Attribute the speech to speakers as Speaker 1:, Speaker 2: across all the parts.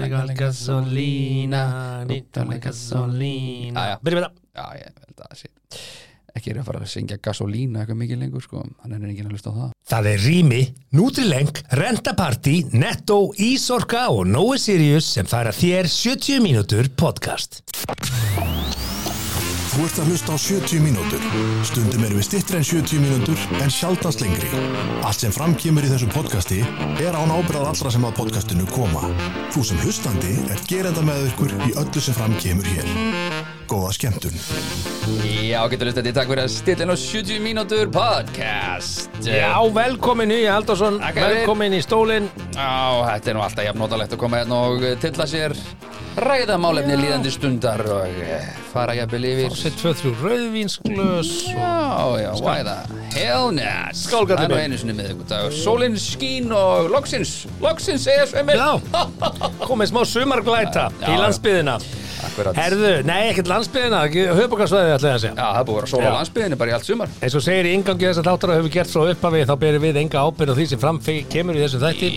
Speaker 1: Gal gasolína, nýttalega gasolína
Speaker 2: Jæja.
Speaker 1: Ah, Byrjum við það
Speaker 2: Já, ég held að það sé ekki er að fara að syngja gasolína eitthvað mikið lengur sko, hann er enginn að hlusta á það
Speaker 1: Það er Rými, Nutrileng, Rentaparty, Netto, Ísorka og Nói Sirius sem færa þér 70 mínútur podcast.
Speaker 3: Þú ert að hlusta á 70 mínútur. Stundum erum við stittri en 70 mínútur en sjaldast lengri. Allt sem framkýmur í þessu podcasti er án ábyrðað allra sem að podcastinu koma. Þú sem hlustandi er gerenda með ykkur í öllu sem framkýmur hér. Góða skemmtun.
Speaker 2: Já, getur hlusta þetta, takk fyrir að stillin á 70 mínútur podcast
Speaker 1: Já, velkomin í Aldarsson,
Speaker 2: Takk fyrir.
Speaker 1: velkomin í stólinn.
Speaker 2: Á, þetta er nú alltaf jafn notalegt að koma hérna og eh, tilla sér ræða málefni líðandi stundar og eh, fara jafnvel yfir
Speaker 1: Sett 2-3 rauðvínsglös.
Speaker 2: Já, já, why the hell not
Speaker 1: Skál, Gaddi
Speaker 2: Það er nú
Speaker 1: minn.
Speaker 2: einu sinni miðvikudagur Sólinn skín og loksins, loksins E ES Emil
Speaker 1: Já, komið smá sumarglæta
Speaker 2: Já,
Speaker 1: í
Speaker 2: já.
Speaker 1: landsbyðina.
Speaker 2: Akkurat Já,
Speaker 1: Herðu, nei, ekkert landsbyðina, höfbókarsvæðið ætlaði að segja.
Speaker 2: það er búið að vera sól
Speaker 1: Já.
Speaker 2: á landsbyðinni bara í allt sumar
Speaker 1: Eins og segir í ingangi þess að þáttara hefur gert frá upphafi þá berum við enga ábyrð á því sem fram fe- kemur í þessum þætti.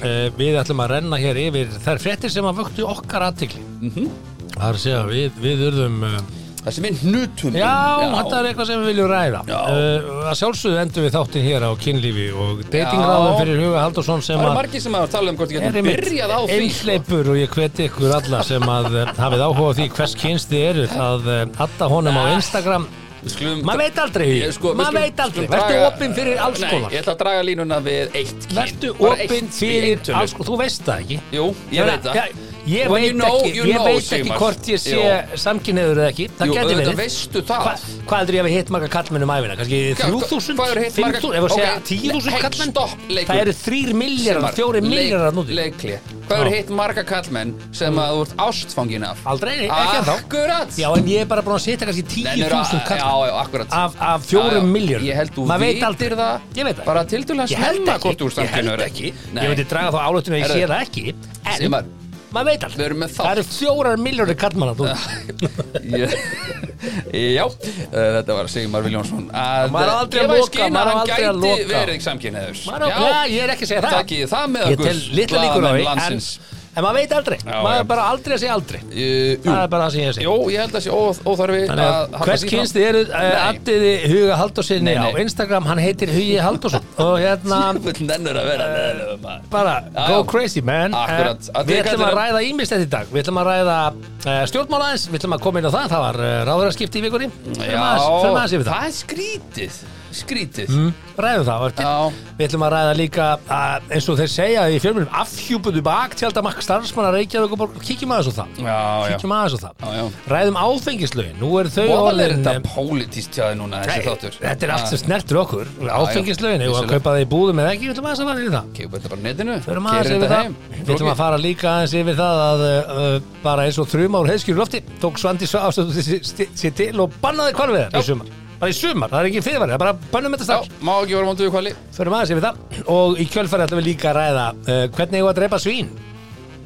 Speaker 1: Uh, við ætlum að renna hér yfir þær fréttir sem að vöktu okkar aðtikli. Mm
Speaker 2: Mhm.
Speaker 1: -hmm. Það er að segja, við, við urðum... Uh,
Speaker 2: Það sem er hnutum
Speaker 1: já, þetta er eitthvað sem við viljum ræða.
Speaker 2: Já.
Speaker 1: Uh, að sjálfsögðu endum við þáttin hér á kynlífi og datingráðum
Speaker 2: Já.
Speaker 1: fyrir Huga Haldursson sem
Speaker 2: Það eru
Speaker 1: að...
Speaker 2: margir sem að tala um hvort ég
Speaker 1: er
Speaker 2: getur
Speaker 1: einmitt
Speaker 2: byrjað á því sko.
Speaker 1: einhleypur og ég hveti ykkur alla sem að eh, hafið áhuga á því hvers kynst þið eru að eh, adda honum á Instagram
Speaker 2: Við skulum-
Speaker 1: maður veit aldrei
Speaker 2: Ég, sko, við
Speaker 1: maður
Speaker 2: skulum-
Speaker 1: veit aldrei,
Speaker 2: skulum
Speaker 1: verður
Speaker 2: draga-
Speaker 1: opinn fyrir alls
Speaker 2: Nei,
Speaker 1: konar
Speaker 2: ég ætla að draga línuna við eitt kyn
Speaker 1: verður
Speaker 2: Bara
Speaker 1: opinn
Speaker 2: eitt í
Speaker 1: fyrir
Speaker 2: eintölu.
Speaker 1: alls konar, þú veist það ekki
Speaker 2: Jú, ég
Speaker 1: Þannig
Speaker 2: veit
Speaker 1: að-
Speaker 2: það
Speaker 1: Já, ég
Speaker 2: When
Speaker 1: veit
Speaker 2: you know,
Speaker 1: ekki,
Speaker 2: you
Speaker 1: ég
Speaker 2: know,
Speaker 1: veit ekki
Speaker 2: Sigmar.
Speaker 1: hvort ég sé
Speaker 2: Jú.
Speaker 1: samkynniður eða ekki, það
Speaker 2: Jú,
Speaker 1: geti
Speaker 2: auðvitað
Speaker 1: verið
Speaker 2: veistu það.
Speaker 1: Hva- Hvað heldur ég hafi hitt marga um kallmennum æfina? Kanski
Speaker 2: Hva- hva-
Speaker 1: 3000,
Speaker 2: hvað eru hitt marga-
Speaker 1: 5000, ef að segja
Speaker 2: Ok,
Speaker 1: 10.000
Speaker 2: hey,
Speaker 1: kallmenn
Speaker 2: stopp, leikur.
Speaker 1: Það eru 3 miljardar, 4 miljardar núti
Speaker 2: Leikli Hvað
Speaker 1: Já.
Speaker 2: eru hitt marga kallmenn sem að þú ert ástfangin af?
Speaker 1: Aldrei, nei, ekki ennþá.
Speaker 2: Akkurat
Speaker 1: Já, en ég er bara búin að setja kannski 10.000
Speaker 2: Já,
Speaker 1: kall
Speaker 2: já, akkurat
Speaker 1: af, af fjórum miljardum.
Speaker 2: Ég held þú
Speaker 1: Maður veit aldrei.
Speaker 2: vitir það
Speaker 1: Ég veit það.
Speaker 2: Bara tildulega
Speaker 1: Ég held
Speaker 2: snemma
Speaker 1: ekki,
Speaker 2: hvort þú
Speaker 1: ég
Speaker 2: ert
Speaker 1: held
Speaker 2: samkynhneigður.
Speaker 1: ekki
Speaker 2: Nei.
Speaker 1: Ég myndi draga þá álöftinu að ég sé
Speaker 2: Herðu.
Speaker 1: það ekki En
Speaker 2: Sigmar.
Speaker 1: maður veit
Speaker 2: Við
Speaker 1: aldrei
Speaker 2: erum með þátt.
Speaker 1: Það eru fjórar miljónir kallmanna þú
Speaker 2: Ég- Já, eh, þetta var Sigmar Viljónsson að
Speaker 1: Maður á aldrei að
Speaker 2: gefa í
Speaker 1: loka,
Speaker 2: skyn
Speaker 1: maður á
Speaker 2: hann
Speaker 1: aldrei að
Speaker 2: gæti
Speaker 1: loka.
Speaker 2: verið samkynniður
Speaker 1: Maður á- Já, ég er ekki að segja það
Speaker 2: Takk ég það með
Speaker 1: Ég
Speaker 2: okkur
Speaker 1: tel litla líkur á
Speaker 2: blaðamenn
Speaker 1: því en,
Speaker 2: landsins.
Speaker 1: en maður veit aldrei
Speaker 2: Já,
Speaker 1: Maður
Speaker 2: já.
Speaker 1: bara aldrei að segja aldrei
Speaker 2: Eh, jú.
Speaker 1: Það er bara það sem ég sé
Speaker 2: Jó, ég held að sé ó- óþarfi
Speaker 1: Þannig að hvers kynst þið eru eh,
Speaker 2: Nei.
Speaker 1: Addiði Huga Haldósinni
Speaker 2: Nei,
Speaker 1: á
Speaker 2: nei.
Speaker 1: Instagram Hann heitir Hugi Haldósson Og hérna
Speaker 2: Sjöfull nennur að vera leðilega maður
Speaker 1: bara
Speaker 2: Já,
Speaker 1: go
Speaker 2: já.
Speaker 1: crazy man
Speaker 2: Akkurat.
Speaker 1: Eh,
Speaker 2: Að
Speaker 1: Við
Speaker 2: þið
Speaker 1: ætlum að
Speaker 2: kallar-
Speaker 1: ræða ímislegt í dag Við ætlum að ræða uh, stjórnmála aðeins Við ætlum að koma inn á það, það var uh, ráðurarskipti í vikunni Fyrir maður aðeins yfir það
Speaker 2: það er skrítið Skrítið
Speaker 1: Mm, Ræðum það á eftir
Speaker 2: Já.
Speaker 1: Við ætlum að ræða líka að, eins og þeir segja í fjölmjörnum afhjúpuðu bak til alltaf makk starfsmanna Reykjavík og borg Kíkjum aðeins á það
Speaker 2: Já, já
Speaker 1: Kíkjum aðeins á það
Speaker 2: Já, já.
Speaker 1: Ræðum áfengislaugin Nú eru þau
Speaker 2: Voðal er
Speaker 1: orðin, eh,
Speaker 2: þetta pólitískt hjá þið núna
Speaker 1: nei,
Speaker 2: þessi þáttur
Speaker 1: Þetta er allt sem
Speaker 2: Ah,
Speaker 1: snertur okkur Áfengislaugin, ef að
Speaker 2: vissulega.
Speaker 1: kaupa það í búðum eða ekki Við ætlum aðeins að fara yfir það
Speaker 2: ok, Við erum bara á netinu
Speaker 1: Förum aðeins yfir það. Við ætlum að fara líka aðeins yfir það að uh, uh, bara eins og þrjum ár heiðskjur lofti tók Svandi Svástóttur sér til og bannaði hvalveðar í
Speaker 2: Já.
Speaker 1: sumar. Bara í sumar, það er ekki fyrirvarið, það er bara bannum þetta strax.
Speaker 2: Já, má ekki vera móndu við hvali
Speaker 1: Förum aðeins yfir það og í kjölfæri ætlum við líka að ræða uh, hvernig eigum við að drepa svín.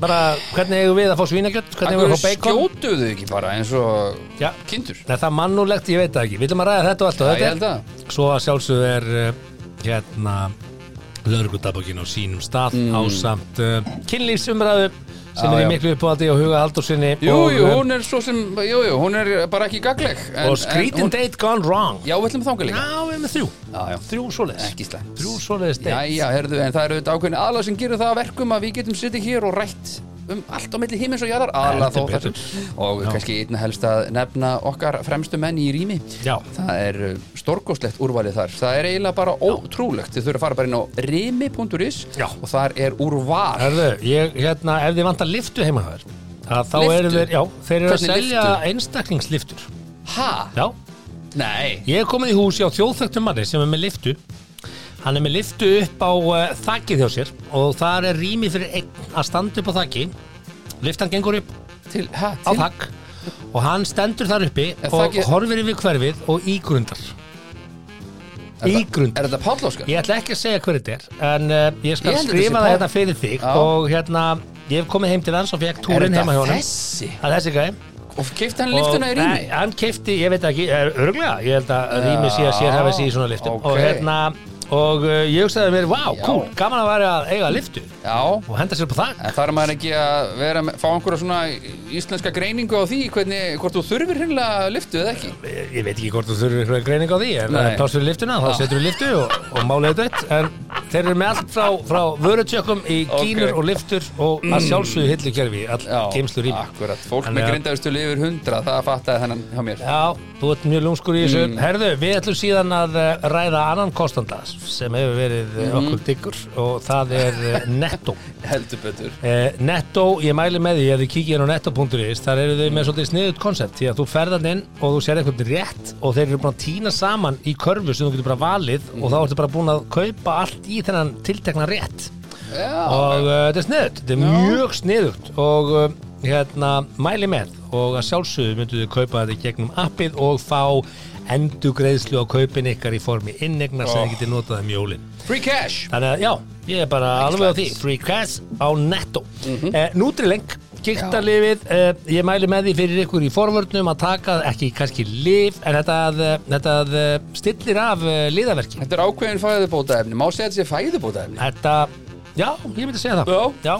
Speaker 1: Bara hvernig eigum við að fá svínakjött, hvernig eigum við
Speaker 2: Akkur
Speaker 1: að fá bacon.
Speaker 2: skjótuðu þið ekki bara eins og
Speaker 1: Já.
Speaker 2: kindur
Speaker 1: Nei, það er mannúlegt, ég veit það ekki. Við ætlum að ræða þetta og allt og
Speaker 2: Já,
Speaker 1: þetta.
Speaker 2: ég held að
Speaker 1: Svo að sjálfsögðu er uh, hérna lögreglutabokkin á sínum stað á samt uh, kynlífsumræðu sem
Speaker 2: Mm. Já,
Speaker 1: er í
Speaker 2: já.
Speaker 1: miklu uppáhaldi á huga Haldursinni
Speaker 2: Jú,
Speaker 1: og,
Speaker 2: jú,
Speaker 1: um,
Speaker 2: hún er svo sem, jú, jú, hún er bara ekki gagleg en-
Speaker 1: og skrítin
Speaker 2: en hún-
Speaker 1: date gone wrong
Speaker 2: Já, við ætlum að þanga líka
Speaker 1: Já, við erum með þrjú,
Speaker 2: Já, já.
Speaker 1: þrjú svoleiðis
Speaker 2: Ekki slæmt.
Speaker 1: Þrjú svoleiðis date
Speaker 2: Jæja, herðu, en það eru auðvitað ákveðin aðlað sem gerir það að verkum að við getum sittið hér og rætt um allt á milli himins og jarðar aðlað þó
Speaker 1: Heldur
Speaker 2: þessum og kannski einna helst að nefna okkar fremstu menn í rými
Speaker 1: Já.
Speaker 2: það er storkoslegt úrvalið þar það er eiginlega bara ótrúlegt þið þurfum að fara bara inn á rými.is
Speaker 1: Já.
Speaker 2: og þar er úrval
Speaker 1: Herðu, ég, hérna, ef þið vantar liftu heima þær að þá
Speaker 2: Lyftu?
Speaker 1: eru þeir, já, þeir eru að
Speaker 2: Hvernig
Speaker 1: selja
Speaker 2: lyftu?
Speaker 1: einstaklingsliftur
Speaker 2: ha?
Speaker 1: Já,
Speaker 2: nei
Speaker 1: ég er komið í hús hjá þjóðþögtum manni sem er með liftu Hann er með liftu upp á uh, þakkið hjá sér og þar er rými fyrir einn að standa upp á þakki Liftan gengur upp
Speaker 2: til, ha,
Speaker 1: á
Speaker 2: til,
Speaker 1: þakk og hann stendur þar uppi
Speaker 2: Er
Speaker 1: og
Speaker 2: þakið-
Speaker 1: horfir yfir hverfið og ígrundar Ígrundar
Speaker 2: er þetta pállóskar?
Speaker 1: Ég ætla ekki að segja hver þetta er en uh, ég skal
Speaker 2: Ég held þetta sé
Speaker 1: skrifa það
Speaker 2: Páll.
Speaker 1: hérna fyrir þig
Speaker 2: Já.
Speaker 1: og hérna, ég hef komið heim til hans og fekk túrin heima hjá honum
Speaker 2: þessi?
Speaker 1: Það er þessi gæm
Speaker 2: og kefti hann liftuna í rými?
Speaker 1: Nei, hann keipti, ég veit ekki, örglega, ég held að rými sé að sér hafa sig í svona liftum
Speaker 2: ok.
Speaker 1: og hérna, og uh, ég hugsaði mér, vá,
Speaker 2: Já.
Speaker 1: cool, gaman að vera að eiga liftu
Speaker 2: Já,
Speaker 1: og henda sér upp á þak
Speaker 2: en þarf maður ekki að vera, með- fá einhverja svona íslenska greiningu á því hvernig, hvort þú þurfir hinnlega lyftu eða ekki
Speaker 1: ég ég veit ekki hvort þú þurfir eitthvað greining á því en
Speaker 2: Nei.
Speaker 1: Nei. pláss fyrir liftuna, þá setjum við liftu og, og málið er dött en þeir eru með allt frá, frá vörutjökkum í
Speaker 2: Ok. Mm.
Speaker 1: gínur og liftur og að sjálfsögðu hillukerfi, all geimslur í
Speaker 2: akkurat, fólk
Speaker 1: Þannig
Speaker 2: með
Speaker 1: að-
Speaker 2: grindaðustu lifir 100, það fattaði þennan hjá mér
Speaker 1: Já, þú ert mjög lúmskur í þessu Herðu, við ætlum síðan að eh, ræða annan kostanda sem hefur verið mm. okkur diggur og það er eh, Netto
Speaker 2: heldur betur
Speaker 1: Eh, Netto, ég mæli með því að þið kíkja inn á netto.is, þar eru þau með svolítið sniðut koncept, því að þú ferðan inn og þú sér eitthvað rétt og þeir eru búin að týna saman í körfu sem þú getur bara valið og þá ertu bara búin að kaupa allt í þennan tiltekna rétt
Speaker 2: Já,
Speaker 1: og uh, þetta er sniðut, þetta er mjög sniðut og uh, hérna mæli með og að sjálfsögðu myndu þið kaupa þetta í gegnum appið og fá endugreiðslu á kaupin ykkar í formi innegnar sem
Speaker 2: Oh.
Speaker 1: þið getið notað um jólinn.
Speaker 2: free cash
Speaker 1: Þannig að já, ég er bara alveg á því
Speaker 2: slæmt.
Speaker 1: Free cash á netto mm
Speaker 2: Mhm.
Speaker 1: -hmm. eh, Nútrileng, giktarlifið eh, Ég mæli með því fyrir ykkur í forvörnum að taka, ekki kannski lif en þetta, eh, þetta eh, stillir af eh, liðaverki
Speaker 2: Þetta er ákveðin fæðubótaefni, má segja þetta sé fæðubótaefni
Speaker 1: Þetta, já, ég myndi segja það
Speaker 2: Já.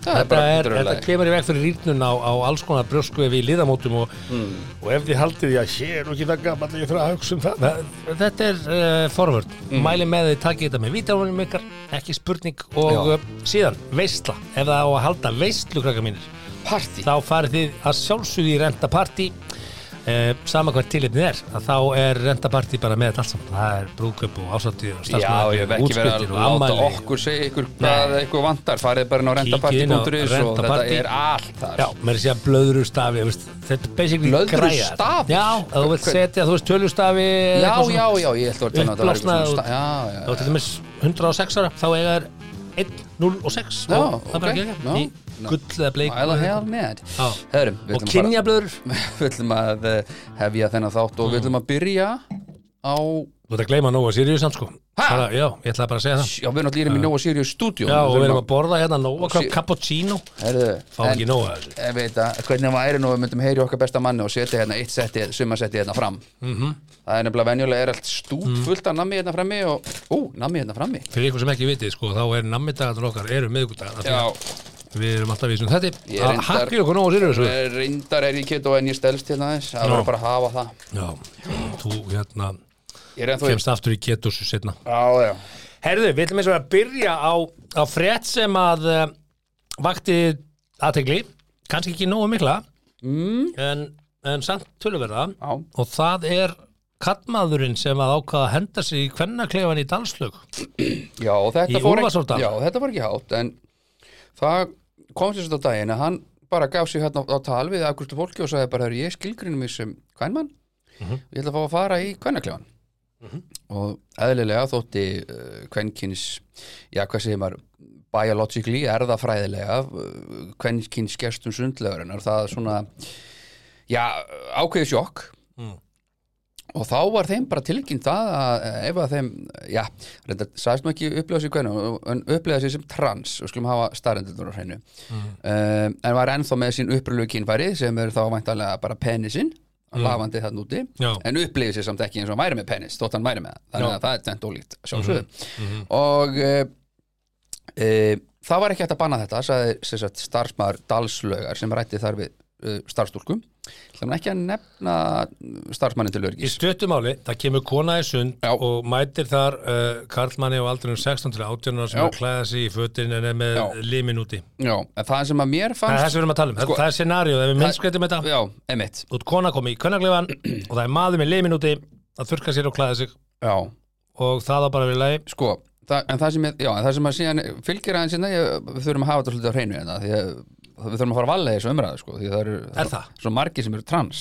Speaker 2: Það er
Speaker 1: Þetta,
Speaker 2: bara
Speaker 1: er,
Speaker 2: dröðlega
Speaker 1: þetta kemur í veg fyrir rýrnun á, á alls konar brjóskuði við liðamótum og,
Speaker 2: Mm.
Speaker 1: og ef þið haldið því að hér er nú ekki það gaman að ég fyrir að hugsa um það Þa- Þetta er uh, forvörn,
Speaker 2: Mm.
Speaker 1: mæli með að þið takið þetta með vítamunum ykkar, ekki spurning og
Speaker 2: Já.
Speaker 1: uh, síðan veistla, ef það á að halda veistlu krakkar mínir,
Speaker 2: Party
Speaker 1: þá farið þið að sjálfsögðu í rentapartí Uh, sama hvert tilipnið er að þá er rentapartí bara með þetta allt saman það er brúköp og ásatíð og
Speaker 2: Já, ég hef
Speaker 1: starfsmæður og
Speaker 2: ekki verið
Speaker 1: útskuttir
Speaker 2: að
Speaker 1: og
Speaker 2: láta
Speaker 1: ammæli
Speaker 2: okkur segja ykkur hvað eitthvað vantar farið bara inn á
Speaker 1: inn á
Speaker 2: rentaparty.is og þetta
Speaker 1: rentaparty.
Speaker 2: er allt þar
Speaker 1: Já, maður er að segja blöðrustafi veist, Þetta er basically græjar.
Speaker 2: Blöðrustafi?
Speaker 1: Já, ef þú vilt
Speaker 2: Hver-
Speaker 1: setja, þú veist tölustafi eða
Speaker 2: já,
Speaker 1: eitthvað svona.
Speaker 2: já, já, ég ætla að vera að það var
Speaker 1: Uppblásnað
Speaker 2: eitthvað
Speaker 1: og-
Speaker 2: svona sta- Já, já,
Speaker 1: Þá til dæmis 106 ára, þá eiga þær 1, 0 og 6
Speaker 2: Já,
Speaker 1: og Það er bara
Speaker 2: ok,
Speaker 1: ekki ekki
Speaker 2: já.
Speaker 1: Í gull eða bleik
Speaker 2: Æla hell mad
Speaker 1: Já.
Speaker 2: Herum,
Speaker 1: Og kynjablöður
Speaker 2: Við ætlum að eh, hefja þennan þátt
Speaker 1: Mm.
Speaker 2: og við ætlum að byrja á
Speaker 1: Þú ert að gleyma Nóa Sirius samt sko
Speaker 2: Ha?
Speaker 1: Bara, Já, ég ætlaði bara að segja það
Speaker 2: Já, við erum allir í Nóa Sirius stúdíu
Speaker 1: Ah. Já, og við erum að borða hérna Nóa
Speaker 2: Sí-
Speaker 1: Cappuccino
Speaker 2: Herðu,
Speaker 1: Fá
Speaker 2: en-
Speaker 1: ekki Nóa þessu
Speaker 2: Ég veit að hvernig væri nú við myndum heyri okkar besta manni og setja hérna eitt setti, sumasetti hérna fram
Speaker 1: Mhm.
Speaker 2: Það er nefnilega venjulega er allt stút fullt af nammi hérna frammi og Ú, nammi hérna frammi
Speaker 1: Fyrir ykkur sem ekki vitið sko, þá er nammidagarnar okkar eru miðgudagarnar
Speaker 2: Já,
Speaker 1: Við erum alltaf í þessum
Speaker 2: Ég
Speaker 1: þetti
Speaker 2: er reyndar-
Speaker 1: Hakkið okkur Nóa Sirius sko. við.
Speaker 2: er reyndar er ég keto en ég stelst hérna aðeins Það
Speaker 1: Já.
Speaker 2: verður bara að hafa það
Speaker 1: Já, þú hérna
Speaker 2: Ég er ennþá í-
Speaker 1: kemst aftur í ketósu setna
Speaker 2: Já, já
Speaker 1: Herðu, við ætlum eins og að byrja á, á frétt sem að uh, vakti aðtegli, kannski ekki nógu mikla mm. en, en samt töluverða
Speaker 2: Já,
Speaker 1: og það er kattmaðurinn sem að ákvaða að henda sig í kvennakleifan í Dalslög
Speaker 2: já og þetta
Speaker 1: Í
Speaker 2: fór
Speaker 1: Úlfarsárdal?
Speaker 2: ekki Já, þetta fór ekki hátt en það kom sér þetta á daginn að hann bara gaf sig hérna á, á tal við akkurstu fólki og sagði bara, "Heyrðu, ég skilgrinu mig sem kvænmann ég ætla að fá að fara í kvennaklefan og eðlilega þótti uh, kvenkins já hvað segir maður biologically, erðafræðilega uh, kvenkins gestum sundlegurinnar það svona já, ákveði sjokk
Speaker 1: Mm.
Speaker 2: og þá var þeim bara tilkynnt það að eh, ef að þeim, já reynda, sagðist nú ekki upplega sér hvernig en upplega sér sem trans og skulum hafa starrendur á hreinu um, en var ennþá með sín upprölu kynfæri sem er þá væntalega bara penisinn lafandi þann úti
Speaker 1: Já.
Speaker 2: en upplifir sér samt ekki eins og hann væri með penis þótt hann væri með það, þannig
Speaker 1: Já.
Speaker 2: að það er tvent ólíkt sjálfsögðu og e, e, það var ekki hægt að banna þetta sagði sem sagt, starfsmaður Dalslaugar sem rætti þar við e, starfstúlkum ætlum ekki að nefna starfsmannin til
Speaker 1: Í
Speaker 2: örgis
Speaker 1: stöttumáli, það kemur kona í sund
Speaker 2: Já.
Speaker 1: og mætir þar uh, karlmanni á aldrinum 16 til 18 ára sem
Speaker 2: Já.
Speaker 1: er að klæða sig í fötin en er með
Speaker 2: Já.
Speaker 1: limin úti
Speaker 2: Já, en það sem að
Speaker 1: Það er
Speaker 2: mér fannst
Speaker 1: það sem við erum að tala um,
Speaker 2: Sko-
Speaker 1: það er scenaríu, ef við minnskreitum þetta
Speaker 2: Já, emitt
Speaker 1: út kona komið í kvennakleifan og það er maður með limin úti að þurka sér og klæða sig
Speaker 2: Já,
Speaker 1: og það á bara við lagi
Speaker 2: sko það, en, það sem ég, já, en það sem að síðan fylgir aðeins hérna, ég- við þurfum að hafa þetta svolítið á hreinu hérna, því að við þurfum að fara að valega þessu umræðu sko, því að það eru
Speaker 1: Er það?
Speaker 2: svo margir sem eru trans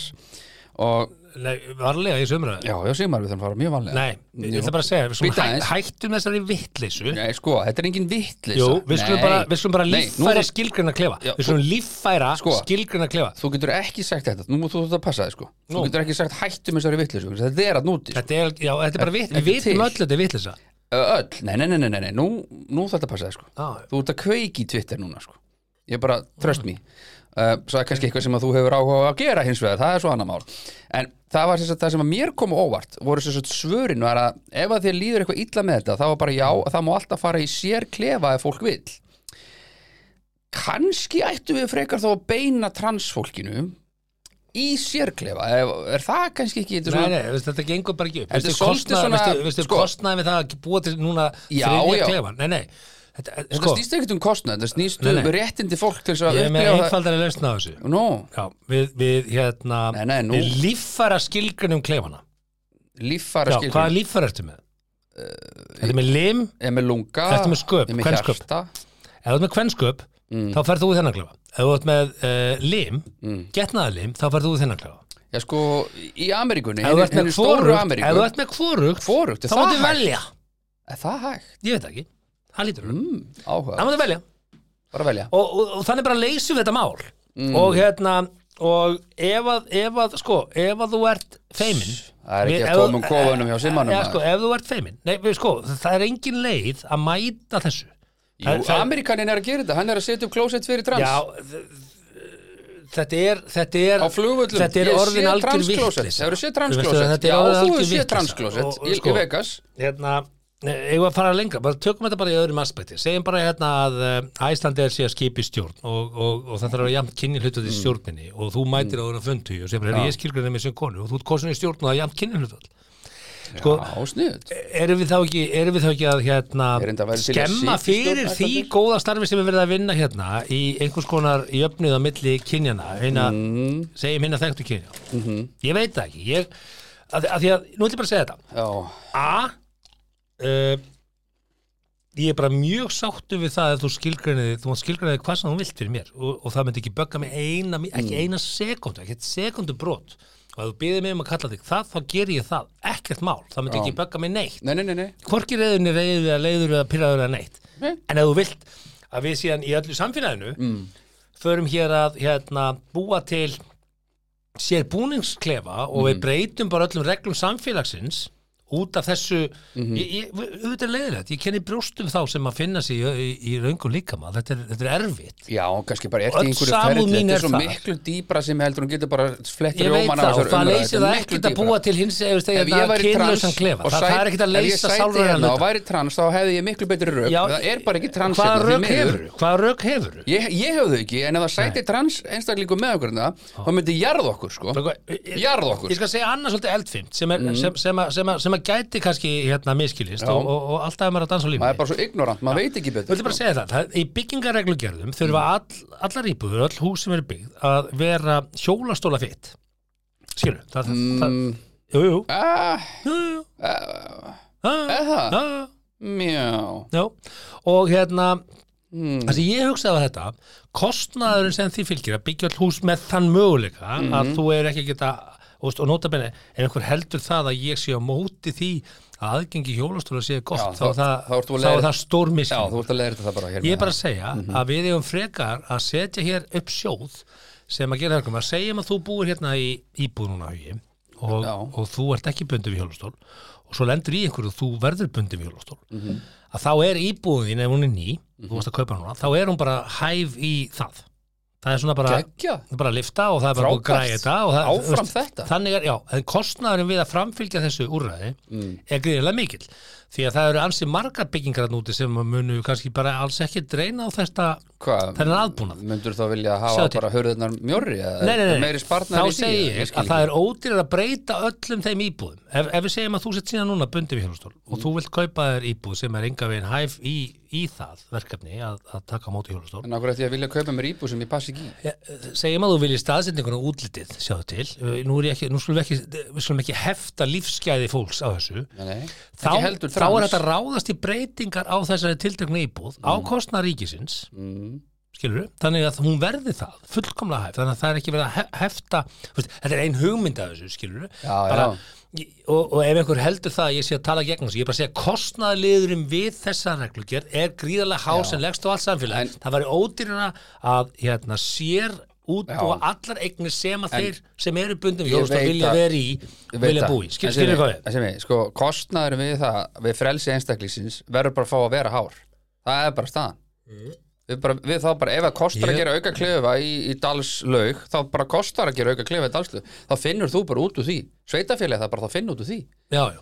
Speaker 2: og
Speaker 1: Nei, varlega í þessu umræðu
Speaker 2: já, já, Sigmar, við þurfum að fara mjög valega
Speaker 1: Nei, ég ætla bara að segja, við
Speaker 2: Bíddu
Speaker 1: skulum hæ,
Speaker 2: aðeins.
Speaker 1: hættum þessari vittleysu
Speaker 2: Nei, sko, þetta er engin vittlisa
Speaker 1: Jú, við skulum bara, við skulum bara líffæra skilgrunna klefa
Speaker 2: Já,
Speaker 1: Við skulum líffæra
Speaker 2: Sko.
Speaker 1: skilgrunna klefa
Speaker 2: Þú getur ekki sagt þetta, nú mútu þú þetta passa þig sko Þú
Speaker 1: Nú.
Speaker 2: getur ekki sagt hættum þessari vittlisa Þetta er að núti sko.
Speaker 1: Þetta er, já, þetta er bara vitt,
Speaker 2: Ekki
Speaker 1: við vitum
Speaker 2: til.
Speaker 1: öll að þetta er vittleysa
Speaker 2: Öll, nei, nei, nei, nei, nei, nei. Nú, nú þetta passa þig sko
Speaker 1: Já,
Speaker 2: Þú ert að kveiki í Twitter núna sko ég bara, trust me uh, svo er kannski eitthvað sem að þú hefur áhuga á að gera hins vegar, það er svo annar mál en það var sem sagt það sem að mér kom á óvart voru sem sagt svörin var að ef að þér líður eitthvað illa með þetta, þá var bara já það má alltaf fara í sér klefa ef fólk vill kannski ættu við frekar þá að beina transfólkinu í sérklefa, Ef- er það kannski ekki þetta er
Speaker 1: Nei,
Speaker 2: svona-
Speaker 1: nei, veist, þetta gengur bara ekki upp
Speaker 2: Þetta er
Speaker 1: Veistu,
Speaker 2: svolítið
Speaker 1: kostnaður-
Speaker 2: svona-
Speaker 1: veistu- veistu,
Speaker 2: sko.
Speaker 1: kostnaði við það að búa til núna
Speaker 2: Já, já.
Speaker 1: þriðja klefa Nei, nei, þetta,
Speaker 2: Þetta
Speaker 1: sko,
Speaker 2: snýst ekkert um kostnað, þetta snýst
Speaker 1: Nei,
Speaker 2: um
Speaker 1: nei.
Speaker 2: réttindi fólk til þess að
Speaker 1: ég er með
Speaker 2: upplifa það
Speaker 1: einfaldari lausna á þessu
Speaker 2: Nú,
Speaker 1: Já, við, við hérna
Speaker 2: Nei, nei, nú-
Speaker 1: Við líffæra skilgrunum klefana
Speaker 2: líffara
Speaker 1: Já,
Speaker 2: skilur
Speaker 1: hvaða líffæra ertu með?
Speaker 2: Uh,
Speaker 1: Þetta með lim,
Speaker 2: Ég er með lunga,
Speaker 1: Ertu með sköp,
Speaker 2: ég er með
Speaker 1: kvensköp?
Speaker 2: hjarta
Speaker 1: ef þú ert með kvensköp
Speaker 2: Mm.
Speaker 1: þá ferð þú í þennan klefa Ef þú ert með uh, lim, mm. getnaðalim þá ferð þú í þennan klefa
Speaker 2: Já sko, í Ameríkunni,
Speaker 1: Ef þú ert með
Speaker 2: hinni stóru
Speaker 1: hvorugt, ef þú
Speaker 2: Ameríku
Speaker 1: ert með hvorugt
Speaker 2: Hvorugt, er
Speaker 1: þá
Speaker 2: það
Speaker 1: máttu
Speaker 2: hægt?
Speaker 1: velja
Speaker 2: Er það hægt?
Speaker 1: Ég veit það ekki, það lítur mm.
Speaker 2: Mm,
Speaker 1: Það
Speaker 2: áhuga,
Speaker 1: máttu velja
Speaker 2: bara velja
Speaker 1: og, og, og þannig bara leysum við þetta mál
Speaker 2: Mm.
Speaker 1: og hérna og ef að, ef að, sko, ef að þú ert feimin
Speaker 2: Það er ekki
Speaker 1: við-
Speaker 2: að
Speaker 1: ef
Speaker 2: tómum
Speaker 1: þú-
Speaker 2: kofanum hjá simmanum,
Speaker 1: ja,
Speaker 2: maður.
Speaker 1: sko, ef þú ert feimin, nei, við, sko, það er engin leið að mæta þessu
Speaker 2: Jú,
Speaker 1: Það- það-
Speaker 2: Ameríkanin er að gera þetta, hann er að setja upp klósett fyrir trans
Speaker 1: já, þ- þetta er þetta er,
Speaker 2: Á flugvöllum,
Speaker 1: þetta er
Speaker 2: Ég sé
Speaker 1: orðin algjör
Speaker 2: transklósett.
Speaker 1: vitleysa.
Speaker 2: Hefurðu
Speaker 1: Þú veistu,
Speaker 2: séð transklósett?
Speaker 1: þetta er
Speaker 2: Já,
Speaker 1: orðin
Speaker 2: þú
Speaker 1: algjör
Speaker 2: hefur séð
Speaker 1: vitleysa.
Speaker 2: transklósett
Speaker 1: Og- og
Speaker 2: í- í
Speaker 1: sko,
Speaker 2: Vegas.
Speaker 1: hérna, eigum við að fara lengra, bara tökum þetta bara í öðrum aspekti segjum bara hérna að eh, Æslandir sé að skipi stjórn og, og, og það þarf að jafnt kynni hlutat í
Speaker 2: Mm.
Speaker 1: stjórninni og þú mætir áður að fundu og segir bara, "Heyrðu, ég skilgrið með sem konu og þú ert kosin í stjórn og það er jafnt kynni hlutat sko,
Speaker 2: Á, sniðut
Speaker 1: erum við þá ekki, erum við þá ekki að hérna,
Speaker 2: Er enda að væri til að
Speaker 1: skemma
Speaker 2: sitja í
Speaker 1: fyrir
Speaker 2: stjórn
Speaker 1: því
Speaker 2: Æslandair?
Speaker 1: góða starfi sem er verið að vinna hérna í einhvers konar jöfnuð á milli kynjana hérna,
Speaker 2: Mhm. Hmm,
Speaker 1: segjum hérna þekktu kynja ég veit það ekki ég, að, að því að, nú ætlum ég bara að segja þetta
Speaker 2: Já,
Speaker 1: A uh, Ég er bara mjög sáttu við það að þú skilgræniði, þú mátt skilgræniði hvað sem þú vilt fyrir mér og, og það myndi ekki bögga mig eina, ekki eina sekundu, ekki eitt sekundu brot og ef þú byðir mig um að kalla þig það, þá ger ég það, ekkert mál, það myndi ekki bögga mig neitt
Speaker 2: nei, nei, nei, nei
Speaker 1: hvorki reyðunni reyður eða leiður eða pyrraður eða neitt
Speaker 2: Nei.
Speaker 1: en ef þú vilt að við síðan í öllu samfélaginu
Speaker 2: Mm.
Speaker 1: förum hér að hérna, búa til sér búningsklefa og
Speaker 2: Mm.
Speaker 1: við breytum bara öllum reglum samfélagsins út af þessu
Speaker 2: Mhm.
Speaker 1: ég, ég, auðvitað er leiðilegt, ég kenni brjóstum þá sem að finna sig í, í, í raungum líkama þetta er, þetta er erfitt
Speaker 2: Já, kannski bara
Speaker 1: Öll
Speaker 2: eftir einhverju
Speaker 1: samúð
Speaker 2: ferli
Speaker 1: mín er
Speaker 2: Þetta er svo
Speaker 1: þar.
Speaker 2: miklu dýbra sem ég heldur hún getur bara flett
Speaker 1: ég veit
Speaker 2: rjóman
Speaker 1: það og það leysir það ekkert að búa til hins eða
Speaker 2: Ef
Speaker 1: þetta
Speaker 2: ég væri
Speaker 1: hérna,
Speaker 2: trans
Speaker 1: kynlausan klefa
Speaker 2: og
Speaker 1: það,
Speaker 2: sæt-
Speaker 1: það er ekkert að
Speaker 2: ef ég
Speaker 1: leysa
Speaker 2: sæti
Speaker 1: sálræðan
Speaker 2: hérna og væri trans þá hefði ég miklu betri rauk
Speaker 1: Já,
Speaker 2: það er bara ekki trans
Speaker 1: hvaða
Speaker 2: hérna, því
Speaker 1: rök
Speaker 2: miður.
Speaker 1: hefur hvaða rök hefur
Speaker 2: ég, ég hefði ekki en ef það sæti trans einstaklingum með okkur hérna, þá myndi jarð okkur sko jarð okkur sko. Mhm.
Speaker 1: Ég skal segja annað svolítið eldfimt sem, er, sem, sem, að- sem, að- sem að gæti kannski hérna miskilist og, og, og alltaf er maður að dansa á
Speaker 2: maður er
Speaker 1: lífni
Speaker 2: bara svo ignorant maður veit
Speaker 1: Þú
Speaker 2: ekki betur sko.
Speaker 1: ætlum bara að segja það, það í byggingarreglugerðum
Speaker 2: Mhm.
Speaker 1: þurfa all, allar íbúður, öll hús sem eru byggð að vera hjólastóla fitt Skilur, það, það,
Speaker 2: Mm.
Speaker 1: það Jú, jú,
Speaker 2: ah,
Speaker 1: jú, jú Það,
Speaker 2: eða?
Speaker 1: það, það
Speaker 2: mjá
Speaker 1: Já, og hérna
Speaker 2: Hmm.
Speaker 1: það sem ég hugsaði var þetta kostnaðurinn sem því fylgir að byggja all hús með þann möguleika
Speaker 2: Mhm.
Speaker 1: að þú er ekki að geta þú veist, og nota benni, ef einhver heldur það að ég sé á móti því að aðgengi hjólastóla sé gott, þá,
Speaker 2: Já, þá-
Speaker 1: er það,
Speaker 2: þá ertu að
Speaker 1: þá
Speaker 2: leiða-
Speaker 1: er það stór
Speaker 2: já
Speaker 1: miskin
Speaker 2: þú ert að leiðir þetta bara hérna.
Speaker 1: ég
Speaker 2: hér með
Speaker 1: er bara að segja að við eigum frekar að setja hér upp sjóð sem að gera það verkum að segjum að þú búir hérna í íbúð núna hugi og,
Speaker 2: Já.
Speaker 1: og þú ert ekki bundið við hjólastól og svo lendur í einhverju og þú verður bundið við hjólastól að þá er íbúðin ef hún er ný, þú varst að kaupa hana núna, þá er hún bara hæf í það það er svona bara,
Speaker 2: Geggjað.
Speaker 1: það er bara að lifta og það er bara búið að
Speaker 2: Frábært.
Speaker 1: græja þetta og það,
Speaker 2: Áfram
Speaker 1: þú
Speaker 2: þetta.
Speaker 1: þannig er, já, en kostnaðurinn við að framfylgja þessu úrræði
Speaker 2: Mm.
Speaker 1: er greiðilega mikill því að það eru ansi margar byggingar þarna úti sem munu kannski bara alls ekki dreina á þetta
Speaker 2: hvað
Speaker 1: þennan aðbúnað
Speaker 2: myndur þá vilja hafa
Speaker 1: Sjáðu til.
Speaker 2: bara hörðunar mjórri
Speaker 1: Nei, nei, nei,
Speaker 2: meiri
Speaker 1: þá
Speaker 2: sparnar í því
Speaker 1: segi ég,
Speaker 2: skil
Speaker 1: að það er ódýrar að breyta öllum þeim íbúðum ef, ef við segjum að þú sett síðan núna bundið við hjálpstól
Speaker 2: Mm.
Speaker 1: og þú vilt kaupa þér íbúð sem er enga veginn hæf í, í það verkefni að, að taka á móti hjálpstól
Speaker 2: en okkur eftir ég að vilja kaupa mér íbú sem ég passi ekki í
Speaker 1: segjum að þú viljið staðsetninguna útlitið sjáðu til, Uh, nú, er ég ekki, nú skulum við ekki, við skulum ekki hefta lífsgæði fólks á þessu
Speaker 2: Nei, nei.
Speaker 1: þá,
Speaker 2: Ekki heldur
Speaker 1: þá er
Speaker 2: trans.
Speaker 1: þetta ráðast í breytingar á þessari tiltekna íbúð á kostnað ríkisins mm. skilur þannig að hún verði það fullkomlega hæf þannig að það er ekki verið að he- hefta þú veist, þetta er ein hugmynd af þessu skilur
Speaker 2: Já, já.
Speaker 1: Og, og ef einhver heldur það að ég sé að tala gegn þessu, ég er bara að segja að kostnaðliðurinn við þessa reglugjörn er gríðarlega há sem leggst á allt samfélag,
Speaker 2: En-
Speaker 1: það væri ódýrina að hérna, sér út og allar eignir sem að þeir sem eru bundum
Speaker 2: Ég
Speaker 1: jólust og
Speaker 2: veit
Speaker 1: vilja
Speaker 2: að-
Speaker 1: vera í
Speaker 2: Ég veit
Speaker 1: vilja
Speaker 2: það.
Speaker 1: búi,
Speaker 2: En
Speaker 1: skilur
Speaker 2: sem
Speaker 1: við hvað
Speaker 2: ég- en sem ég, sko, kostnaður við það við frelsi einstaklingsins verður bara að fá að vera hár það er bara staðan Við, bara, við þá bara, ef það kostar að
Speaker 1: Ég-
Speaker 2: gera auka klefa í, í dalslaug, þá bara kostar að gera auka klefa í dalslaug, þá finnur þú bara út úr því sveitafélagi það bara, þá finnur út úr því
Speaker 1: já, já,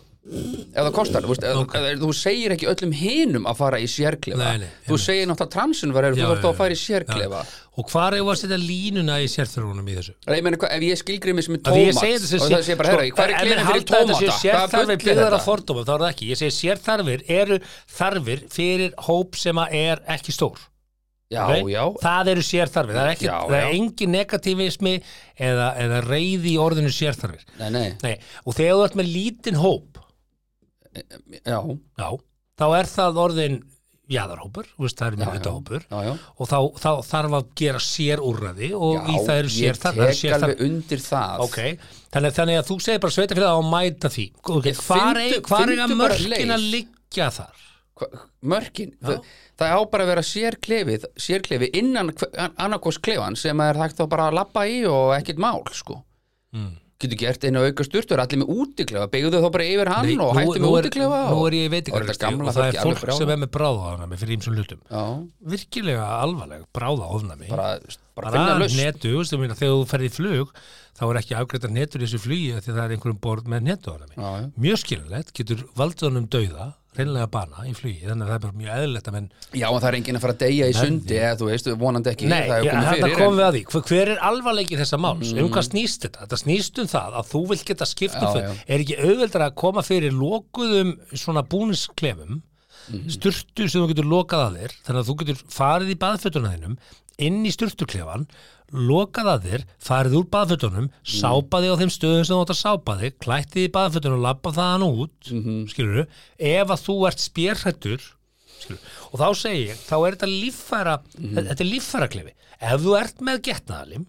Speaker 2: ef það kostar, þú veist,
Speaker 1: Ok.
Speaker 2: okay. þú segir ekki öllum hinum að fara í sérklefa
Speaker 1: Nei, nei,
Speaker 2: þú segir náttúrulega transinverðir
Speaker 1: Já,
Speaker 2: þú verður
Speaker 1: já,
Speaker 2: þá að fara í
Speaker 1: já.
Speaker 2: sérklefa
Speaker 1: og hvar er að setja línuna í sérþörunum í þessu
Speaker 2: Nei, ég meina, hvað- ef ég skilgrið mér sem er
Speaker 1: Af því ég
Speaker 2: tómat
Speaker 1: segi þetta sem sko,
Speaker 2: og það segir bara, herra, hvað er
Speaker 1: ef menn
Speaker 2: klefin fyrir
Speaker 1: halda að þetta
Speaker 2: tómata?
Speaker 1: séu
Speaker 2: Hvaða bull
Speaker 1: Sérþarfir
Speaker 2: er
Speaker 1: byggðar
Speaker 2: þetta?
Speaker 1: að fordóma, þá er það ekki Ég segi sérþarfir eru þarfir fyrir hóp sem að er ekki stór
Speaker 2: Já,
Speaker 1: ok?
Speaker 2: já,
Speaker 1: Það eru sérþarfir, það er, ekki,
Speaker 2: Já,
Speaker 1: það er
Speaker 2: já.
Speaker 1: engin negativismi eða, eða reyði í orðinu sérþarfir
Speaker 2: nei, nei,
Speaker 1: Nei, og þegar þú ert með lítinn hóp
Speaker 2: já,
Speaker 1: já, þá er það orðin jaðarhópur, þú veist, það er mjög hópur
Speaker 2: já, já
Speaker 1: og þá, þá þarf að gera sérúrraði og í það eru
Speaker 2: ég
Speaker 1: sérþarfir
Speaker 2: tek alveg undir það
Speaker 1: Ok, þannig, þannig að þú segir bara sveitafélag á að mæta því okay.
Speaker 2: Ég
Speaker 1: Hvar,
Speaker 2: fyndu-
Speaker 1: fyndu, hvar eiga
Speaker 2: fyndu bara
Speaker 1: mörkin að
Speaker 2: leið.
Speaker 1: liggja þar?
Speaker 2: Hva- mörkin, það, það á bara að vera sérklefi, sérklefi innan annarkos klefan sem er hægt að bara lappa í og ekkert mál sko
Speaker 1: Hmm.
Speaker 2: getur gert einu auka sturtur allir með útiklefa, beigðu þau þá bara yfir hann
Speaker 1: Nei,
Speaker 2: og hættu
Speaker 1: nú
Speaker 2: með
Speaker 1: er,
Speaker 2: útiklefa
Speaker 1: nú
Speaker 2: og,
Speaker 1: er ég veit
Speaker 2: og
Speaker 1: ekki
Speaker 2: þetta gamla
Speaker 1: og það er
Speaker 2: fólki alveg
Speaker 1: fólk
Speaker 2: brjálæði.
Speaker 1: sem er með bráðaofnami fyrir ímsum hlutum
Speaker 2: já,
Speaker 1: virkilega alvarleg bráðaofnami
Speaker 2: bara,
Speaker 1: bara
Speaker 2: bara finna lausn
Speaker 1: netu, þú veist, ég meina, þegar þú ferð í flug þá er ekki afgreitar netur í þessu flugi af því að það er einhverjum borð með netuofnami
Speaker 2: Já, já.
Speaker 1: mjög skilulegt, getur valdunum dauða reynlega bana í flugi, þannig að það er bara mjög eðlilegt að menn
Speaker 2: já, en það er enginn að fara að deyja í sundi eða þú veist, vonandi ekki
Speaker 1: Nei,
Speaker 2: það
Speaker 1: ég-
Speaker 2: er komið
Speaker 1: þarna
Speaker 2: fyrir Mm.
Speaker 1: komum við að því Hver- Hver er alvarleiki þessa máls? Um hvað snýst þetta? Þetta snýst um það að þú vilt geta skipt um
Speaker 2: Já,
Speaker 1: fyrir
Speaker 2: já.
Speaker 1: Er ekki auðveldar að koma fyrir lokuðum svona búnisklefum
Speaker 2: Mhm.
Speaker 1: sturtu sem þú getur lokað að þér þannig að þú getur farið í baðfötuna þínum inn í sturtuklefan lokað að þér, farið úr baðfötunum
Speaker 2: Mhm.
Speaker 1: sápaði á þeim stöðum sem þú átt að sápaði klættið í baðfötunum og labba þaðan út mm
Speaker 2: Mhm.
Speaker 1: -hmm. ef að þú ert spjörhættur og þá segi ég, þá er þetta líffæra þetta er líffæra ef þú ert með getnaðalim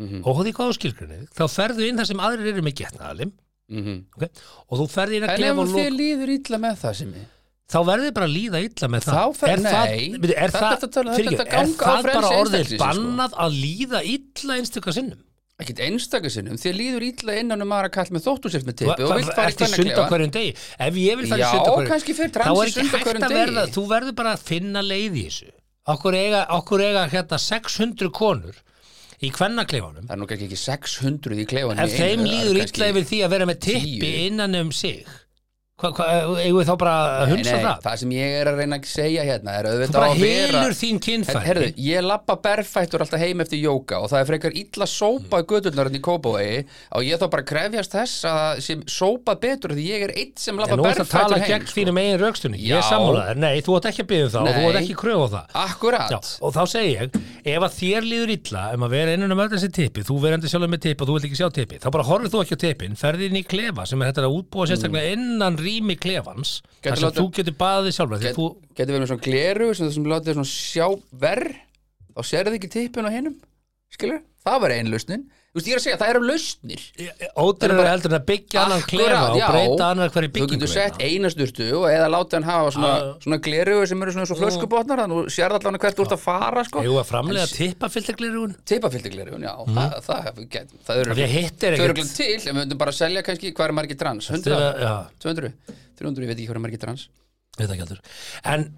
Speaker 2: Mhm.
Speaker 1: og hóði hvað á skilgrunni þá ferðu inn þar sem aðrir eru með getnaðalim
Speaker 2: mm -hmm.
Speaker 1: okay? og þú ferði inn að
Speaker 2: en
Speaker 1: klefa
Speaker 2: ef
Speaker 1: og
Speaker 2: þið
Speaker 1: lók
Speaker 2: líður illa með það sem ég
Speaker 1: þá verði bara að líða illa með það
Speaker 2: Þá fer-
Speaker 1: er það,
Speaker 2: nei,
Speaker 1: byrju, er
Speaker 2: þetta
Speaker 1: það,
Speaker 2: ertu að tala- þetta
Speaker 1: fyrirgefðu,
Speaker 2: ertu að
Speaker 1: er
Speaker 2: ganga á
Speaker 1: það bara
Speaker 2: frelsi
Speaker 1: orðið
Speaker 2: einstaklingsins, sko.
Speaker 1: bannað að líða illa einstöka sinnum
Speaker 2: ekkert einstakasinnum, þið líður illa innan um aðra kall með þóttu sér með tippi og
Speaker 1: Hva-
Speaker 2: vilt
Speaker 1: hva-
Speaker 2: fara í
Speaker 1: ertu í sund á
Speaker 2: kvennaklefa
Speaker 1: hverjum degi ef ég vil fara í
Speaker 2: Já,
Speaker 1: sund á hverjum
Speaker 2: kannski fer trans
Speaker 1: þá
Speaker 2: í
Speaker 1: er ekki
Speaker 2: sund á
Speaker 1: hægt
Speaker 2: hverjum
Speaker 1: að verða
Speaker 2: degi.
Speaker 1: þú verður bara að finna leið í þessu okkur eiga, okkur eiga hérna 600 konur í kvennakleifanum
Speaker 2: það er nú kannski ekki 600 í klefanum
Speaker 1: ef þeim líður illa yfir því að vera með tippi
Speaker 2: 10.
Speaker 1: innan um sig hva, hva, eigum við þá bara að
Speaker 2: nei,
Speaker 1: hunsa
Speaker 2: nei,
Speaker 1: það
Speaker 2: það sem ég er að reyna að segja hérna er
Speaker 1: þú
Speaker 2: auðvitað á
Speaker 1: bara
Speaker 2: að vera
Speaker 1: helur þín
Speaker 2: Her,
Speaker 1: kynfæri
Speaker 2: herðu, ég lappa berfættur alltaf heim eftir jóka og það er frekar illa
Speaker 1: Mm.
Speaker 2: sópa gödulnarinn í Kópavogi og ég þá bara að krefjast þess að það sem sópa betur því ég er eitt sem lappa
Speaker 1: en nú er það að
Speaker 2: berfættur
Speaker 1: tala
Speaker 2: heim sko.
Speaker 1: gegn þínum eigin raukstunni ég
Speaker 2: Já.
Speaker 1: sammála þér, nei, þú átt ekki að byggja um það og þú átt
Speaker 2: Nei.
Speaker 1: ekki að kröfa á það
Speaker 2: Akkurat,
Speaker 1: Já, og þá segi ég, ef að þér líður illa um að vera innan um öll þessi tippi, þú verandi sjálfur með tippi og þú vilt ekki sjá tippi, þá bara horfir þú ekki á tippin ferði inn í klefa sem er þetta að útbúa sérstaklega innan rými klefans þar
Speaker 2: Mm. Gæti
Speaker 1: sem
Speaker 2: láta-
Speaker 1: þú getur baðið sjálfur get...
Speaker 2: Get-
Speaker 1: þú,
Speaker 2: getur verið með svona gleru sem þessum látið svona sjá verð þá sérðu ekki tippin á hinnum skilur, það var ein lausnin þú veist, ég er að segja, það eru lausnir
Speaker 1: ódýrar
Speaker 2: bara-
Speaker 1: bara... heldur en að byggja annan klefa
Speaker 2: Akkurat,
Speaker 1: og
Speaker 2: já.
Speaker 1: breyta annar hverju Ah.
Speaker 2: þú
Speaker 1: byggingu
Speaker 2: getur
Speaker 1: hérna.
Speaker 2: sett eina sturtu og eða látið hann hafa svona,
Speaker 1: Já, já.
Speaker 2: svona gleru sem eru svona eins og flöskubotnar þannig þú sérðu allan hvert þú ert að fara sko.
Speaker 1: Eigum við að framlega tippafiltaglerun
Speaker 2: tippafyldi glerun, já, það, það, get, það eru
Speaker 1: Því að hitt er
Speaker 2: þau eru
Speaker 1: ekkert
Speaker 2: glenn til, en við höfum bara að selja kannski hvað er margir trans, 100,
Speaker 1: Þegar- já,
Speaker 2: 200 300, ég veit ekki hvað er margir trans
Speaker 1: veit það ekki heldur. en,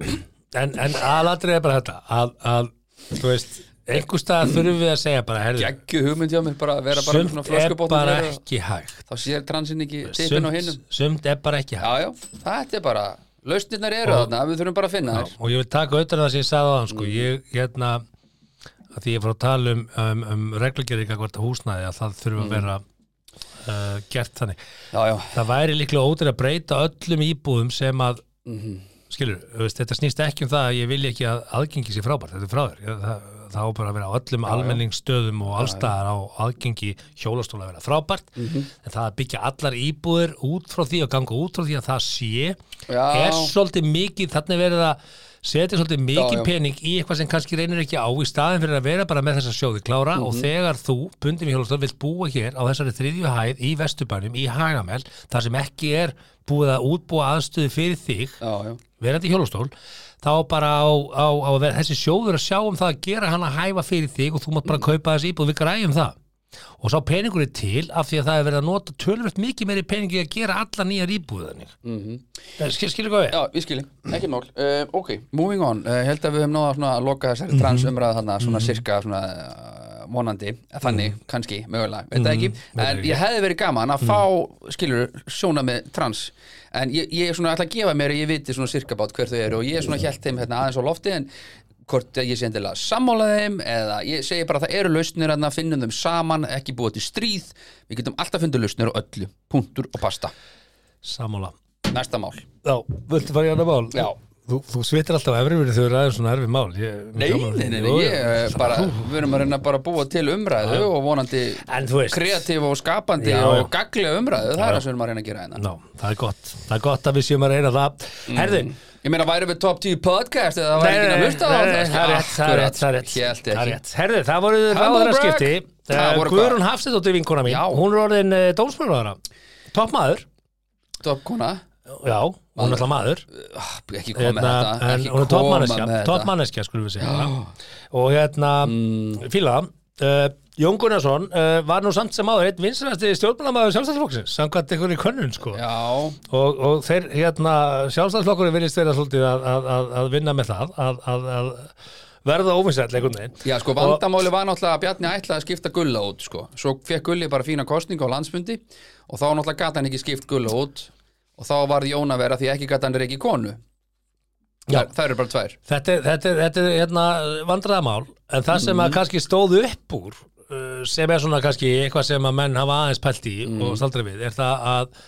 Speaker 1: en, en aðlatrið er bara þetta að, að þú veist, einhver stað þurfum við að segja bara, herðu,
Speaker 2: geggju hugmynd hjá mér bara að vera bara
Speaker 1: sumt
Speaker 2: með svona
Speaker 1: er bara
Speaker 2: flöskubotnar
Speaker 1: ekki hægt
Speaker 2: þá sér transinn ekki tippin á hinnum
Speaker 1: sumt, sumt er bara ekki hægt
Speaker 2: Já, já, þetta er bara Lausnirnar eru
Speaker 1: Og-
Speaker 2: þarna, við þurfum bara að finna þær
Speaker 1: og ég vil taka auðvitað það sem ég sagði á hann
Speaker 2: Mm.
Speaker 1: sko. ég, hérna að því ég fór að tala um, um, um reglugjörðing að hvort húsnæði að það
Speaker 2: Mm.
Speaker 1: þurfa að vera uh, gert þannig
Speaker 2: Já, já,
Speaker 1: það væri líklega ótrúið að breyta öllum íbúðum sem að
Speaker 2: Mhm.
Speaker 1: skilur, veist, þetta snýst ekki um það að ég vilja ekki að aðgengi sé frábært, þetta er frá þér Ég- það, það á bara að vera á öllum almenningsstöðum og allstaðar á aðgengi hjólastóla að vera frábært
Speaker 2: Mhm.
Speaker 1: en það að byggja allar íbúður út frá því og ganga út frá því að það sé
Speaker 2: Já.
Speaker 1: er svolítið mikið, þannig verið að setja svolítið mikið
Speaker 2: já.
Speaker 1: pening í eitthvað sem kannski reynir ekki á í staðin fyrir að vera bara með þessa sjóði klára og
Speaker 2: Mhm.
Speaker 1: þegar þú, bundum í hjólastóla, vilt búa hér á þessari þriðju hæð í Vesturbænum í Hagamel, þar sem ekki er búið að útbúa aðstöðu fyrir þig
Speaker 2: já, já
Speaker 1: verandi í hjólastól þá bara á, á, á að vera þessi sjóður að sjá um það að gera hann að hæfa fyrir þig og þú mátt bara kaupa þessi íbúð, við græjum það og sá peningur er til af því að það er verið að nota tölvöld mikið meiri peningi að gera alla nýjar íbúðanir mm -hmm. skil, skilur hvað við?
Speaker 2: Mhm. Já, við skiljum, ekki mál uh, Ok, Mhm. moving on, uh, held að við höfum náða svona að loka þessari transumræða þarna svona sirka svona uh, vonandi, þannig, kannski, mögulega, Mhm. veit það ekki Mhm. en ég hefði verið gaman að fá, skilur, sjóna með trans en ég, ég er svona ætla að gefa mér að ég viti svona sirka bát hver þau eru og ég er svona hjælt þeim hérna aðeins á lofti en hvort ég sé endilega sammála þeim eða ég segi bara að það eru lausnir að finnum þeim saman, ekki búið til stríð við getum alltaf fundið lausnir á öllu punktur og pasta,
Speaker 1: Sammála
Speaker 2: næsta mál
Speaker 1: Já, viltu fara í annar mál?
Speaker 2: Já.
Speaker 1: Þú, þú svitir alltaf efrifyrir þau eru aðeins svona erfið mál ég,
Speaker 2: Nei, nei, nei, nei, ég er bara, við erum að reyna bara að búa til umræðu og vonandi
Speaker 1: En þú veist
Speaker 2: kreatíf og skapandi
Speaker 1: Já, já.
Speaker 2: og gaglega umræðu, það er það sem við erum að reyna að gera hérna.
Speaker 1: Ná, það er gott, það er gott að við séum að reyna það Herðu,
Speaker 2: Ég meina, væri við top 10 podcast eða Mm. það
Speaker 1: nei, nei,
Speaker 2: væri ekki að
Speaker 1: nei,
Speaker 2: hlusta á
Speaker 1: nei, nei, það er rétt, það er rétt, það er rétt,
Speaker 2: Hjælt
Speaker 1: það er
Speaker 2: ekki.
Speaker 1: rétt. Herðu, það voru
Speaker 2: Humble
Speaker 1: ráðaraskipti
Speaker 2: brag. Það voru
Speaker 1: Guðrún Hafstættóttir vinkona mín,
Speaker 2: Já.
Speaker 1: hún er orðin dómsmjörnvara Toppmaður,
Speaker 2: Top kona,
Speaker 1: já, hún er alltaf maður
Speaker 2: Ah, ekki koma með
Speaker 1: hérna,
Speaker 2: þetta,
Speaker 1: en
Speaker 2: ekki
Speaker 1: Hún er
Speaker 2: koma með
Speaker 1: toppmanneskja,
Speaker 2: þetta.
Speaker 1: toppmanneskja skulum við segja Og hérna, fíla það Uh, Jón Gunnarsson uh, var nú samt sem áður einn vinsræsti stjórnmálamæður sjálfstæðsflóksins samkvæmt einhverju könnun sko
Speaker 2: Já,
Speaker 1: og, og þeir hérna sjálfstæðsflokkurinn virðist vera svolítið að, að, að, að vinna með það að, að, að verða óvinsæll einhvern veginn
Speaker 2: já, sko, vandamáli var náttúrulega að Bjarni ætlaði að skipta gulla út, sko. Svo fekk gulli bara fína kostningu á landsfundi og þá náttúrulega gata hann ekki skipt gulla út og þá varði Jón að vera því ekki gata hann er ekki konu.
Speaker 1: Já.
Speaker 2: Það eru bara tvær.
Speaker 1: þetta, er- þetta, er- þetta er hérna vandræðamál en það sem að kannski stóð upp úr uh, sem er svona kannski eitthvað sem að menn hafa aðeins pælt í og staldra við er það að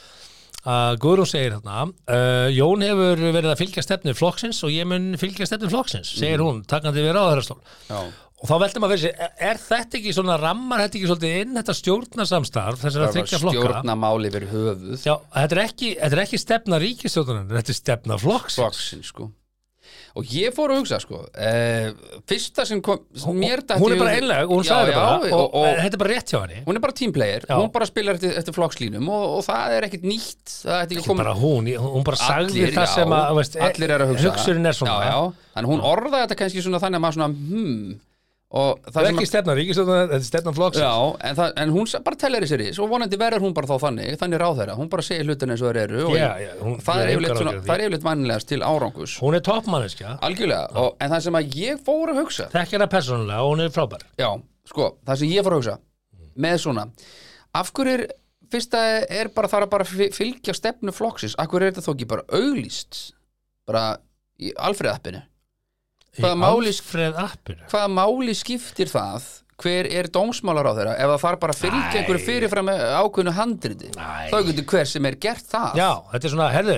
Speaker 1: að Guðrún segir þarna uh, Jón hefur verið að fylgja stefnu flokksins og ég mun fylgja stefnu flokksins segir hún, takkandi við ráðherrastól
Speaker 2: Já.
Speaker 1: og þá veltum að fyrir sér, er- er þetta ekki svona rammar þetta ekki svolítið inn þetta stjórnarsamstarf þessar að
Speaker 2: bara
Speaker 1: þryggja flokka
Speaker 2: stjórnamáli verið höfuð
Speaker 1: Já, þetta er ekki, þetta er ekki stefna ríkistjóðunin, þetta er stefna flokks.
Speaker 2: flokksinn sko og ég fór að hugsa sko eh, fyrsta sem kom sem mér datt
Speaker 1: Hún
Speaker 2: í
Speaker 1: er bara
Speaker 2: hug-
Speaker 1: einlega, hún
Speaker 2: Já,
Speaker 1: sagði þetta
Speaker 2: já,
Speaker 1: bara og,
Speaker 2: og, og,
Speaker 1: þetta er bara rétt hjá henni.
Speaker 2: hún er bara teamplayer
Speaker 1: Já.
Speaker 2: hún bara spilar eftir, eftir flokkslínum og, og það er ekkit nýtt það er ekki
Speaker 1: Hún,
Speaker 2: komið
Speaker 1: bara hún, ég- hún bara sagði
Speaker 2: Allir,
Speaker 1: það
Speaker 2: já,
Speaker 1: sem að, þú veist,
Speaker 2: allir eru að hugsa það.
Speaker 1: hugsurinn er svona.
Speaker 2: já, já. þannig hún orðaði þetta kannski svona þannig að maður svona hmm og
Speaker 1: Það
Speaker 2: það
Speaker 1: er
Speaker 2: sem
Speaker 1: ekki stefna ríkistjóðunin, þetta er stefna flokks.
Speaker 2: Já, en, það, en hún sa- bara tellir í sér í svo vonandi verður hún bara þá þannig, þannig ráð þeirra hún bara segir hlutin eins og þeir eru og
Speaker 1: Já, já, hún-
Speaker 2: það,
Speaker 1: ég
Speaker 2: er
Speaker 1: hef
Speaker 2: yfirleitt
Speaker 1: engar
Speaker 2: svona,
Speaker 1: áhyggjur af því.
Speaker 2: það er yfirleitt vannilegast til árangus
Speaker 1: Hún er toppmanneskja,
Speaker 2: Algjörlega, og, en það sem að ég fór að hugsa
Speaker 1: þekkir hana persónulega og hún er frábær.
Speaker 2: Já, sko, það sem ég fór að hugsa með svona, af hverju er fyrsta er bara þar að bara fy- fylgja stefnu flokksins, af hverju er þetta þó ekki bara auglýst, bara í Alfreð-appinu, Hvaða máli-
Speaker 1: Alfreð appinu.
Speaker 2: hvaða máli skiptir það hver er dómsmálar á þeirra ef það þarf bara að fylgja
Speaker 1: Æ.
Speaker 2: einhverju fyrirfram ákveðnu handriti,
Speaker 1: Æ.
Speaker 2: þá getur hver sem er gert það
Speaker 1: Já, þetta er svona, herðu,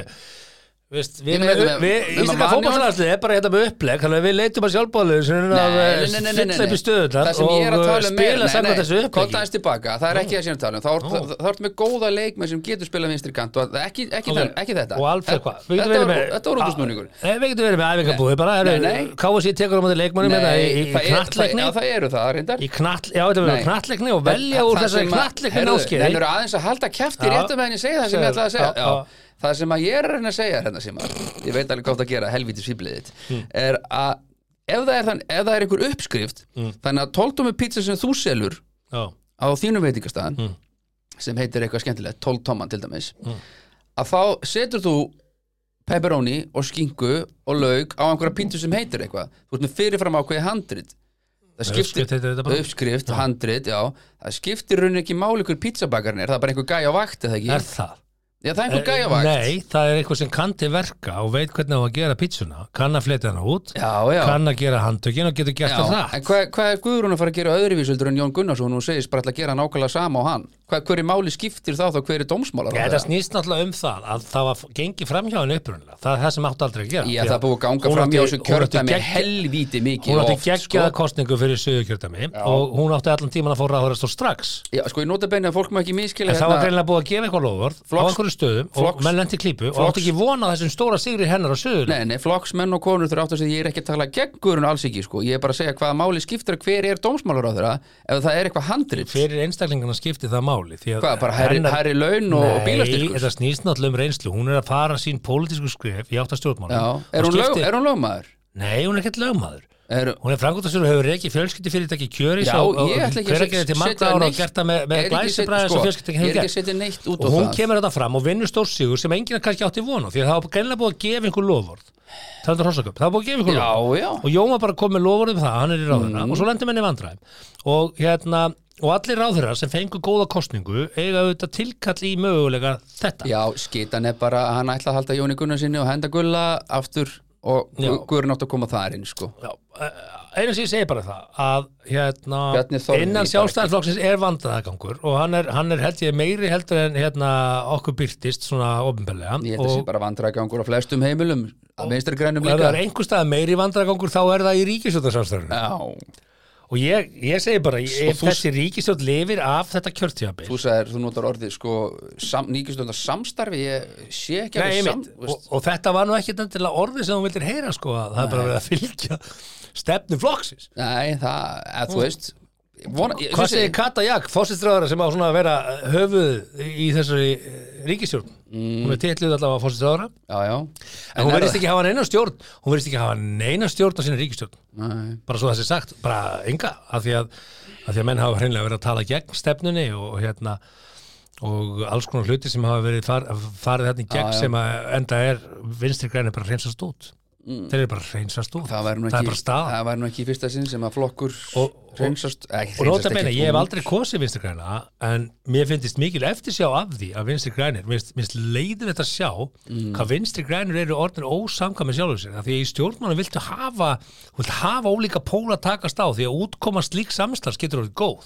Speaker 1: Vist, við,
Speaker 2: Ég meina,
Speaker 1: við,
Speaker 2: þetta með-
Speaker 1: við,
Speaker 2: með
Speaker 1: Íslika
Speaker 2: Vanjón-
Speaker 1: fótballtalarsliði er bara hérna með upplegg þannig að við leitum að sjálfbóðlegu sem er að
Speaker 2: Nei,
Speaker 1: eh,
Speaker 2: nei, nei, nei, nei,
Speaker 1: fylla upp í
Speaker 2: nei.
Speaker 1: stöðunar
Speaker 2: Það sem ég er að
Speaker 1: og eh,
Speaker 2: tala um
Speaker 1: spila samkvæmt þessu uppleggi
Speaker 2: Kontaðist tilbaka, það er ekki það sem ég er að tala um Þá ert- þá- þá ertu með góða leikmenn sem getur spilað vinstri kant og ekki, ekki,
Speaker 1: Ok.
Speaker 2: okay. ekki þetta
Speaker 1: og Alfreð hvað Við
Speaker 2: Þetta
Speaker 1: getum verið
Speaker 2: var-
Speaker 1: með- Ah.
Speaker 2: Þetta var útúrsmúningur
Speaker 1: Nei, við getum verið með æfingabúði bara
Speaker 2: Nei, nei.
Speaker 1: KFC tekur á móti leikmannum hérna í, í, í knattleikni
Speaker 2: Já, það eru það, reyndar
Speaker 1: í knatt, já þetta verður
Speaker 2: Nei.
Speaker 1: knattleikni og velja úr þessari knattleikni náskeiði
Speaker 2: Það eru aðeins að halda kæfti
Speaker 1: Já.
Speaker 2: rétt um henni segja það sem
Speaker 1: Segðu
Speaker 2: ég ætlaði að
Speaker 1: það,
Speaker 2: segja
Speaker 1: já, já.
Speaker 2: Já. Það sem að ég er að reyna að segja hérna sem að ég veit alveg hvað það gera helvítið svíbliðið
Speaker 1: Hmm.
Speaker 2: er að ef það er, þann, ef það er einhver uppskrift
Speaker 1: Hmm.
Speaker 2: þannig að tóltum með pizza sem þú selur
Speaker 1: Já,
Speaker 2: á þínum veitingastæðan
Speaker 1: Mm.
Speaker 2: sem heitir eitthvað skemmtilegt, 12 tomman til dæmis að þá setur þú pepperoni og skinku og lauk á einhverja píntu sem heitir eitthvað þú ert með fyrirfram ákveði handrit það
Speaker 1: uppskrift
Speaker 2: skiptir,
Speaker 1: heitir þetta bara.
Speaker 2: uppskrift, handrit já, það skiptir raunin ekki máli hver pizzabakarinn er, það er bara einhver gæja á vakt eða ekki,
Speaker 1: er það
Speaker 2: já það er einhver
Speaker 1: Eh,
Speaker 2: gæja á vakt
Speaker 1: Nei, það er eitthvað sem kann til verka og veit hvernig á að gera pítsuna kann að flytja hana út,
Speaker 2: já, já,
Speaker 1: kann að gera handtökin og getur gert
Speaker 2: já
Speaker 1: það
Speaker 2: en
Speaker 1: það
Speaker 2: hvað, hvað er Guðrún að fara að gera öðruvísuldur en Jón Gunnarsson hún segist bara ætla að gera nákvæmlega sama á hann hvað, hverju máli skiptir þá þá hverju dómsmálar
Speaker 1: Þetta snýst náttúrulega um það að það var gengið framhjá henni upprunnilega það er það sem átti aldrei að gera
Speaker 2: Já,
Speaker 1: Því
Speaker 2: það er búið að ganga
Speaker 1: hún
Speaker 2: fram í
Speaker 1: átti-
Speaker 2: þessu
Speaker 1: hún átti
Speaker 2: kjördæmi
Speaker 1: gegn-
Speaker 2: helvíti mikið
Speaker 1: Hún átti
Speaker 2: oft,
Speaker 1: geggjaða
Speaker 2: sko.
Speaker 1: kostningu fyrir sögurkjördami og hún átti allan tíman að fóra að hörast og strax
Speaker 2: Já, sko, ég nota beinu að fólk má ekki miskila
Speaker 1: en það var greinlega búið að gefa eitthvað lofvörð á
Speaker 2: Hérna- Flokks-
Speaker 1: einhverju stöðum og
Speaker 2: flokks-
Speaker 1: menn lendi klípu og
Speaker 2: flokks-
Speaker 1: átti ekki vona þessum stóra sigri hennar á sögur
Speaker 2: Nei, nei, flokksmenn og konur þurfa átt að segja ég er ekki að tala gegn guðrun alls ekki, sko Ég er bara að segja hvaða máli skiptir hver er dómsmálur á þeirra ef það er eitthvað handrit
Speaker 1: fyrir einstaklingana skipti það máli því að
Speaker 2: Hvað, bara herri,
Speaker 1: hennar-
Speaker 2: herri laun og, og
Speaker 1: Nei,
Speaker 2: bílastyrkur
Speaker 1: þetta snýst náttúrulega um reynslu hún er að fara sín pólitísku skref í átt að stjórnmála
Speaker 2: Já, er hún, lög, er hún lögmaður?
Speaker 1: Nei, hún er ekkert lögmaður
Speaker 2: er,
Speaker 1: Hún er frangóttasjóru og hefur reikið fjölskyldi fyrirtæki kjöris
Speaker 2: Já,
Speaker 1: og, og
Speaker 2: ég ætla ekki að
Speaker 1: hver ekki
Speaker 2: set-
Speaker 1: til marga
Speaker 2: setja
Speaker 1: ára og
Speaker 2: neitt-
Speaker 1: gert það með,
Speaker 2: er
Speaker 1: með
Speaker 2: ekki að setja-
Speaker 1: glæsibræðis
Speaker 2: sko,
Speaker 1: og fjölskyldi
Speaker 2: Ég er
Speaker 1: hefur
Speaker 2: ekki að
Speaker 1: gert
Speaker 2: setja neitt út á
Speaker 1: og hún
Speaker 2: það
Speaker 1: kemur þetta fram og vinnur stórsigur sem enginn kannski átti von á því að það var greinlega búið að gefa einhver lofvörð það var búið að gefa einhver
Speaker 2: Já, Mhm.
Speaker 1: lofvörð
Speaker 2: já,
Speaker 1: og Jóma bara kom með lofurðum það, hann er í ráðherra og svo lendur menni vandræðum og hérna, og allir ráðherrar sem fengu góða kostningu eiga auðvitað tilkall í mögulega þetta
Speaker 2: já, skitan er bara að hann ætla að halda Jóni Gunnarsinni og henda Gulla aftur og
Speaker 1: Já.
Speaker 2: Guðurinn átt að koma þar inn sko.
Speaker 1: Já, eh, einu sem ég segi bara það að hérna,
Speaker 2: Bjarni Þórður
Speaker 1: innan
Speaker 2: í
Speaker 1: sjálfstæðarflokksins er vandræðagangur og hann er, hann er held ég meiri heldur en hérna, okkur byrtist svona ofinbælega
Speaker 2: Ég held að það sé
Speaker 1: og
Speaker 2: bara vandræðgangur á flestum heimilum að minnstri grænum
Speaker 1: ef það
Speaker 2: líka
Speaker 1: er einhver stað meiri vandræðagangur þá er það í ríkisjóttarsjálfstæðarinu
Speaker 2: Já,
Speaker 1: og ég, ég segi bara, ef
Speaker 2: þú-
Speaker 1: þessi ríkisjótt lifir af þetta kjörtjabil
Speaker 2: þú sagðir, þú notar orðið sko, sam, nýkistöndar samstarfi ég sé ekki
Speaker 1: Nei,
Speaker 2: sam,
Speaker 1: einmitt,
Speaker 2: veist.
Speaker 1: og, og þetta var nú ekkit endilega orðið sem hún vildir heyra sko að það er bara verið að fylgja stefnu flokksins.
Speaker 2: Nei, það, eða þú veist vona, ég,
Speaker 1: Hvað
Speaker 2: þessi-
Speaker 1: segir Kata Jak, fósittræðara sem á svona að vera eh, höfuð í þessari eh, ríkisstjórn? Hún er titluð allavega fósittræðara,
Speaker 2: Já, já
Speaker 1: Mm. en hún verðist ekki hafa neina stjórn, hún verðist ekki hafa neina stjórn á sinni ríkisstjórn.
Speaker 2: Nei,
Speaker 1: Bara svo það sé sagt, bara enga, af því að, af því að menn hafa hreinlega verið að tala gegn stefnunni og hérna og alls konar hluti sem hafa verið far, farið hérna í gegn
Speaker 2: já.
Speaker 1: sem að enda er vinstri græni bara að hreinsast út þeir eru bara að hreinsast út
Speaker 2: Mm. það væri nú
Speaker 1: það
Speaker 2: ekki
Speaker 1: er bara staða
Speaker 2: það væri nú ekki í fyrsta sinn sem að flokkur
Speaker 1: Og- og-
Speaker 2: reynsast
Speaker 1: og nota beina, ég hef aldrei kosið vinstri græna en mér finnst mikil eftirsjá af því að vinstri grænir, mér finnst leiðir þetta að sjá
Speaker 2: Mm.
Speaker 1: hvað vinstri grænir eru orðin ósamkvæmi sjálfur sér, af því að í stjórnmánum viltu hafa, vilt hafa ólíka póla að takast á, því að útkoma slík samstars getur orðið góð,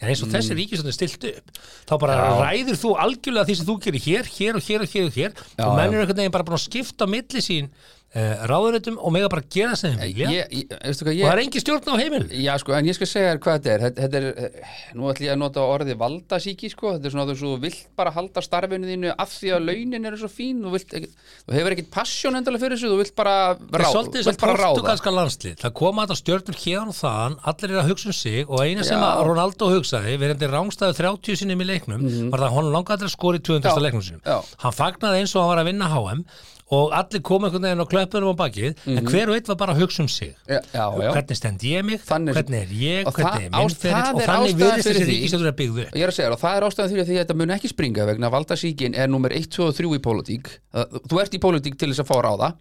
Speaker 1: en
Speaker 2: Mm.
Speaker 1: eins og þessi ríkisöndin stilt upp, þá bara ræðir þú algjörlega því sem þú gerir hér, hér og hér og hér og hér, og menn eru einhvern veginn bara búin að skipta á milli sín uh, ráðunetum og mega bara gera sem þeim vilja,
Speaker 2: ég, ég, veistu
Speaker 1: og það
Speaker 2: hvað ég
Speaker 1: er engin stjórn á heimil
Speaker 2: Já sko, en ég skal segja þér hvað þetta er Þetta- Þetta er, eh, nú ætlum ég að nota orðið valdasíki sko, þetta er svona þess að þú vilt bara halda starfinu þínu af því
Speaker 1: Mhm.
Speaker 2: að launin eru svo fín þú, vilt, ekki- þú hefur ekkit passion endalega fyrir þessu þú vilt bara
Speaker 1: Það er
Speaker 2: ráð,
Speaker 1: svolítið
Speaker 2: þú
Speaker 1: sem
Speaker 2: vilt bara ráða
Speaker 1: portugalska landslið Það koma þetta stjörnur héðan og þaðan Allir eru að hugsa um sig og eina sem
Speaker 2: Já.
Speaker 1: að Ronaldo hugsaði verandi rángstæðu 30 sinnum í leiknum var það að hann langaði að skora í 200.
Speaker 2: Mhm. Já.
Speaker 1: leiknum sinum
Speaker 2: Já.
Speaker 1: Hann fagnaði eins og hann var að vinna HM og allir komu einhvern veginn og klöppunum á bakið en hver og einn var bara að hugsa um sig
Speaker 2: Já, Mhm. já, já.
Speaker 1: Hvernig stend ég mig,
Speaker 2: Þannig-
Speaker 1: hvernig er ég,
Speaker 2: Og það-
Speaker 1: hvernig er
Speaker 2: á-
Speaker 1: minn
Speaker 2: það
Speaker 1: ferill og
Speaker 2: er
Speaker 1: þannig
Speaker 2: ástæðan
Speaker 1: virðist
Speaker 2: fyrir
Speaker 1: þessi
Speaker 2: því.
Speaker 1: ríkistjórn að byggðu upp
Speaker 2: Ég er að segja þér og það er ástæðan fyrir því að þetta mun ekki springa vegna valdasíkin er nummer 1, 2 og 3 í pólitík Það- Þú ert í pólitík til þess að fá að ráða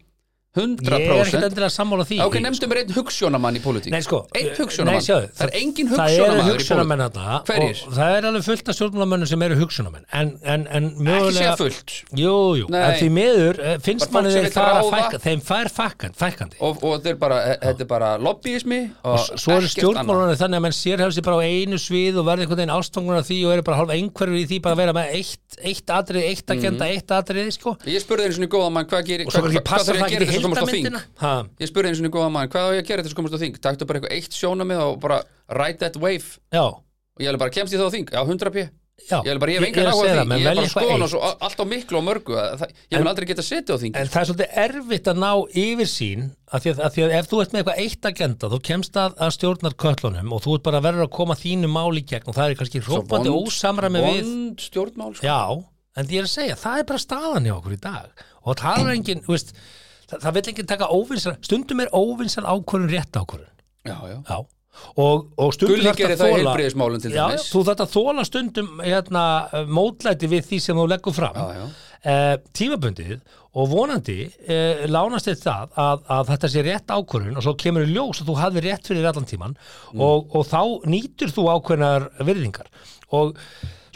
Speaker 1: Ég er ekkert
Speaker 2: 100%
Speaker 1: endilega sammála því sko.
Speaker 2: Ok, nefndu mér einn hugsjónamann í pólitík
Speaker 1: Nei, sko,
Speaker 2: Einn
Speaker 1: nei,
Speaker 2: hugsjónamann
Speaker 1: sjáðu,
Speaker 2: Það er engin
Speaker 1: Það eru
Speaker 2: hugsjónamann
Speaker 1: hugsjónamenn þarna
Speaker 2: Hverjir?
Speaker 1: og Það er alveg fullt af stjórnmálamönnum sem eru hugsjónamenn En, en, en
Speaker 2: Ekki
Speaker 1: mögulega
Speaker 2: segja fullt
Speaker 1: Jú, jú,
Speaker 2: Nei.
Speaker 1: en því miður eh, finnst
Speaker 2: Bara
Speaker 1: manni þeir
Speaker 2: fólk sem vill
Speaker 1: fara að
Speaker 2: ráða.
Speaker 1: fækka Þeim fær fækkan, fækkandi
Speaker 2: Og, og þetta er bara, e, þetta er bara lobbyismi og
Speaker 1: Svo eru
Speaker 2: ekkert annað.
Speaker 1: stjórnmálanir þannig að menn sérhefði sig bara á einu svið og verði einhvern veginn ástfangunar því og eru bara hálfa einhverfur í því bara að vera með eitt, eitt atrið, eitt
Speaker 2: Mhm.
Speaker 1: agenda, eitt atrið sko.
Speaker 2: Ég spurði einu sinni góða mann hvað, gerir,
Speaker 1: og svo
Speaker 2: hvað,
Speaker 1: kannski
Speaker 2: hvað
Speaker 1: passa
Speaker 2: þarf ég
Speaker 1: það
Speaker 2: að
Speaker 1: ekki í
Speaker 2: gera þess að komast á þing
Speaker 1: heildarmyndina Ha.
Speaker 2: Ég spurði einu sinni góða mann hvað á ég að gera þess að komast á þing Taktu bara eitthvað eitt sjónamið og bara ride that wave
Speaker 1: Já,
Speaker 2: og ég hefði bara kemst í það á þing, já 100 p
Speaker 1: já
Speaker 2: ég hefði bara, ég hef
Speaker 1: er
Speaker 2: engan
Speaker 1: að
Speaker 2: áhuga á
Speaker 1: segja það,
Speaker 2: því
Speaker 1: menn
Speaker 2: ég hef
Speaker 1: velja
Speaker 2: bara
Speaker 1: eitthvað
Speaker 2: skoðan
Speaker 1: eitt.
Speaker 2: og svo a- allt á miklu og mörgu að það, ég mun aldrei geta setið á þing
Speaker 1: En það er svolítið erfitt að ná yfirsýn af því að, af því að ef þú ert með eitthvað eitt agenda þú kemst að, að stjórnar köllunum og þú ert bara verður að koma þínu máli í gegn og það er kannski hrópandi ósamræmi við
Speaker 2: vond stjórnmál sko.
Speaker 1: Já, en ég er að segja, það er bara staðan hjá okkur í dag og það er engin, þú veist það, það vil enginn taka óvinnsal stundum er óvinnsal ákvörun rétt ákvörun
Speaker 2: já, já.
Speaker 1: Já, og, og stundum
Speaker 2: Gulli
Speaker 1: þarftu
Speaker 2: gerir
Speaker 1: að
Speaker 2: það í
Speaker 1: þola-
Speaker 2: heilbrigðismálum til
Speaker 1: Já,
Speaker 2: dæmis.
Speaker 1: þú þarft að þóla stundum hérna, mótlæti við því sem þú leggur fram
Speaker 2: Já, já.
Speaker 1: Eh, tímabundið og vonandi uh, lánast þið það að, að þetta sé rétt ákvörðun og svo kemur í ljós að þú hafði rétt fyrir allan tíman
Speaker 2: Mm.
Speaker 1: og, og þá nýtur þú ákveðnar virðingar og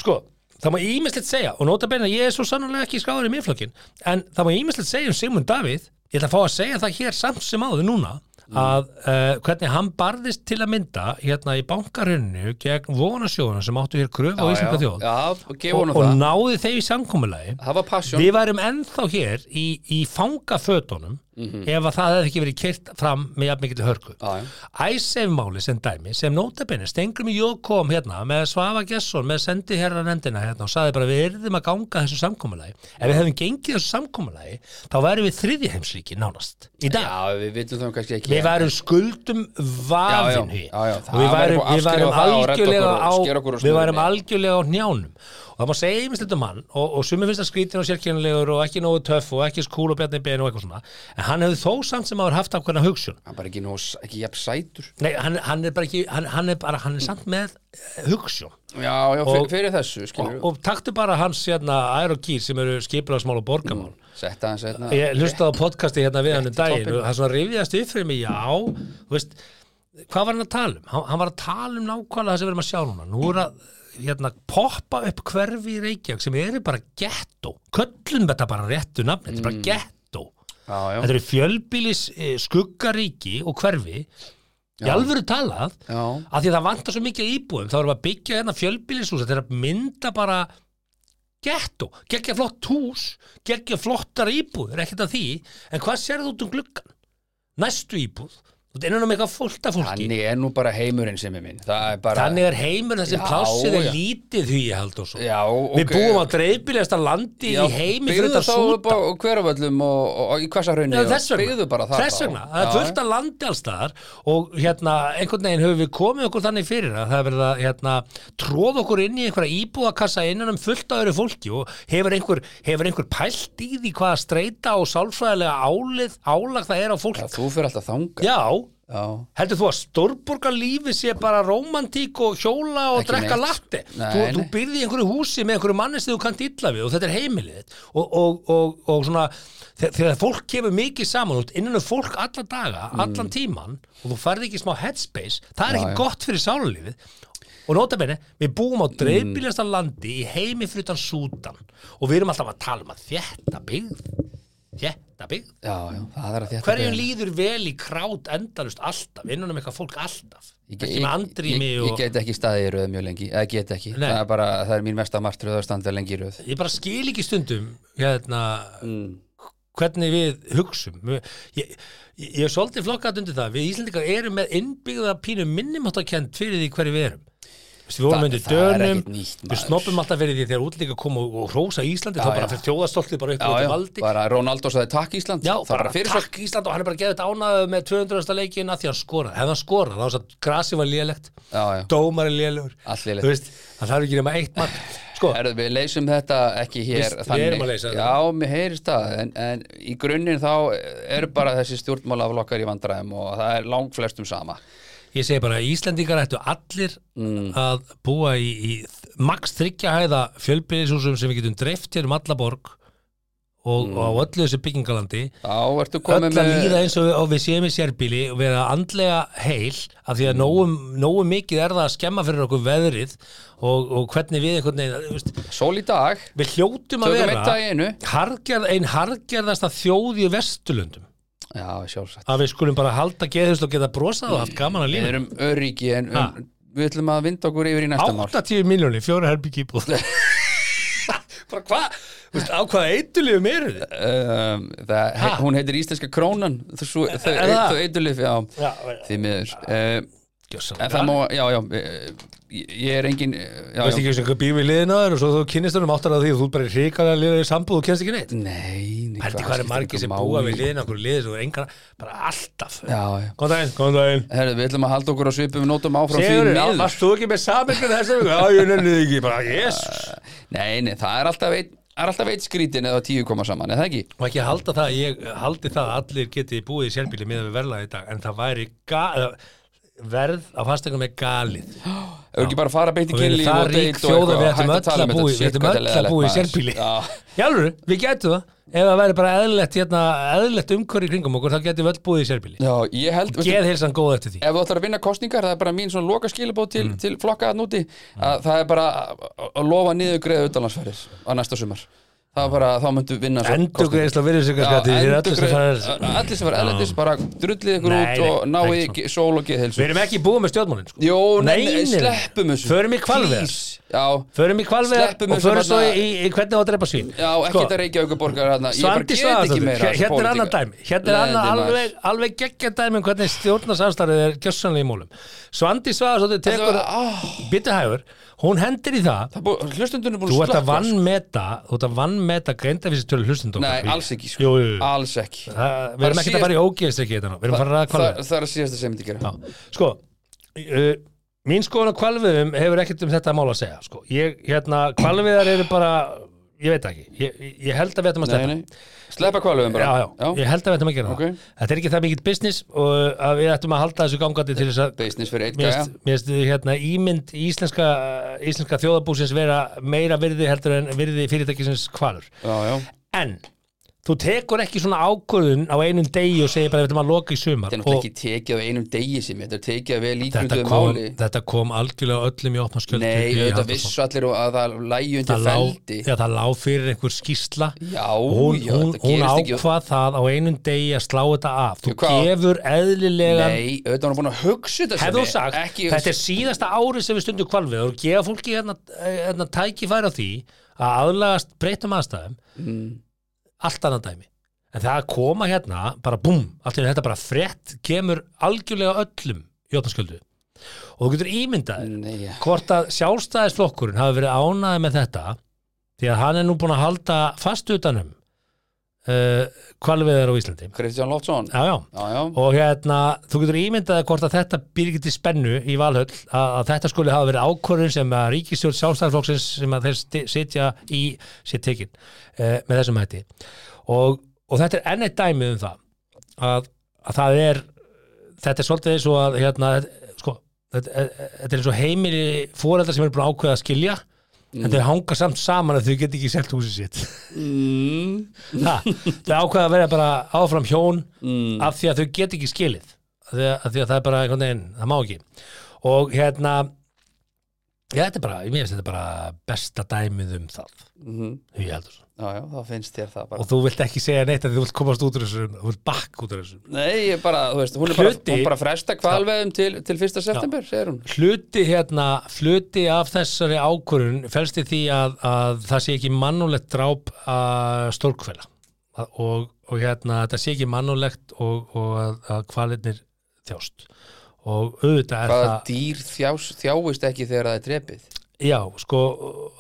Speaker 1: sko það má ímislegt segja og nota beina ég er svo sannlega ekki skáður í miðflokkin en það má ímislegt segja um Sigmund Davíð ég ætla að fá að segja það hér samt sem áður núna
Speaker 2: Mm.
Speaker 1: að uh, hvernig hann barðist til að mynda hérna í bankarunnu gegn vonasjóðuna sem áttu hér kröfu á
Speaker 2: Já,
Speaker 1: Íslanda
Speaker 2: já.
Speaker 1: þjóð
Speaker 2: Já, og gefa
Speaker 1: og,
Speaker 2: honum
Speaker 1: og
Speaker 2: það
Speaker 1: náði þeim í samkomulagi
Speaker 2: það var passion
Speaker 1: Við værum ennþá hér í, í fangafötunum ef að það hefði ekki verið kert fram með jafn mikið hörku.
Speaker 2: Mhm. Já, já.
Speaker 1: Æsef-máli sem dæmi, sem nótabenni, stengur mig jók kom hérna með Svafa Gesson, með sendi herra nefndina hérna og saði bara við erum að ganga þessu samkomulagi. Ef við hefum gengið þessu samkomulagi, þá værum við þriði heimsríki nánast í dag.
Speaker 2: já, við vitum það kannski ekki
Speaker 1: Við værum skuldum vafin
Speaker 2: Já, já, já, já.
Speaker 1: og við
Speaker 2: Það væri
Speaker 1: værum,
Speaker 2: búið
Speaker 1: við
Speaker 2: að
Speaker 1: værum
Speaker 2: afskrifa það og redda
Speaker 1: algjörlega
Speaker 2: okkur og
Speaker 1: á
Speaker 2: skera okkur úr
Speaker 1: við værum
Speaker 2: snörunni.
Speaker 1: algjörlega á njánum og það má segja ýmislegt um hann og, og sumi finnst það skrítin og sérkennilegur og ekki nógu töff og ekki skúl og bjarni ben og eitthvað svona en hann hefur þó samt sem hafa haft ákveðna hugsun
Speaker 2: hann bara ekki, nóg, ekki jafn sætur
Speaker 1: Nei, hann, hann er bara ekki, hann, hann er bara, hann er samt með eh, hugsun
Speaker 2: já, já,
Speaker 1: Og-
Speaker 2: fyrir, fyrir þessu
Speaker 1: og,
Speaker 2: skilur
Speaker 1: og taktu bara hans hérna Aero Gear sem eru skipulagsmál og borgamál
Speaker 2: setta hans hérna
Speaker 1: Ég hlustaði á podcasti hérna við hann um daginn
Speaker 2: toppinn.
Speaker 1: og það svona rifjaðist upp fyrir mig, já, þú veist, hvað var hann að tala um? Hann, hann var að tala um nákvæmlega það sem við erum að sjá núna. Nú er að hérna, poppa upp hverfi í Reykjavík sem eru bara gettó. Köllum þetta bara réttu nafni, þetta er bara gettó.
Speaker 2: já, Mm. já,
Speaker 1: Þetta eru fjölbýlis eh, skuggaríki og hverfi, í alvöru talað,
Speaker 2: já,
Speaker 1: að því að það vantar svo mikið af íbúðum þá erum við að byggja hérna fjölbýlishús þetta er að mynda bara gettó, geggja flott hús geggja flottar íbúður, ekkert að því en hvað sérðu út um gluggan næstu íbúð, þú ert innan um eitthvað fullt af fólki
Speaker 2: þannig er nú bara heimurinn sem er minn það er bara
Speaker 1: þannig er heimur þessi
Speaker 2: Já,
Speaker 1: plássið er
Speaker 2: já.
Speaker 1: lítið því ég held og svo
Speaker 2: já,
Speaker 1: við búum á dreifbýlasta landi í heimi fyrir þetta
Speaker 2: byggðu þá upp
Speaker 1: súta
Speaker 2: á hveraföllum og, og, og í hversarhraunni
Speaker 1: Já,
Speaker 2: og
Speaker 1: þess vegna,
Speaker 2: byggðu bara það
Speaker 1: þess
Speaker 2: þá.
Speaker 1: vegna. það er
Speaker 2: Já,
Speaker 1: fullt af landi allstaðar og hérna, einhvern veginn höfum við komið okkur þannig fyrir að það er verið að hérna, tróð okkur inn í einhverja íbúðakassa innan um fullt af öru fólki og hefur einhver, hefur einhver pælt í því hvaða streita og sálfræðilega álið, álag það er á fólk
Speaker 2: já, þú fyrir alltaf þanga
Speaker 1: Já,
Speaker 2: já,
Speaker 1: heldur þú að stórborgarlífi sé bara rómantík og hjóla og
Speaker 2: Ekki
Speaker 1: drekka
Speaker 2: neitt.
Speaker 1: latti
Speaker 2: Nei,
Speaker 1: þú,
Speaker 2: nei.
Speaker 1: þú byrði í einhverju húsi með einhverju manni sem þú kannt illa við og þetta er heimilið þitt. og, og, og, og svona þe- þegar fólk kemur mikið saman út innan um fólk alla daga, allan tíman og þú færði ekki smá headspace það er
Speaker 2: Mm. Já,
Speaker 1: ekki
Speaker 2: já.
Speaker 1: gott fyrir sálulífið og nota bene, við búum á
Speaker 2: Mm.
Speaker 1: dreifbíljasta landi í heimi fyrir utan sútan og við erum alltaf að tala um að þetta byggð þetta byggð
Speaker 2: já, já, það er að þetta
Speaker 1: Hverjum líður vel í krát endalust alltaf, innan um eitthvað fólk alltaf ekki með andrými
Speaker 2: ég,
Speaker 1: og
Speaker 2: ég
Speaker 1: ég,
Speaker 2: get ekki staðið í röð mjög lengi eða get ekki,
Speaker 1: Nei.
Speaker 2: það er bara, það er mín mesta martröð að standa lengi í röð
Speaker 1: bara skil ekki stundum hérna,
Speaker 2: Mm.
Speaker 1: hvernig við hugsum ég, ég, ég er svolítið flokkat undir það við Íslendingar erum með innbyggða pínu minnumáttakend fyrir því hverju við erum Veistu, við vorum
Speaker 2: Það-
Speaker 1: undir
Speaker 2: það er
Speaker 1: dönum,
Speaker 2: ekkert nýtt,
Speaker 1: við
Speaker 2: maður.
Speaker 1: snoppum alltaf fyrir því þegar útlíka kom og, og hrósa Íslandi þá
Speaker 2: Já,
Speaker 1: bara
Speaker 2: já.
Speaker 1: fyrir þjóðastoltið bara upp
Speaker 2: já,
Speaker 1: á
Speaker 2: já,
Speaker 1: þetta valdi
Speaker 2: bara Ronaldo saði takk Ísland
Speaker 1: Já,
Speaker 2: það
Speaker 1: bara,
Speaker 2: bara fyrir svo
Speaker 1: takk Ísland og hann er bara geðið ánaðið með 200. leikin að því hann skoraði, hefði hann skoraði þá var þess að grasi var lélegt,
Speaker 2: Já, já.
Speaker 1: dómar er lélegur
Speaker 2: Allt lélegt.
Speaker 1: þú veist, það þarf ekki nema eitt mark sko,
Speaker 2: Herðu, við leysum þetta ekki hér
Speaker 1: Vist, við erum að leysa þetta.
Speaker 2: Já, mér heyrist það en, en í grunninn þá er bara þessi stjórnmálaflokkar í vandræðum og það er langflestum sama
Speaker 1: ég segi bara að Íslendingar ættu allir
Speaker 2: Mm.
Speaker 1: að búa í, í max þryggja hæða fjölbyrðishúsum sem við getum dreift hér um alla borg og, og á öllu þessu byggingalandi
Speaker 2: Þá
Speaker 1: öll
Speaker 2: ertu Mm. komið
Speaker 1: að líða
Speaker 2: með
Speaker 1: eins og við, og við séum í sérbíli og vera andlega heil af
Speaker 2: Mm.
Speaker 1: því að nógu, nógu mikið er það að skemma fyrir okkur veðrið og, og hvernig við einhvern veginn þú veist,
Speaker 2: sól í dag
Speaker 1: við hljótum að
Speaker 2: Tökum eitt
Speaker 1: vera
Speaker 2: dag í einu
Speaker 1: hargerð, ein hargerðasta þjóð í Vesturlöndum
Speaker 2: Já, sjálfsagt
Speaker 1: að við skulum bara halda geðhust og geta brosað og haft gaman að
Speaker 2: Við
Speaker 1: lífa
Speaker 2: erum öryggi en
Speaker 1: Ha.
Speaker 2: um, við ætlum að vinda okkur yfir í næsta mál
Speaker 1: 80 miljóni, fjóra herbyggi íbúð bara hvað, Þú veist, á hvaða eitulífum eru þið
Speaker 2: um, það,
Speaker 1: Ha?
Speaker 2: he, Hún heitir Íslenska krónan Þau, svo- þau,
Speaker 1: Er það?
Speaker 2: þau eitulif, já, því miður um, En það má, já, já eh, Ég ég er engin eh, já,
Speaker 1: Þú veist
Speaker 2: já.
Speaker 1: ekki hversu býr við liðin á þér og svo þú kynnist honum áttar að því og þú ert bara hrikalega liðið í sambúð og kennst ekki neitt
Speaker 2: Nei, nei
Speaker 1: Pældi hvað er
Speaker 2: hvað skiptir
Speaker 1: margir sem
Speaker 2: einhver
Speaker 1: búa
Speaker 2: máli?
Speaker 1: við liðin okkur liðið og engar, bara alltaf
Speaker 2: Já, já
Speaker 1: Góðan daginn, góðan daginn
Speaker 2: Herðu, við ætlum að halda okkur á svipum nótum áfram
Speaker 1: Sigurður,
Speaker 2: því
Speaker 1: já,
Speaker 2: miður
Speaker 1: varst þú ekki með samingum þessar viku? Já, ég nefnir ekki, bara, yes
Speaker 2: Nei, nei, það er alltaf eitt Það er alltaf eitt skrítin eða tíu koma saman, eða ekki?
Speaker 1: Og ekki halda það, ég haldi það að allir geti búið í sérbíli miðan við verðlaði í dag en það væri ga, eða, verð á fasteignum er galið
Speaker 2: Ef við ekki bara fara beint í
Speaker 1: og við erum
Speaker 2: kynlíf
Speaker 1: það
Speaker 2: og deit
Speaker 1: rík
Speaker 2: og
Speaker 1: þjóða við
Speaker 2: eitthvað,
Speaker 1: ættum öll
Speaker 2: hætt tala um
Speaker 1: að búi við
Speaker 2: þetta, shit,
Speaker 1: ættum
Speaker 2: hvað
Speaker 1: öll
Speaker 2: þetta
Speaker 1: að
Speaker 2: er
Speaker 1: búi í
Speaker 2: leiðilegt,
Speaker 1: sérbíli
Speaker 2: maður.
Speaker 1: Jálfur, við getum það ef það væri bara eðlilegt, hérna, eðlilegt umhverju kringum okkur þá getum við öll búið í sérbíli
Speaker 2: Já, já, ég held veistu,
Speaker 1: Geð heilsan góð eftir því
Speaker 2: Ef þú ætlar að vinna kostningar, það er bara mín svona loka skilabóð til,
Speaker 1: Mm.
Speaker 2: til flokka að núti að það er bara að- að lofa niður greið utanlandsferðis á næsta sumar Það er bara, þá myndu vinna svo kosningar.
Speaker 1: Endugreisla virðisökkarskatti
Speaker 2: Já,
Speaker 1: Þeir eru allir sem
Speaker 2: endurgreið-
Speaker 1: fara
Speaker 2: Allir sem fara erlendis, bara drullið ykkur
Speaker 1: Nei,
Speaker 2: út og
Speaker 1: nei,
Speaker 2: náið
Speaker 1: ekki
Speaker 2: í ge- sól og geðheilsu
Speaker 1: Við erum ekki búið með stjórnmálin sko.
Speaker 2: Jó, nei,
Speaker 1: Nei,
Speaker 2: nei,
Speaker 1: nei, nei.
Speaker 2: sleppum þessu
Speaker 1: Förum í hvalveiðar.
Speaker 2: Please. Já,
Speaker 1: Förum í kvalvegar
Speaker 2: Sleppum
Speaker 1: og
Speaker 2: þessu
Speaker 1: förum svo
Speaker 2: þarna-
Speaker 1: í, í hvernig á að drepa svín Sko,
Speaker 2: já, ekki þetta Reykjavíkur borgar hérna Ég bara
Speaker 1: Svandi
Speaker 2: get ekki
Speaker 1: Svaðarsson,
Speaker 2: meira af
Speaker 1: hérna er
Speaker 2: pólitík.
Speaker 1: annað dæmi hérna er
Speaker 2: Lendi
Speaker 1: annað
Speaker 2: maður.
Speaker 1: alveg, alveg geggja dæmi um hvernig stjórnarsamstarfið er gjössanlega í mólum Svandi Svaðarsson
Speaker 2: Þetta
Speaker 1: tekur
Speaker 2: var- áh,
Speaker 1: bitu hægur, hún hendir í það
Speaker 2: það bú- Hlustundunum er búin
Speaker 1: þú ert
Speaker 2: að
Speaker 1: að
Speaker 2: slökka, sko.
Speaker 1: vannmeta þú ert að vannmeta greindafísitölu hlustundum
Speaker 2: Nei, alls ekki sko.
Speaker 1: jú, jú.
Speaker 2: Alls ekki
Speaker 1: Það- við erum ekki að fara í ógeðstrykki þetta nú, við erum að fara að ræða
Speaker 2: það,
Speaker 1: kvalvegar
Speaker 2: það er að síðasta sem ég myndi gera
Speaker 1: Já, sko uh, mín skoðan á kvalviðum hefur ekkert um þetta mál að segja sko. ég, hérna, kvalviðar eru bara ég veit ekki, ég, ég held að við ættum að
Speaker 2: Nei,
Speaker 1: sleppa
Speaker 2: nei. Sleppa kvalum bara
Speaker 1: já, já, ég held að við ættum að gera
Speaker 2: Ok.
Speaker 1: það þetta er ekki það mikill business og að við ættum að halda þessu gangandi til þess að
Speaker 2: Business fyrir eitt
Speaker 1: Mér
Speaker 2: gæja
Speaker 1: finnst- mér finnst hérna, ímynd íslenska, eh, íslenska þjóðabúsins vera meira virði heldur en virði fyrirtækisins hvalur
Speaker 2: Já, já
Speaker 1: en þú tekur ekki svona ákvörðun á einum degi og segir bara við ætlum að loka í sumar
Speaker 2: Þetta er
Speaker 1: og
Speaker 2: náttúrulega ekki tekið af einum degi sem þetta er tekið af vel
Speaker 1: þetta
Speaker 2: ígrunduðu
Speaker 1: kom,
Speaker 2: máli
Speaker 1: þetta kom algjörlega öllum í opna skjöldu
Speaker 2: Nei, auðvitað vissu allir og að það lægi undir
Speaker 1: það lá,
Speaker 2: feldi
Speaker 1: já, það lá fyrir einhver skýrsla
Speaker 2: Já,
Speaker 1: hún,
Speaker 2: já,
Speaker 1: hún,
Speaker 2: þetta
Speaker 1: hún
Speaker 2: gerist ekki
Speaker 1: ákvað það á einum degi að slá þetta af þú
Speaker 2: Já, hvað?
Speaker 1: gefur eðlilega
Speaker 2: Nei, auðvitað hún er búin að hugsa þetta
Speaker 1: hefðu
Speaker 2: Svenni.
Speaker 1: sagt,
Speaker 2: ekki,
Speaker 1: þetta er síðasta ári sem við stundum kvalvið og gefa fólki hérna, hérna tækifæri á því að aðlagast breytum aðstæðum
Speaker 2: Mm.
Speaker 1: allt annað dæmi en það að koma hérna, bara búm allt í einu þetta bara frett, kemur algjörlega öllum í opnarskjöldu og þú getur ímyndaðir
Speaker 2: Nei, já.
Speaker 1: hvort að sjálfstæðisflokkurinn hafi verið ánæði með þetta því að hann er nú búin að halda fast utanum uh, kvalviðar á Íslandi
Speaker 2: Kristján Loftsson
Speaker 1: já, já
Speaker 2: Já, já,
Speaker 1: og hérna, þú getur ímyndaði hvort að þetta byrgir til spennu í Valhöll að, að þetta skuli hafa verið ákvörðun sem að ríkistjórn sjálfstæðarflokksins sem að þeir sti- sitja í sér tekin eh, með þessum hætti og, og þetta er enn eitt dæmið um það að, að það er þetta er svolítið eins og að hérna, sko, þetta, eh, eh, þetta er eins og heimili fóreldar sem eru búin að ákveða að skilja en þau hanga samt saman að þau get ekki selt húsið sitt
Speaker 2: mm,
Speaker 1: Ha, þau ákveða að vera bara áfram hjón af því að þau get ekki skilið af því að, af því að það er bara einhvern veginn það má ekki og hérna já, þetta er bara, ég finnst þetta bara besta dæmið um það
Speaker 2: mm,
Speaker 1: Hugi Halldórsson.
Speaker 2: já, já, þá finnst þér það bara
Speaker 1: og þú vilt ekki segja neitt að þú vilt komast út úr þessu þú vilt bakk út úr þessu
Speaker 2: Nei, ég bara, þú veist, hún er bara,
Speaker 1: Hluti-
Speaker 2: hún bara fresta kvalveðum til, til 1. september, segir hún
Speaker 1: hluti hérna, hluti af þessari ákvörun felst í því að, að það sé ekki mannulegt dráp að stórkvela Að- og, og hérna, þetta sé ekki mannulegt og, og að, að kvalinir þjást og auðvitað er
Speaker 2: Hvaða
Speaker 1: það
Speaker 2: dýr þjás, þjáist ekki þegar það er drepið
Speaker 1: já, sko,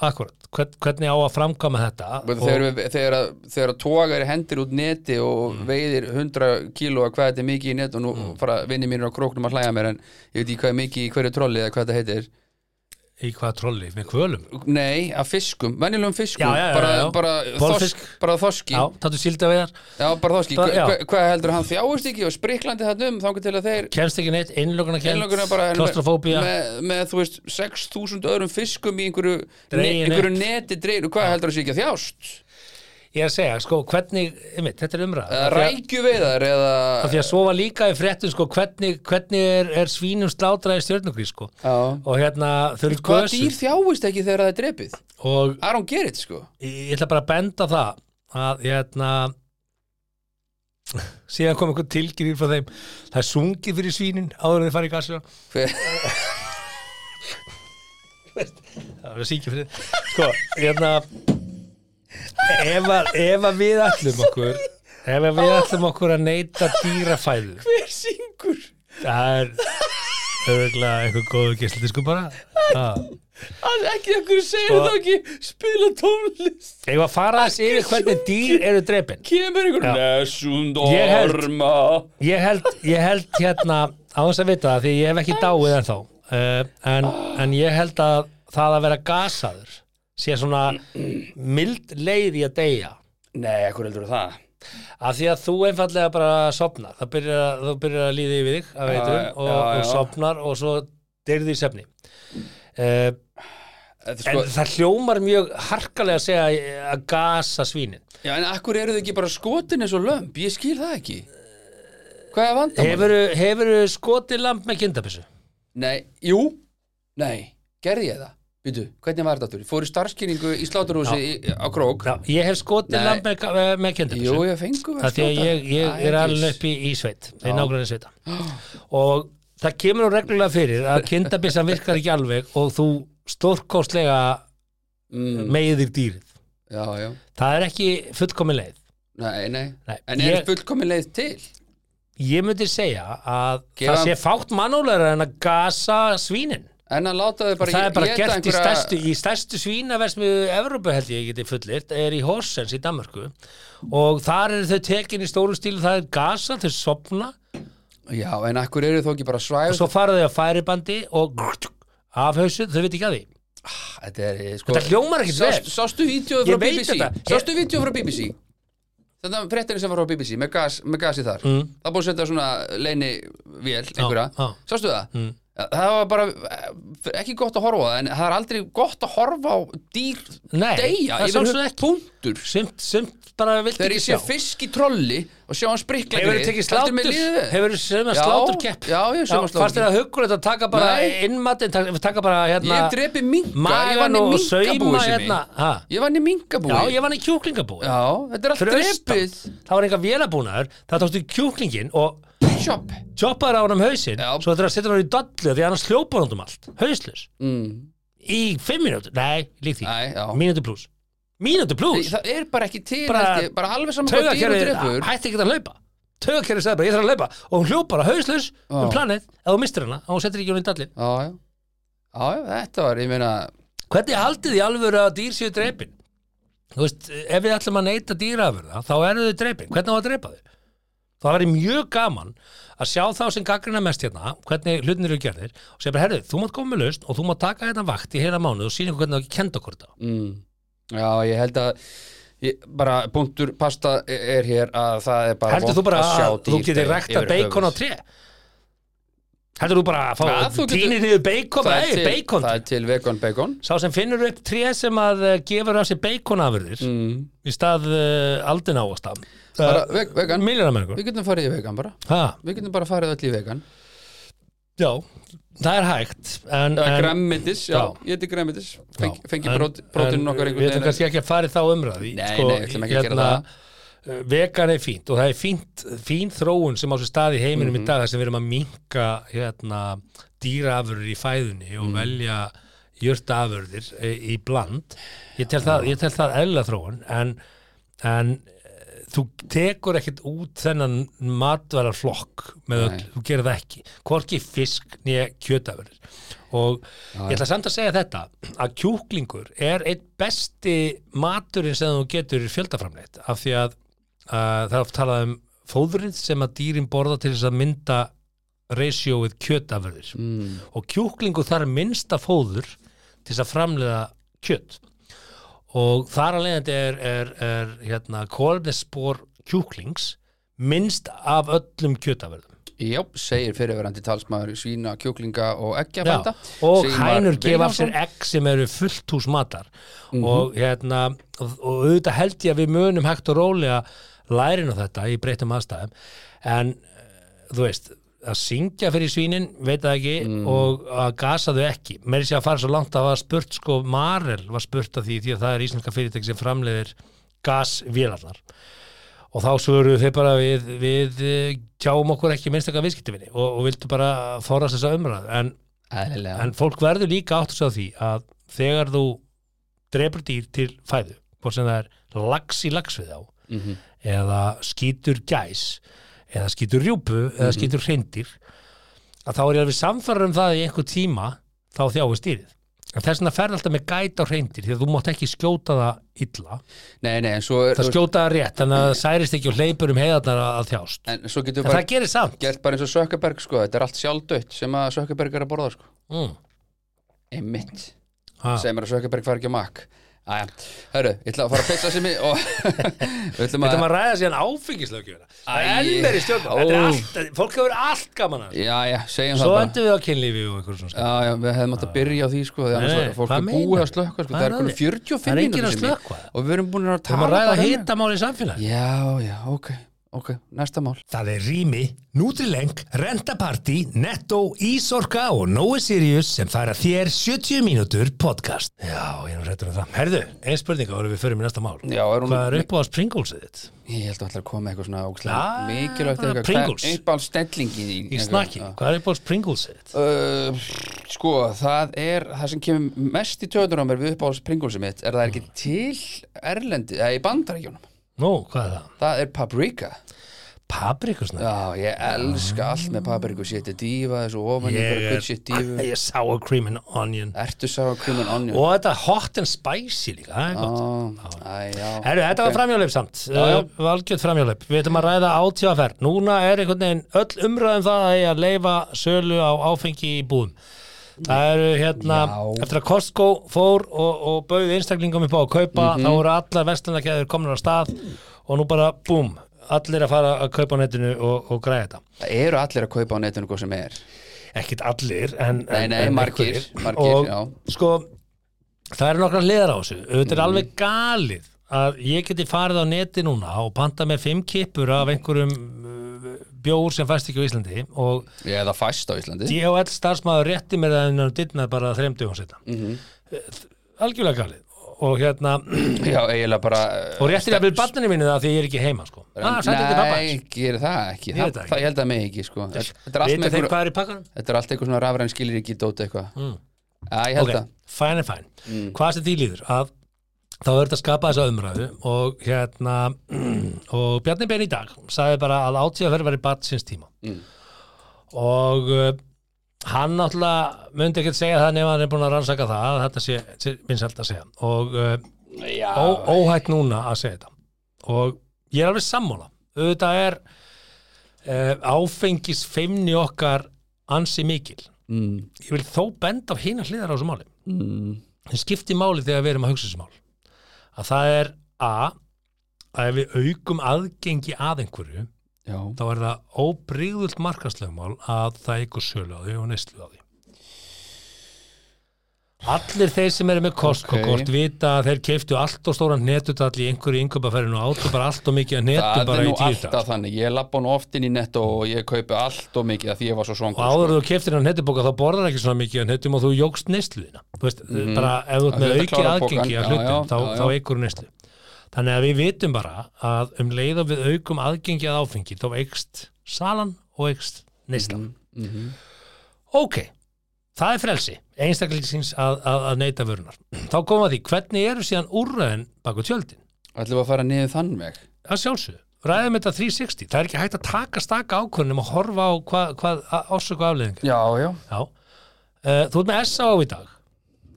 Speaker 1: akkurat hvern, hvernig á að framkama þetta
Speaker 2: Og Þegar, við, þegar, að- þegar að tógar hendir út neti og
Speaker 1: Mm.
Speaker 2: veiðir 100 kíló að hvað þetta er mikið í net og nú fara vinni mínir á króknum að hlæja mér en ég veit ekki hvað er mikið í hverju trolli eða hvað þetta heitir
Speaker 1: í hvaða trolli, með kvölum
Speaker 2: Nei, að fiskum, venjulegum fiskum
Speaker 1: Já, já, já,
Speaker 2: bara,
Speaker 1: já.
Speaker 2: bara,
Speaker 1: Bolfisk.
Speaker 2: þorsk, bara þorski
Speaker 1: já, tattu sílda við þar,
Speaker 2: Já, bara þorski,
Speaker 1: Bara-
Speaker 2: Hva-
Speaker 1: já.
Speaker 2: hva- hvað heldur hann þjáist ekki og spriklandi þarna um þangar til að þeir
Speaker 1: kemst ekki neitt, innlokunarkent
Speaker 2: einlokuna bara hérna
Speaker 1: klostrofóbía,
Speaker 2: með, með, þú veist, 6.000 öðrum fiskum í einhverju, ne,
Speaker 1: Dregin
Speaker 2: einhverju neti dreinu, hvað heldur hann sé ekki að þjást?
Speaker 1: ég er að segja, sko, hvernig einmitt, þetta er umræð
Speaker 2: Eða Rækjuveiðar eða
Speaker 1: af því að svo var líka í fréttum sko, hvernig, hvernig er, er svínum slátrað í stjörnugrís sko.
Speaker 2: Já.
Speaker 1: og hérna þau eru
Speaker 2: Hvaða
Speaker 1: gösum
Speaker 2: dýr þjáist ekki þegar það er drepið?
Speaker 1: og
Speaker 2: Aron Gerrit sko
Speaker 1: ég ætla bara að benda á það að hérna síðan kom einhver tilkynning frá þeim það er sungið fyrir svínin áður en þið fara í gassu
Speaker 2: Hver,
Speaker 1: það var síkja fyrir sko, hérna ef að, ef að við ætlum okkur ef að við ætlum okkur að neyta dýrafæðu
Speaker 2: hver syngur?
Speaker 1: það er auðvitað einhver góðu gæstlítisku bara það
Speaker 2: Hann ekki okkur segir
Speaker 1: Sko-
Speaker 2: það ekki spila tónlist
Speaker 1: Ég var að fara þess yfir hvernig dýr eru drepin
Speaker 2: Kemur einhver
Speaker 1: Já.
Speaker 2: Nesund
Speaker 1: Ég held-
Speaker 2: orma
Speaker 1: Ég held, ég held hérna á þess að vita það því ég hef ekki dáið ennþá uh, en, en ég held að það að vera gasaður sé svona mild leið í að deyja
Speaker 2: Nei, hver heldur það?
Speaker 1: af því að þú einfallega bara sopnar það byrjar, að- þú byrjar að líða yfir þig að
Speaker 2: Já,
Speaker 1: veitum,
Speaker 2: já,
Speaker 1: og,
Speaker 2: já,
Speaker 1: og
Speaker 2: já.
Speaker 1: sopnar og svo deyrðu í sefni uh, en
Speaker 2: Þetta er Sko,
Speaker 1: það hljómar mjög harkalega að segja að gasa svínin
Speaker 2: já, en akkur eru þið ekki bara skotin eins og lömb? Ég skil það ekki Hvað er vandamál?
Speaker 1: Hefurðu hefurðu skotið lamp með kindabissu?
Speaker 2: Nei, jú, nei, gerði ég það? Býtu, hvernig var þetta aftur? Fór í starfskynningu í sláturhúsi í- á Krók
Speaker 1: Já, ég hef skotið
Speaker 2: Nei.
Speaker 1: lamb með, eh, með
Speaker 2: Jú,
Speaker 1: kindabissu
Speaker 2: ég fengu
Speaker 1: Það því að ég, ég er alveg upp í, í sveit í nágræni sveita og það kemur nú reglulega fyrir að kindabissan virkar ekki alveg og þú stórkostlega
Speaker 2: mm,
Speaker 1: meiðir dýrið
Speaker 2: Já, já
Speaker 1: það er ekki fullkomin leið
Speaker 2: Nei, nei,
Speaker 1: Nei,
Speaker 2: en er
Speaker 1: ég-
Speaker 2: ég... fullkomin leið til?
Speaker 1: ég myndi segja að
Speaker 2: Gefa-
Speaker 1: það sé fátt mannúlega en að gasa svínin
Speaker 2: En að láta þau bara
Speaker 1: það er bara
Speaker 2: éta
Speaker 1: gert í stærstu, í stærstu svínaversmiðu Evrópu held ég geti fullirt er í Horsens í Danmörku og þar eru þau tekin í stóru stílu það er gasa, þau sopna
Speaker 2: Já, en akkur eru þó ekki bara svæf
Speaker 1: og svo fara þau á færibandi og af hausu, þau veit ekki að því
Speaker 2: Þetta er, eh, sko
Speaker 1: Þetta hljómar ekkert
Speaker 2: sást-
Speaker 1: vel
Speaker 2: Sástu vídeo
Speaker 1: Ég
Speaker 2: frá
Speaker 1: veit
Speaker 2: BBC
Speaker 1: þetta.
Speaker 2: Sástu vídeo frá BBC Þetta er fréttinni sem var frá BBC með, gas, með gasi þar mm. Það er búið að setja svona leini vél einhverja,
Speaker 1: já.
Speaker 2: sástu það? Mm. Það var bara eh, ekki gott að horfa á það en það er aldrei gott að horfa á dýr
Speaker 1: Nei,
Speaker 2: deyja
Speaker 1: það
Speaker 2: yfir
Speaker 1: sjálfsögðu
Speaker 2: höfuð-
Speaker 1: ekki.
Speaker 2: punktur
Speaker 1: Sumt, sumt bara vilt
Speaker 2: Þegar
Speaker 1: ekki
Speaker 2: ég
Speaker 1: sjá
Speaker 2: sé fisk í trolli og sjá hann sprikla
Speaker 1: Hefur þið tekið slátur Hefur þið sem að
Speaker 2: Já,
Speaker 1: slátur kepp
Speaker 2: já, ég hef sumar
Speaker 1: Fannst þér
Speaker 2: sláturkepp.
Speaker 1: að hugulegt að taka bara
Speaker 2: Nei.
Speaker 1: innmatinn taka- Taka bara
Speaker 2: Ég
Speaker 1: hérna
Speaker 2: hef drepið minka, ég
Speaker 1: Magan
Speaker 2: vann í
Speaker 1: og
Speaker 2: minkabúi
Speaker 1: sauma
Speaker 2: sem
Speaker 1: hérna ha?
Speaker 2: Ég vann í minkabúi
Speaker 1: Já, ég var í kjúklingabúi
Speaker 2: Já, þetta er allt
Speaker 1: Fyrir austan
Speaker 2: drepið
Speaker 1: Það var enga vélabúnaður Það tókstu kjúklingin og
Speaker 2: Shop
Speaker 1: choppaður á hann um hausinn
Speaker 2: Já.
Speaker 1: Svo þetta er að setja hann í dollu Því annars hljópar hann um allt Hauslus
Speaker 2: mm.
Speaker 1: Í fimm mínútur Nei, líkt því
Speaker 2: Æ, já.
Speaker 1: Mínútur pluss Mínútur
Speaker 2: Þi-
Speaker 1: pluss
Speaker 2: það er bara ekki til
Speaker 1: Bara-
Speaker 2: bara, ég, bara alveg saman hvað dýr og
Speaker 1: Taugakerfið Ah,
Speaker 2: drefur
Speaker 1: hætti ekki að hlaupa Taugakerfið sagði bara ég þarf að hlaupa Og hún hljópar að hauslus um
Speaker 2: Já.
Speaker 1: planið Ef þú mistir hana og hún setur ekki hún í dallin
Speaker 2: já, já. já, já, þetta var, ég meina
Speaker 1: Hvernig haldið þið alvöru að dýr séu dreipin? Þú veist, ef við ætlum að neyta dýraafurða, þá eru þau dreipin. Hvernig á að dreipa þau? Það væri mjög gaman að sjá þá sem gaggrina mest hérna, hvernig hlutin eru gerðir og segja bara, herðu, þú mátt koma með lausn og þú mátt taka hérna vakt í heila mánuð og sína ykkur hvernig það ekki kenda okkur þetta.
Speaker 2: mm, já, ég held að ég, bara punktur pasta er- er hér að það er bara
Speaker 1: Heldur
Speaker 2: vont
Speaker 1: þú bara
Speaker 2: sjá
Speaker 1: að þú
Speaker 2: dýr
Speaker 1: getur
Speaker 2: deyja
Speaker 1: rækta
Speaker 2: yfir
Speaker 1: beikon á
Speaker 2: höfuð.
Speaker 1: tré? Heldur þú bara að fá
Speaker 2: Ja, þú getur-
Speaker 1: tínir niður beikon?
Speaker 2: það
Speaker 1: Nei,
Speaker 2: er, til,
Speaker 1: beikon.
Speaker 2: það er til vegan beikon
Speaker 1: Sá sem finnur upp tré sem að eh, gefur af sér beikonafurðir
Speaker 2: mm.
Speaker 1: í stað uh, aldin áasta.
Speaker 2: bara
Speaker 1: Uh,
Speaker 2: veg, vegan,
Speaker 1: Miljónamengur.
Speaker 2: við getum farið í vegan bara
Speaker 1: Ha,
Speaker 2: við getum bara farið öll í vegan
Speaker 1: já, það er hægt en,
Speaker 2: en,
Speaker 1: en,
Speaker 2: græmmitis, já,
Speaker 1: já.
Speaker 2: ég heiti grammitis Feng,
Speaker 1: já,
Speaker 2: fengi
Speaker 1: en-
Speaker 2: brot,
Speaker 1: en
Speaker 2: brotinu okkar
Speaker 1: Við ætlum
Speaker 2: einhvern
Speaker 1: kannski ekki að fara í þá umræði
Speaker 2: Nei, nei, við ætlum ekki að gera
Speaker 1: það Vegan er fínt og það er fínt, fín þróun sem á sér stað í heiminum
Speaker 2: Mhm.
Speaker 1: í dag þar sem við erum að minka hérna, dýraafurður í fæðunni
Speaker 2: Mhm.
Speaker 1: og velja jörtaafurðir e, í bland ég tel það, ég tel það eðla þróun en, en eh, þú tekur ekkert út þennan matvælarflokk með öll, þú gerir það ekki hvorki fisk nýja kjötafurðir og ég ætla samt að segja þetta að kjúklingur er eitt besti maturinn sem þú getur fjöldaframleitt af því að uh, það er oft talað um fóðrið sem að dýrin borða til þess að mynda ratioið kjötafurðir
Speaker 2: mm.
Speaker 1: og kjúklingur þarf minnsta fóður til þess að framleiða kjött og þar að leiðandi er, er, er hérna, kólefnisspor kjúklings minnst af öllum kjötafurðum
Speaker 2: Já, segir fyrirverandi talsmaður svína, kjúklinga og eggjabænda
Speaker 1: og
Speaker 2: Sigmar
Speaker 1: hænur gefa af sér
Speaker 2: Vilhjálmsson. Mhm.
Speaker 1: egg sem eru fullt hús matar og hérna og, og auðvitað held ég að við munum hægt og rólega lærin á þetta í breytum aðstæðum en eh, þú veist að syngja fyrir svínin, veit það ekki
Speaker 2: Mhm.
Speaker 1: og að gasa þau ekki meiri sér að fara svo langt að það var spurt sko Marel var spurt að því því að það er íslenska fyrirtæk sem framleiðir gasvélarnar og þá svöruðu þeir bara við, við eh, tjáum okkur ekki minnstaka viðskiptivinni og, og vildu bara forast þessa umræð en
Speaker 2: Eðlilega.
Speaker 1: en fólk verður líka átt svo því að þegar þú drepur dýr til fæðu hvort sem það er lax í lax við á
Speaker 2: Mhm.
Speaker 1: eða skýtur gæs eða skýtur rjúpu
Speaker 2: Mhm.
Speaker 1: eða skýtur hreindir að þá er ég alveg samfærum um það að í einhver tíma þá þjáist dýrið en þess vegna ferð alltaf með gæt á hreindir því að þú mátt ekki skjóta það illa
Speaker 2: Nei, nei, en svo, er,
Speaker 1: það
Speaker 2: þú
Speaker 1: skjóta það rétt þannig að það særist ekki og hleypur um heiðarnar að- að þjást
Speaker 2: en svo getur
Speaker 1: en
Speaker 2: bara
Speaker 1: það gerir samt
Speaker 2: gert bara eins og Sökkaberg sko, þetta er allt sjálfdött sem að Sökkaberg er að borða sko
Speaker 1: mm.
Speaker 2: Einmitt,
Speaker 1: Ha.
Speaker 2: segir mér að Sökkaberg fari ekki á makk Æja, hörru, ég ætla að fara að pizza sem ég og við ætlum
Speaker 1: Þetta
Speaker 2: að
Speaker 1: maður ræða síðan áfengislöggjöfina Það er
Speaker 2: Æi.
Speaker 1: enn meiri stjórnum Þetta er
Speaker 2: Ó.
Speaker 1: allt, fólk hefur allt gaman að þessu.
Speaker 2: Já, já, segjum það
Speaker 1: Svo
Speaker 2: bara
Speaker 1: endur við á kynlífi og einhverjum svona skap.
Speaker 2: Já, já, við hefðum átt að byrja á því sko því
Speaker 1: Ah. Nei,
Speaker 2: annars
Speaker 1: nei,
Speaker 2: var fólk
Speaker 1: hvað
Speaker 2: er búið
Speaker 1: meinar?
Speaker 2: að slökka sko,
Speaker 1: Hvað
Speaker 2: það
Speaker 1: er
Speaker 2: er
Speaker 1: að
Speaker 2: konum
Speaker 1: því?
Speaker 2: 45
Speaker 1: Það er enginn
Speaker 2: mínútur
Speaker 1: að
Speaker 2: sem ég-
Speaker 1: slökkva.
Speaker 2: og við erum búin að
Speaker 1: Við erum
Speaker 2: tala
Speaker 1: að ræða
Speaker 2: bara um-
Speaker 1: hitamál í samfélagi
Speaker 2: Já, já, ok, ok, næsta mál
Speaker 1: Það er Rými, Nutrileng, Rentaparty, Netto, Ísorka og Nói Sirius sem færa þér 70 mínútur podcast Já, ég er nú réttur um það Herðu, ein spurninga voru við förum í næsta mál
Speaker 2: Já, er hún-
Speaker 1: Hvað er upp á springulsið þitt?
Speaker 2: Ég held að ætla að koma með eitthvað svona ógæslega
Speaker 1: Ah,
Speaker 2: mikilvægt
Speaker 1: bara
Speaker 2: eitthvað
Speaker 1: Pringles.
Speaker 2: uppáld stellingin í,
Speaker 1: Í snakki, hvað er upp á springulsið þitt?
Speaker 2: Uh, sko, það er það sem kemur mest í töður á mér við uppáld Pringlesum mitt er það er ekki til Erlendi, eða í bandaríkjónum
Speaker 1: Nú, hvað er það?
Speaker 2: Það er paprika
Speaker 1: Paprikusnakki
Speaker 2: Já, ég elska allt með paprika Sétti dífa þessu ofan yeah,
Speaker 1: Ég
Speaker 2: ykkur
Speaker 1: er,
Speaker 2: good shit dífu
Speaker 1: ég er sour cream and onion
Speaker 2: Ertu sá að krumun onion
Speaker 1: Og þetta hot and spicy líka, það er gott
Speaker 2: Herru,
Speaker 1: Herru, þetta var framjálöp samt, uh, valgjöld framjálöp Við ætlum að ræða átjáferð um Núna er einhvern veginn öll umræðum það að eiga að leifa sölu á áfengi í búðum Það eru hérna,
Speaker 2: Já.
Speaker 1: eftir að Costco fór og, og bauði einstaklingum upp á að kaupa, þá voru allar vestlunarkæður komnar á stað og nú bara, búm, allir að fara að kaupa á netinu og, og græða þetta.
Speaker 2: Það eru allir að kaupa á netinu hvað sem er
Speaker 1: Ekkit allir, en...
Speaker 2: Nei,
Speaker 1: en-
Speaker 2: nei,
Speaker 1: en
Speaker 2: margir,
Speaker 1: einhverjir.
Speaker 2: margir,
Speaker 1: og,
Speaker 2: já. Mhm.
Speaker 1: Sko, það eru nokkra hliðar á þessu. Þetta er alveg galið að ég geti farið á neti núna og panta með fimm kippur af einhverjum uh, bjór sem fæst ekki á Íslandi og
Speaker 2: Ég hefði fæst á Íslandi
Speaker 1: DHL starfsmaður rétti mér það innan um dittnað bara þreim dögum setna mm
Speaker 2: Mhm.
Speaker 1: algjörlega galið og hérna,
Speaker 2: Já, eiginlega bara
Speaker 1: og réttir að byrja barninu mínu það því ég er ekki heima sko ah, sætti til pappa
Speaker 2: Nei, gerir það ekki
Speaker 1: Ég
Speaker 2: Það,
Speaker 1: veit það ekki.
Speaker 2: það ég held að mig ekki, sko Þetta er allt
Speaker 1: veit
Speaker 2: með
Speaker 1: þeir
Speaker 2: einhver
Speaker 1: hvað er í pakkanum?
Speaker 2: Þetta er allt eitthvað svona rafræn skilir ekki dóta eitthvað mm. ég held Mm.
Speaker 1: ok, fæn er fæn hvað sem því líður að þá er þetta að skapa þessa umræðu og hérna og Bjarni Ben í dag sagði bara að átíðaferð væri barn síns tíma
Speaker 2: Mm.
Speaker 1: og uh, hann náttúrulega myndi ekkert segja það nefn að hann er búin að rannsaka það að þetta sé, sé vinsælt að segja og uh,
Speaker 2: það Já,
Speaker 1: ó, óhætt núna að segja þetta og ég er alveg sammála auðvitað er uh, áfengis feimni okkar ansi mikil
Speaker 2: mm.
Speaker 1: ég vil þó benda á hina hliðar á þessu máli
Speaker 2: Mm.
Speaker 1: það skiptir máli þegar við erum að hugsa þessu mál að það er a að ef við aukum aðgengi að einhverju
Speaker 2: Já,
Speaker 1: þá er það óbrigðult markaslegumál að það eitthvað sölu á því og neyslu á því Allir þeir sem eru með kostkokort
Speaker 2: Ok.
Speaker 1: vita að þeir keiftu allt og stóran netutall í einhverju yngöpaferðinu og áttu bara allt og mikið að netu
Speaker 2: það er
Speaker 1: bara
Speaker 2: nú
Speaker 1: í tíu dag
Speaker 2: alltaf þannig Ég lappa nú oft inn í netto og ég kaupi allt og mikið af því ég var svo
Speaker 1: og
Speaker 2: svangur sko.
Speaker 1: áður en þú keiftir hann netubóka þá borðar ekki svona mikið að netum og þú jógst neysluðina þú veist, bara ef þú ert
Speaker 2: Mhm. Að
Speaker 1: með
Speaker 2: þetta
Speaker 1: auki
Speaker 2: klárar pokann,
Speaker 1: aðgengi
Speaker 2: já,
Speaker 1: að hlutum
Speaker 2: já,
Speaker 1: þá,
Speaker 2: já,
Speaker 1: þá
Speaker 2: já.
Speaker 1: eikur neyslu þannig að við vitum bara að um leið og við aukum aðgengi að áfengi þá eikst salan og eikst neyslan
Speaker 2: Mhm.
Speaker 1: ok, það er frelsi einstaklingsins að, að, að neyta vörunar þá koma að því, hvernig eru síðan úrræðin baku tjöldin?
Speaker 2: Ætlum við að fara niður þann veg
Speaker 1: að sjálfsögðu, ræðum þetta 360 það er ekki hægt að taka staka ákvörnum og horfa á hvað, hvað ásöku afleðingar
Speaker 2: Já, já,
Speaker 1: Já. Eh, Þú ert með S.A.O. í dag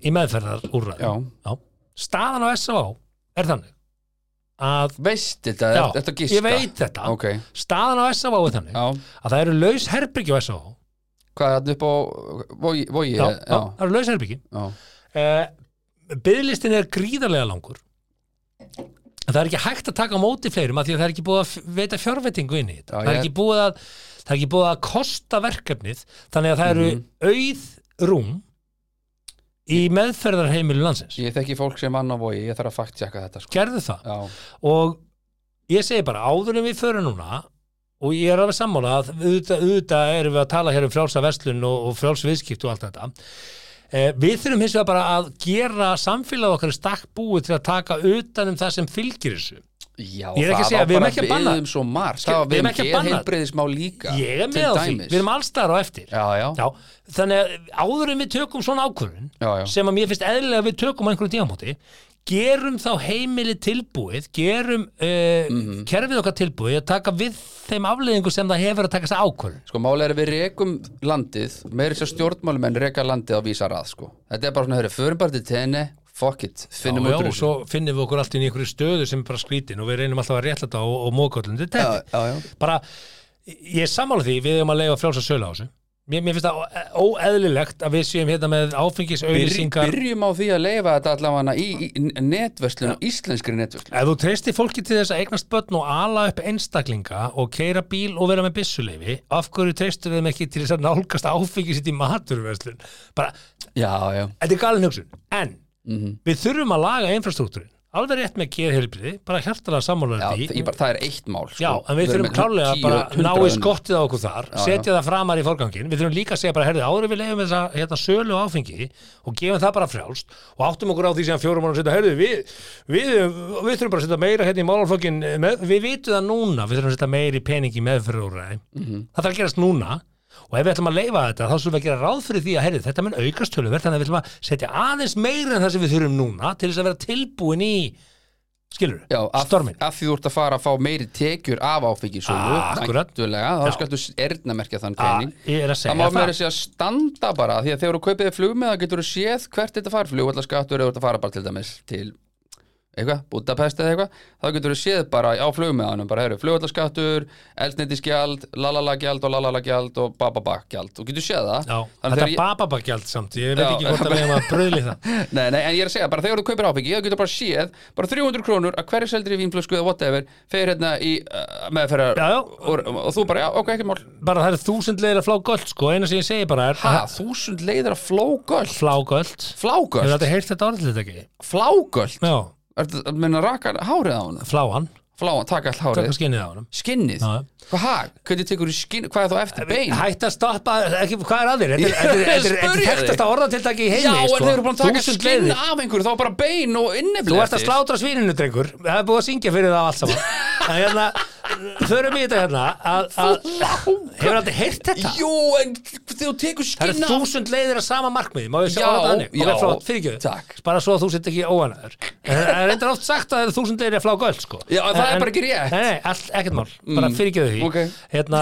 Speaker 1: í meðferðar
Speaker 2: já
Speaker 1: Staðan á S.A.O. er þannig að
Speaker 2: Veist þetta,
Speaker 1: Já,
Speaker 2: þetta er gíska
Speaker 1: ég veit þetta
Speaker 2: Ok,
Speaker 1: Staðan á S.A.O. er þannig
Speaker 2: já
Speaker 1: að það eru laus herbyggi á S.A.O.
Speaker 2: Hvað er þetta upp á Vogi, vogi
Speaker 1: Já,
Speaker 2: eh,
Speaker 1: já, það eru laus herbyggi
Speaker 2: já.
Speaker 1: uh, Byðlistin er gríðarlega langur En Það er ekki hægt að taka á móti fleirum að því að það er ekki búið að f- veita fjárveitingu inn í þetta.
Speaker 2: Já,
Speaker 1: það, er
Speaker 2: ég-
Speaker 1: ekki búið að, það er ekki búið að kosta verkefnið þannig að það eru
Speaker 2: Mhm.
Speaker 1: auð rúm í meðferðarheimilu landsins.
Speaker 2: Ég þekki fólk sem vann á vogi, ég þarf að fakt þetta sko.
Speaker 1: gerðu það
Speaker 2: Já,
Speaker 1: og ég segi bara áður en við förum núna og ég er alveg sammála að auðvitað, auðvitað erum við að tala hér um frjálsa verslun og, og frjáls viðskipt og allt þetta eh, við þurfum hins vegar bara að gera samfélag okkar í stakk búið til að taka utan um það sem fylgir þessu
Speaker 2: Já,
Speaker 1: Ég er ekki að
Speaker 2: það
Speaker 1: segja,
Speaker 2: á
Speaker 1: við erum
Speaker 2: bara
Speaker 1: ekki að banna-
Speaker 2: við um svo margt,
Speaker 1: Skil-
Speaker 2: það
Speaker 1: við
Speaker 2: við
Speaker 1: erum
Speaker 2: um
Speaker 1: ekki að banna-
Speaker 2: geðheilbreyðismá líka
Speaker 1: ég er
Speaker 2: til
Speaker 1: með á því,
Speaker 2: dæmis.
Speaker 1: við erum allstaðar á eftir
Speaker 2: Já, já, já,
Speaker 1: Já, þannig að áður en við tökum svona ákvörðun
Speaker 2: já,
Speaker 1: sem að mér finnst eðlilega að við tökum á einhverjum tímamóti gerum þá heimili tilbúið gerum uh,
Speaker 2: Mhm.
Speaker 1: kerfið okkar tilbúið að taka við þeim afleðingu sem það hefur að taka þess ákvörðun
Speaker 2: Sko, málega er að við rekum landið, meiri sér stjórnmálumenn reka landið á vísa rað, sko. Þetta er bara svona, hörru, förum bara til tenni, fuck it, finnum
Speaker 1: já,
Speaker 2: út úr
Speaker 1: og svo finnum við okkur alltaf í einhverju stöðu sem er bara skrítin og við reynum alltaf að réttla þetta og, og móka öllum til
Speaker 2: Já,
Speaker 1: þetta
Speaker 2: já, já.
Speaker 1: bara, ég er sammála því við erum að leiða frjálsa sölu á þessu mér, mér finnst það ó- óeðlilegt að við séum hérna með
Speaker 2: Byrj,
Speaker 1: áfengisauðlýsingar
Speaker 2: byrjum á því að leifa þetta allavega í, í netverslun, íslenskri netverslun.
Speaker 1: Ef þú treystir fólki til þess að eignast börn og ala upp einstaklinga og keira bíl og vera með byssuleifi, af hverju treystir þeim ekki til þess að nálgast áfengi sitt í maturverslun? Bara,
Speaker 2: Já, já.
Speaker 1: þetta er galin hugsun. En,
Speaker 2: Mm
Speaker 1: við þurfum að laga infrastruktúrin. Alveg rétt með geðhelbriði, bara hjartalega
Speaker 2: já
Speaker 1: sammálaður því.
Speaker 2: það, bara, það er eitt mál, sko.
Speaker 1: Já, en við þurfum klálega að bara ná í skottið á okkur þar,
Speaker 2: já.
Speaker 1: setja það framar í forgangin, við þurfum líka að segja bara, herðu, áður en við leiðum þessa hérna, sölu og áfengi og gefum það bara frjálst og áttum okkur á því sem fjórum mánu setja, herðu, við, við, við þurfum bara að setja meira hérna í málflokkin, við vitum það núna, við þurfum að setja meira í pening í meðferðúræði,
Speaker 2: Mhm.
Speaker 1: það þarf að gerast núna og ef við ætlum að leifa þetta, þá þurfum við að gera ráð fyrir því að, herðu, þetta mun aukast töluvert, þannig að við ætlum að setja aðeins meira en það sem við þurfum núna til þess að vera tilbúin í, skilur,
Speaker 2: Já, af,
Speaker 1: stormin.
Speaker 2: af því þú ert að fara að fá meiri tekjur af áfengisölu
Speaker 1: Ah, akkurat.
Speaker 2: væntanlega,
Speaker 1: Já.
Speaker 2: þá skaltu erðnamerkja þann
Speaker 1: Ah,
Speaker 2: pening
Speaker 1: ég er að segja
Speaker 2: það má meira segja standa bara því að þegar þú kaupið flug með það getur þú séð hvert þetta far flug alltaf skattur eða þú ert að fara bara til dæmis til eitthvað, Budapest eða eitthvað þá getur þú séð bara á flugmiðanum bara eru flugvallaskattur, eldnættisgjald lalalagjald og lalalagjald og bababagjald, þú getur séð það
Speaker 1: Já,
Speaker 2: Þannig
Speaker 1: þetta
Speaker 2: þegar
Speaker 1: er
Speaker 2: ég-
Speaker 1: bababagjald samt, ég veit
Speaker 2: Já.
Speaker 1: ekki hvort að við hefum að bröðli það.
Speaker 2: Nei, nei, en ég er að segja, bara þegar þú kaupir áfengi þá getur bara séð, bara 300 krónur að hverju seldri vínflösku eða whatever fer hérna í uh, meðferðar
Speaker 1: Já, já.
Speaker 2: Og, og þú bara, já, ok, ekkert mál
Speaker 1: Bara það er þúsund leiðir að flá göld, sko, eina sem ég segi bara er
Speaker 2: Ha, þúsund leiðir að flógöld
Speaker 1: flá göld. Hefur
Speaker 2: Flágöld,
Speaker 1: þetta heyrt þetta orðlið ekki?
Speaker 2: flágöld
Speaker 1: Já,
Speaker 2: Ertu að meina raka hárið á hann?
Speaker 1: flá hann,
Speaker 2: Flá, taka all
Speaker 1: taka
Speaker 2: hárið
Speaker 1: skinnið á hann.
Speaker 2: Skinnið?
Speaker 1: Já.
Speaker 2: Hvað, ha? Hvernig tekur þú skinn, hvað er þá eftir bein?
Speaker 1: Hætt að stoppa, ekki, hvað er að þér? Þetta er- þetta er- þetta er- þetta er
Speaker 2: Spurja þig.
Speaker 1: þekktast að orða til dagi í heimi,
Speaker 2: Já, en
Speaker 1: sko.
Speaker 2: þeir eru búin að taka
Speaker 1: Þúsund
Speaker 2: skinn
Speaker 1: leiðir.
Speaker 2: af einhverju, þá bara bein og inneflið
Speaker 1: Þú ert að slátra svíninu, drengur. Það er búið að syngja fyrir það allt saman. En hérna, förum í þetta hérna. að- að- Hefur aldrei heyrt þetta?
Speaker 2: Jú, en þú tekur
Speaker 1: Það
Speaker 2: skinn
Speaker 1: eru
Speaker 2: af
Speaker 1: þúsund leiðir að sama markmiði, má ég
Speaker 2: Já,
Speaker 1: segja orða þannig?
Speaker 2: já,
Speaker 1: ok, flott, fyrirgjöðu.
Speaker 2: takk.
Speaker 1: Bara svo að þú sitt ekki óanæður. Það er reyndar oft sagt að það eru þúsund leiðir að flá göld, sko.
Speaker 2: Já, en það er
Speaker 1: En-
Speaker 2: bara ekki rétt. Mm.
Speaker 1: Nei, nei, allt, ekkert mál, bara fyrirgjöðu því.
Speaker 2: ok.
Speaker 1: Hérna,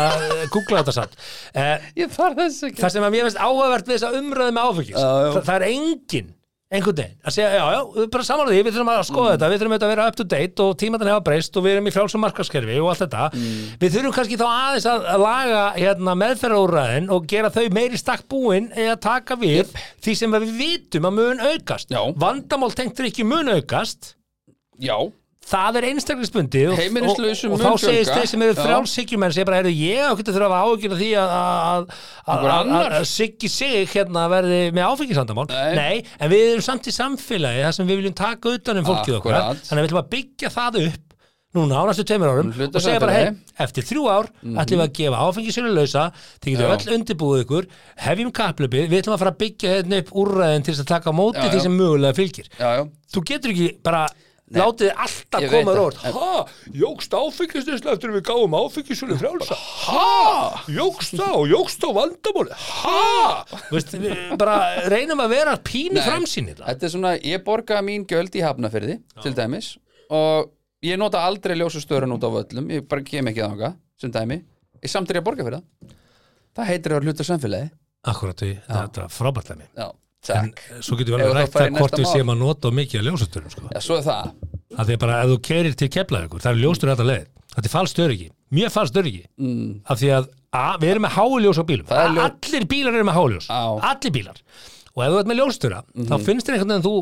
Speaker 1: googla þetta satt. Eh,
Speaker 2: Ég þarf þess ekki
Speaker 1: Það sem að mér finnst áhugavert við þessa umröðu með áfengis,
Speaker 2: Já, já.
Speaker 1: það, það er engin, einhvern veginn, að segja, já, já, við bara samanlega því, við þurfum að skoða
Speaker 2: Mm.
Speaker 1: þetta, við þurfum auðvitað að vera up to date og tímatan hefa breyst og við erum í frjálsum markaskerfi og allt þetta.
Speaker 2: Mm.
Speaker 1: Við þurfum kannski þá aðeins að að laga hérna, meðferðaúræðin og gera þau meiri stakk búin eða taka við því sem við vitum að mun aukast.
Speaker 2: Já.
Speaker 1: Vandamál tengt er ekki mun aukast.
Speaker 2: Já,
Speaker 1: Það er einstaklingsbundið og, og,
Speaker 2: Heimilislausum
Speaker 1: og
Speaker 2: mun
Speaker 1: þá segist
Speaker 2: fjölga.
Speaker 1: þeir sem eru
Speaker 2: Já.
Speaker 1: frjálshyggjumenn segja bara, heyrðu, ég á ekki að þurfa að áhugjur því að- að- að
Speaker 2: Einhver
Speaker 1: að-
Speaker 2: annar?
Speaker 1: að siggi sig hérna verði með áfengisandamál
Speaker 2: Nei.
Speaker 1: en við erum samt í samfélagi þar sem við viljum taka utan um fólkið okkar
Speaker 2: Akkurat.
Speaker 1: þannig að við ætlum að byggja það upp núna á næstu tveimur árum
Speaker 2: Hluta
Speaker 1: og segja bara,
Speaker 2: samfélagi.
Speaker 1: hei, eftir þrjú ár ætlum við að gefa áfengisölu lausa þið getum
Speaker 2: Já.
Speaker 1: öll undirbúið ykkur, hefjum kaplöpið við ætlum að fara að byggja hérna upp úrræðin til þess að taka á móti
Speaker 2: Já,
Speaker 1: því
Speaker 2: já.
Speaker 1: sem mögulega fylgir
Speaker 2: já, já
Speaker 1: þú getur ekki bara látið þið alltaf
Speaker 2: Ég veit
Speaker 1: koma
Speaker 2: það.
Speaker 1: rót ha, jógst áfengisnesla eftir að við gáum áfengisölu frjálsa
Speaker 2: Ha?
Speaker 1: jógst á, jógst á vandamóli ha, Vist, við bara reynum að vera pínu
Speaker 2: Nei.
Speaker 1: framsýnir það
Speaker 2: Þetta er svona, ég borga mín gjöld í hafnafyrði til dæmis og ég nota aldrei ljósastörun út á völlum ég bara kem ekki þanga sem dæmi ég samt er ég að borga fyrir það Það heitir að hluta samfélagi
Speaker 1: akkurat því, þetta er frábært lemmi
Speaker 2: Já, takk
Speaker 1: svo getur við
Speaker 2: Ef
Speaker 1: alveg
Speaker 2: þú
Speaker 1: rætt
Speaker 2: færir
Speaker 1: það hvort
Speaker 2: næsta
Speaker 1: við
Speaker 2: mál.
Speaker 1: séum að nota of mikið að ljósasturum sko.
Speaker 2: Já, svo er það
Speaker 1: að því að bara ef þú kerir til keflaði ykkur það er ljóstur alltaf leið, þetta er falskt öryggi mjög falskt öryggi mm. af því að a, við erum með háljós á bílum
Speaker 2: Það er ljó-
Speaker 1: allir bílar eru með háljós
Speaker 2: Á. Mhm.
Speaker 1: allir bílar og ef þú ert með ljóstura þá finnst þér einhvern veginn þú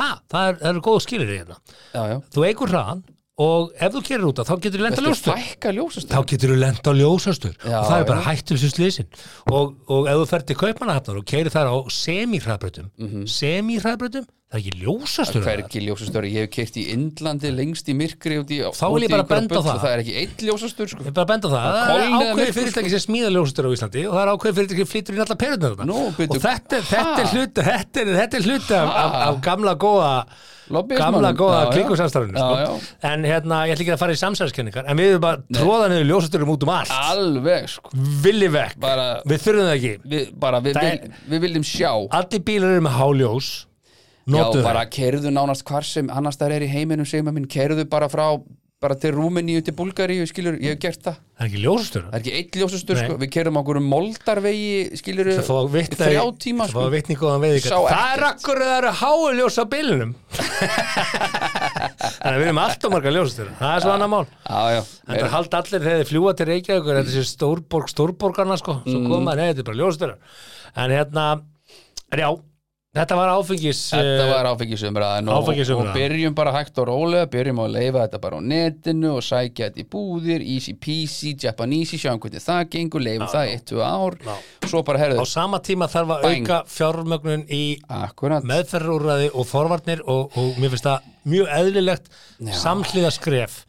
Speaker 1: ha, það er- það eru er góð skilir hérna
Speaker 2: Já, já
Speaker 1: þú eigur hraðan og ef þú kerir út af þá getur þú lenda
Speaker 2: Þetta er
Speaker 1: ljóstur
Speaker 2: fækka
Speaker 1: þá
Speaker 2: ljósastörun
Speaker 1: getur þú lent á ljósastur
Speaker 2: Já,
Speaker 1: og það er bara
Speaker 2: já.
Speaker 1: hættum sem slísin og, og ef þú fer til kaupmanahafnar og keirir þar á semihraðbrötum mm -hmm. semihraðbrötum, það er ekki ljósastur
Speaker 2: Mhm. Hvergi ljósastöru, ég hef keirt í Indlandi lengst í myrkri út í
Speaker 1: Þá vil ég
Speaker 2: út í
Speaker 1: bara
Speaker 2: einhverja
Speaker 1: benda á
Speaker 2: bull
Speaker 1: það.
Speaker 2: og Það er ekki einn ljósastör sko.
Speaker 1: Ég er bara að benda á það, það er
Speaker 2: kolni eða
Speaker 1: ákveðið
Speaker 2: myrkur,
Speaker 1: fyrirtæki sem smíða ljósastur á Íslandi og það er ákveðið fyrirtæki sem flyttur inn alla perðna þarna
Speaker 2: Nú,
Speaker 1: og
Speaker 2: bíddu,
Speaker 1: þetta, þetta er
Speaker 2: ha?
Speaker 1: hluti þetta er, þetta er hluti af, af, af gamla góða
Speaker 2: Lobbyismanum.
Speaker 1: gamla góða
Speaker 2: Já, já.
Speaker 1: klíkusamstarfinu
Speaker 2: Já,
Speaker 1: sko. en hérna, ég ætla ekki að fara í samsæðiskenningar en við erum bara tróðan yfir ljósasturum út um allt
Speaker 2: Alveg sko.
Speaker 1: villi vekk,
Speaker 2: Bara-
Speaker 1: við þurfum það ekki
Speaker 2: við, bara, við,
Speaker 1: Það er-
Speaker 2: vil, við viljum sjá
Speaker 1: allir bílar eru með háljós notu
Speaker 2: Já, bara
Speaker 1: það
Speaker 2: kerðu nánast hvar sem annars það er í heiminum segir maður minn, kerðu bara frá bara til Rúmeníu, til Búlgaríu, skilur ég hef gert það,
Speaker 1: það er ekki ljósastur
Speaker 2: það er ekki eitt ljósustur
Speaker 1: Nei.
Speaker 2: sko. við kerðum okkur um moldarvegi skilur
Speaker 1: Það fá vitna
Speaker 2: þrjá tíma
Speaker 1: Það
Speaker 2: sko.
Speaker 1: fá vitni góðan veið
Speaker 2: Sá
Speaker 1: Það er
Speaker 2: ekkert.
Speaker 1: akkur að það eru háuljós á bílunum Þannig að við erum allt og marga ljósastur Það er svo annað mál
Speaker 2: já, já,
Speaker 1: En það haldi allir þegar þið fljúa til Reykjavík Þetta
Speaker 2: Mm.
Speaker 1: er þessi stórborg, stórborgarna sko Svo koma, nei, þetta er bara ljósastur En hérna, en já Þetta var áfengis
Speaker 2: þetta
Speaker 1: eh,
Speaker 2: var áfengisumræðan og,
Speaker 1: Áfengisumræðan.
Speaker 2: og byrjum bara hægt og rólega byrjum að leifa þetta bara á netinu og sækja þetta í búðir, easy peasy japanese, sjáum hvernig það gengur leifum það í eitt, tvö ár, svo
Speaker 1: Á
Speaker 2: bara herðu
Speaker 1: sama tíma þarf að
Speaker 2: Bang.
Speaker 1: auka fjármögnun í
Speaker 2: akkurat,
Speaker 1: meðferðarúræði og forvarnir og, og mér finnst það mjög eðlilegt samhliða skref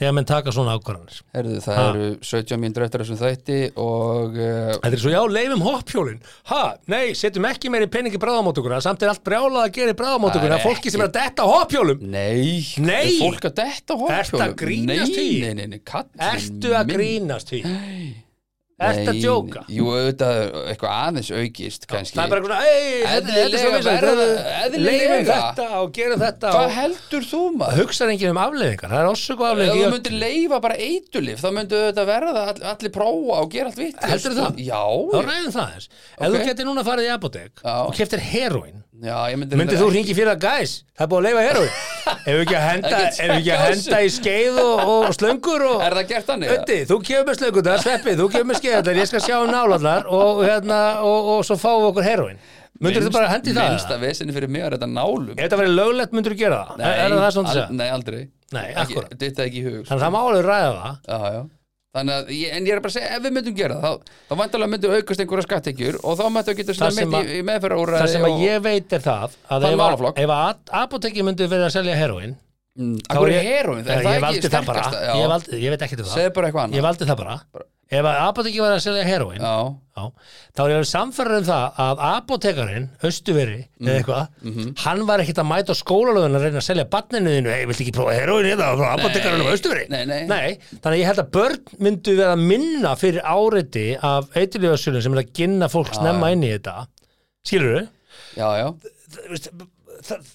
Speaker 1: þegar menn taka svona ákvarðanir
Speaker 2: herðu það
Speaker 1: Ha.
Speaker 2: eru 17 mínútur eftir af þessum þætti og uh,
Speaker 1: Þetta er svo já, leifum hoppjólin ha, nei, setjum ekki meiri peningi bráðamótuguna samt er allt brjálað að gera í
Speaker 2: Það
Speaker 1: bráðamótuguna
Speaker 2: er
Speaker 1: fólki sem er að detta á hoppjólum
Speaker 2: Nei,
Speaker 1: Nei.
Speaker 2: er fólk að detta á
Speaker 1: Ertu að
Speaker 2: hoppjólum
Speaker 1: grínast
Speaker 2: nei,
Speaker 1: í?
Speaker 2: nei, nei, nei, kallinn
Speaker 1: Ertu að
Speaker 2: minn.
Speaker 1: grínast því?
Speaker 2: Nei,
Speaker 1: Ertu að djóka?
Speaker 2: Jú, auðvitað eitthvað aðeins aukist kannski
Speaker 1: Það er bara eitthvað, ei, þetta þetta er svo
Speaker 2: Eðlilega verða-
Speaker 1: vinsælt
Speaker 2: eðlilega.
Speaker 1: leifum þetta og gerum þetta
Speaker 2: Hvað
Speaker 1: og
Speaker 2: heldur þú maður?
Speaker 1: hugsar enginn um afleiðingar, það er orsöku
Speaker 2: Ef þú
Speaker 1: afleiðingar
Speaker 2: myndir leifa bara eitulif þá myndu þetta verða all, allir prófa og gera allt vitt
Speaker 1: Heldurðu það?
Speaker 2: Já,
Speaker 1: þá ræðum það þess ef
Speaker 2: Ok.
Speaker 1: þú getur núna farið í apotek
Speaker 2: Já.
Speaker 1: og keftir heroin
Speaker 2: Já, ég myndi
Speaker 1: Myndið þú ringi fyrir það gæs? Það er búið að leifa hér úr Ef við ekki að henda, ef við ekki að henda í skeið og, og slöngur og
Speaker 2: Er það gert þannig? eða?
Speaker 1: Öddi, þú kemur með slöngundar, Sveppi, þú kemur með skeiðundar, ég skal sjá um nálarnar og, hérna, og, og svo fáum við okkur heroin. Myndur þú
Speaker 2: Minnst-
Speaker 1: bara hendi það?
Speaker 2: Minnsta vesinni fyrir mig er þetta nálum
Speaker 1: Ef þetta verið löglegt, myndur þú gera það? er er það svona þess
Speaker 2: al-
Speaker 1: að?
Speaker 2: Nei, aldrei
Speaker 1: Nei,
Speaker 2: Ekki-
Speaker 1: akkúrat.
Speaker 2: Þetta er ekki í hug
Speaker 1: Þannig að það má alveg ræða það.
Speaker 2: Já, já Þannig að, ég, en ég er bara að segja, ef við myndum gera það, þá, þá vandalega myndum aukast einhverja skattekjur og þá myndum við geta
Speaker 1: Það
Speaker 2: svona
Speaker 1: sem
Speaker 2: mynd í, í meðferðarúræði
Speaker 1: Það sem
Speaker 2: og-
Speaker 1: að ég veit er það að
Speaker 2: Þann
Speaker 1: ef, að-
Speaker 2: málaflokk.
Speaker 1: ef að apotekki myndi verið að selja heroin,
Speaker 2: Mm,
Speaker 1: þá
Speaker 2: Akkur
Speaker 1: er
Speaker 2: er heroin,
Speaker 1: Ég-
Speaker 2: er það
Speaker 1: ég
Speaker 2: ekki
Speaker 1: valdi það bara,
Speaker 2: sterkasta?
Speaker 1: ég,
Speaker 2: Já,
Speaker 1: valdi, ég veit ekkert um það.
Speaker 2: segðu bara eitthvað
Speaker 1: Ég
Speaker 2: annað
Speaker 1: valdi það bara. Ef að apotekki verið að selja heroin,
Speaker 2: Já,
Speaker 1: Já, þá er ég samferður um það að apotekarinn, austuveri
Speaker 2: Mhm.
Speaker 1: eða eitthvað, hann var ekkit að mæta á skólalöðun að reyna að selja barninu þínu hei, viltu ekki prófa heroin eða frá apotekarinn á austuveri?
Speaker 2: Nei, nei.
Speaker 1: þannig að ég held að börn myndu vera minna fyrir áriti af eitilífarsölun sem er að ginna fólk snemma inn í þetta skilur þú?
Speaker 2: já, já,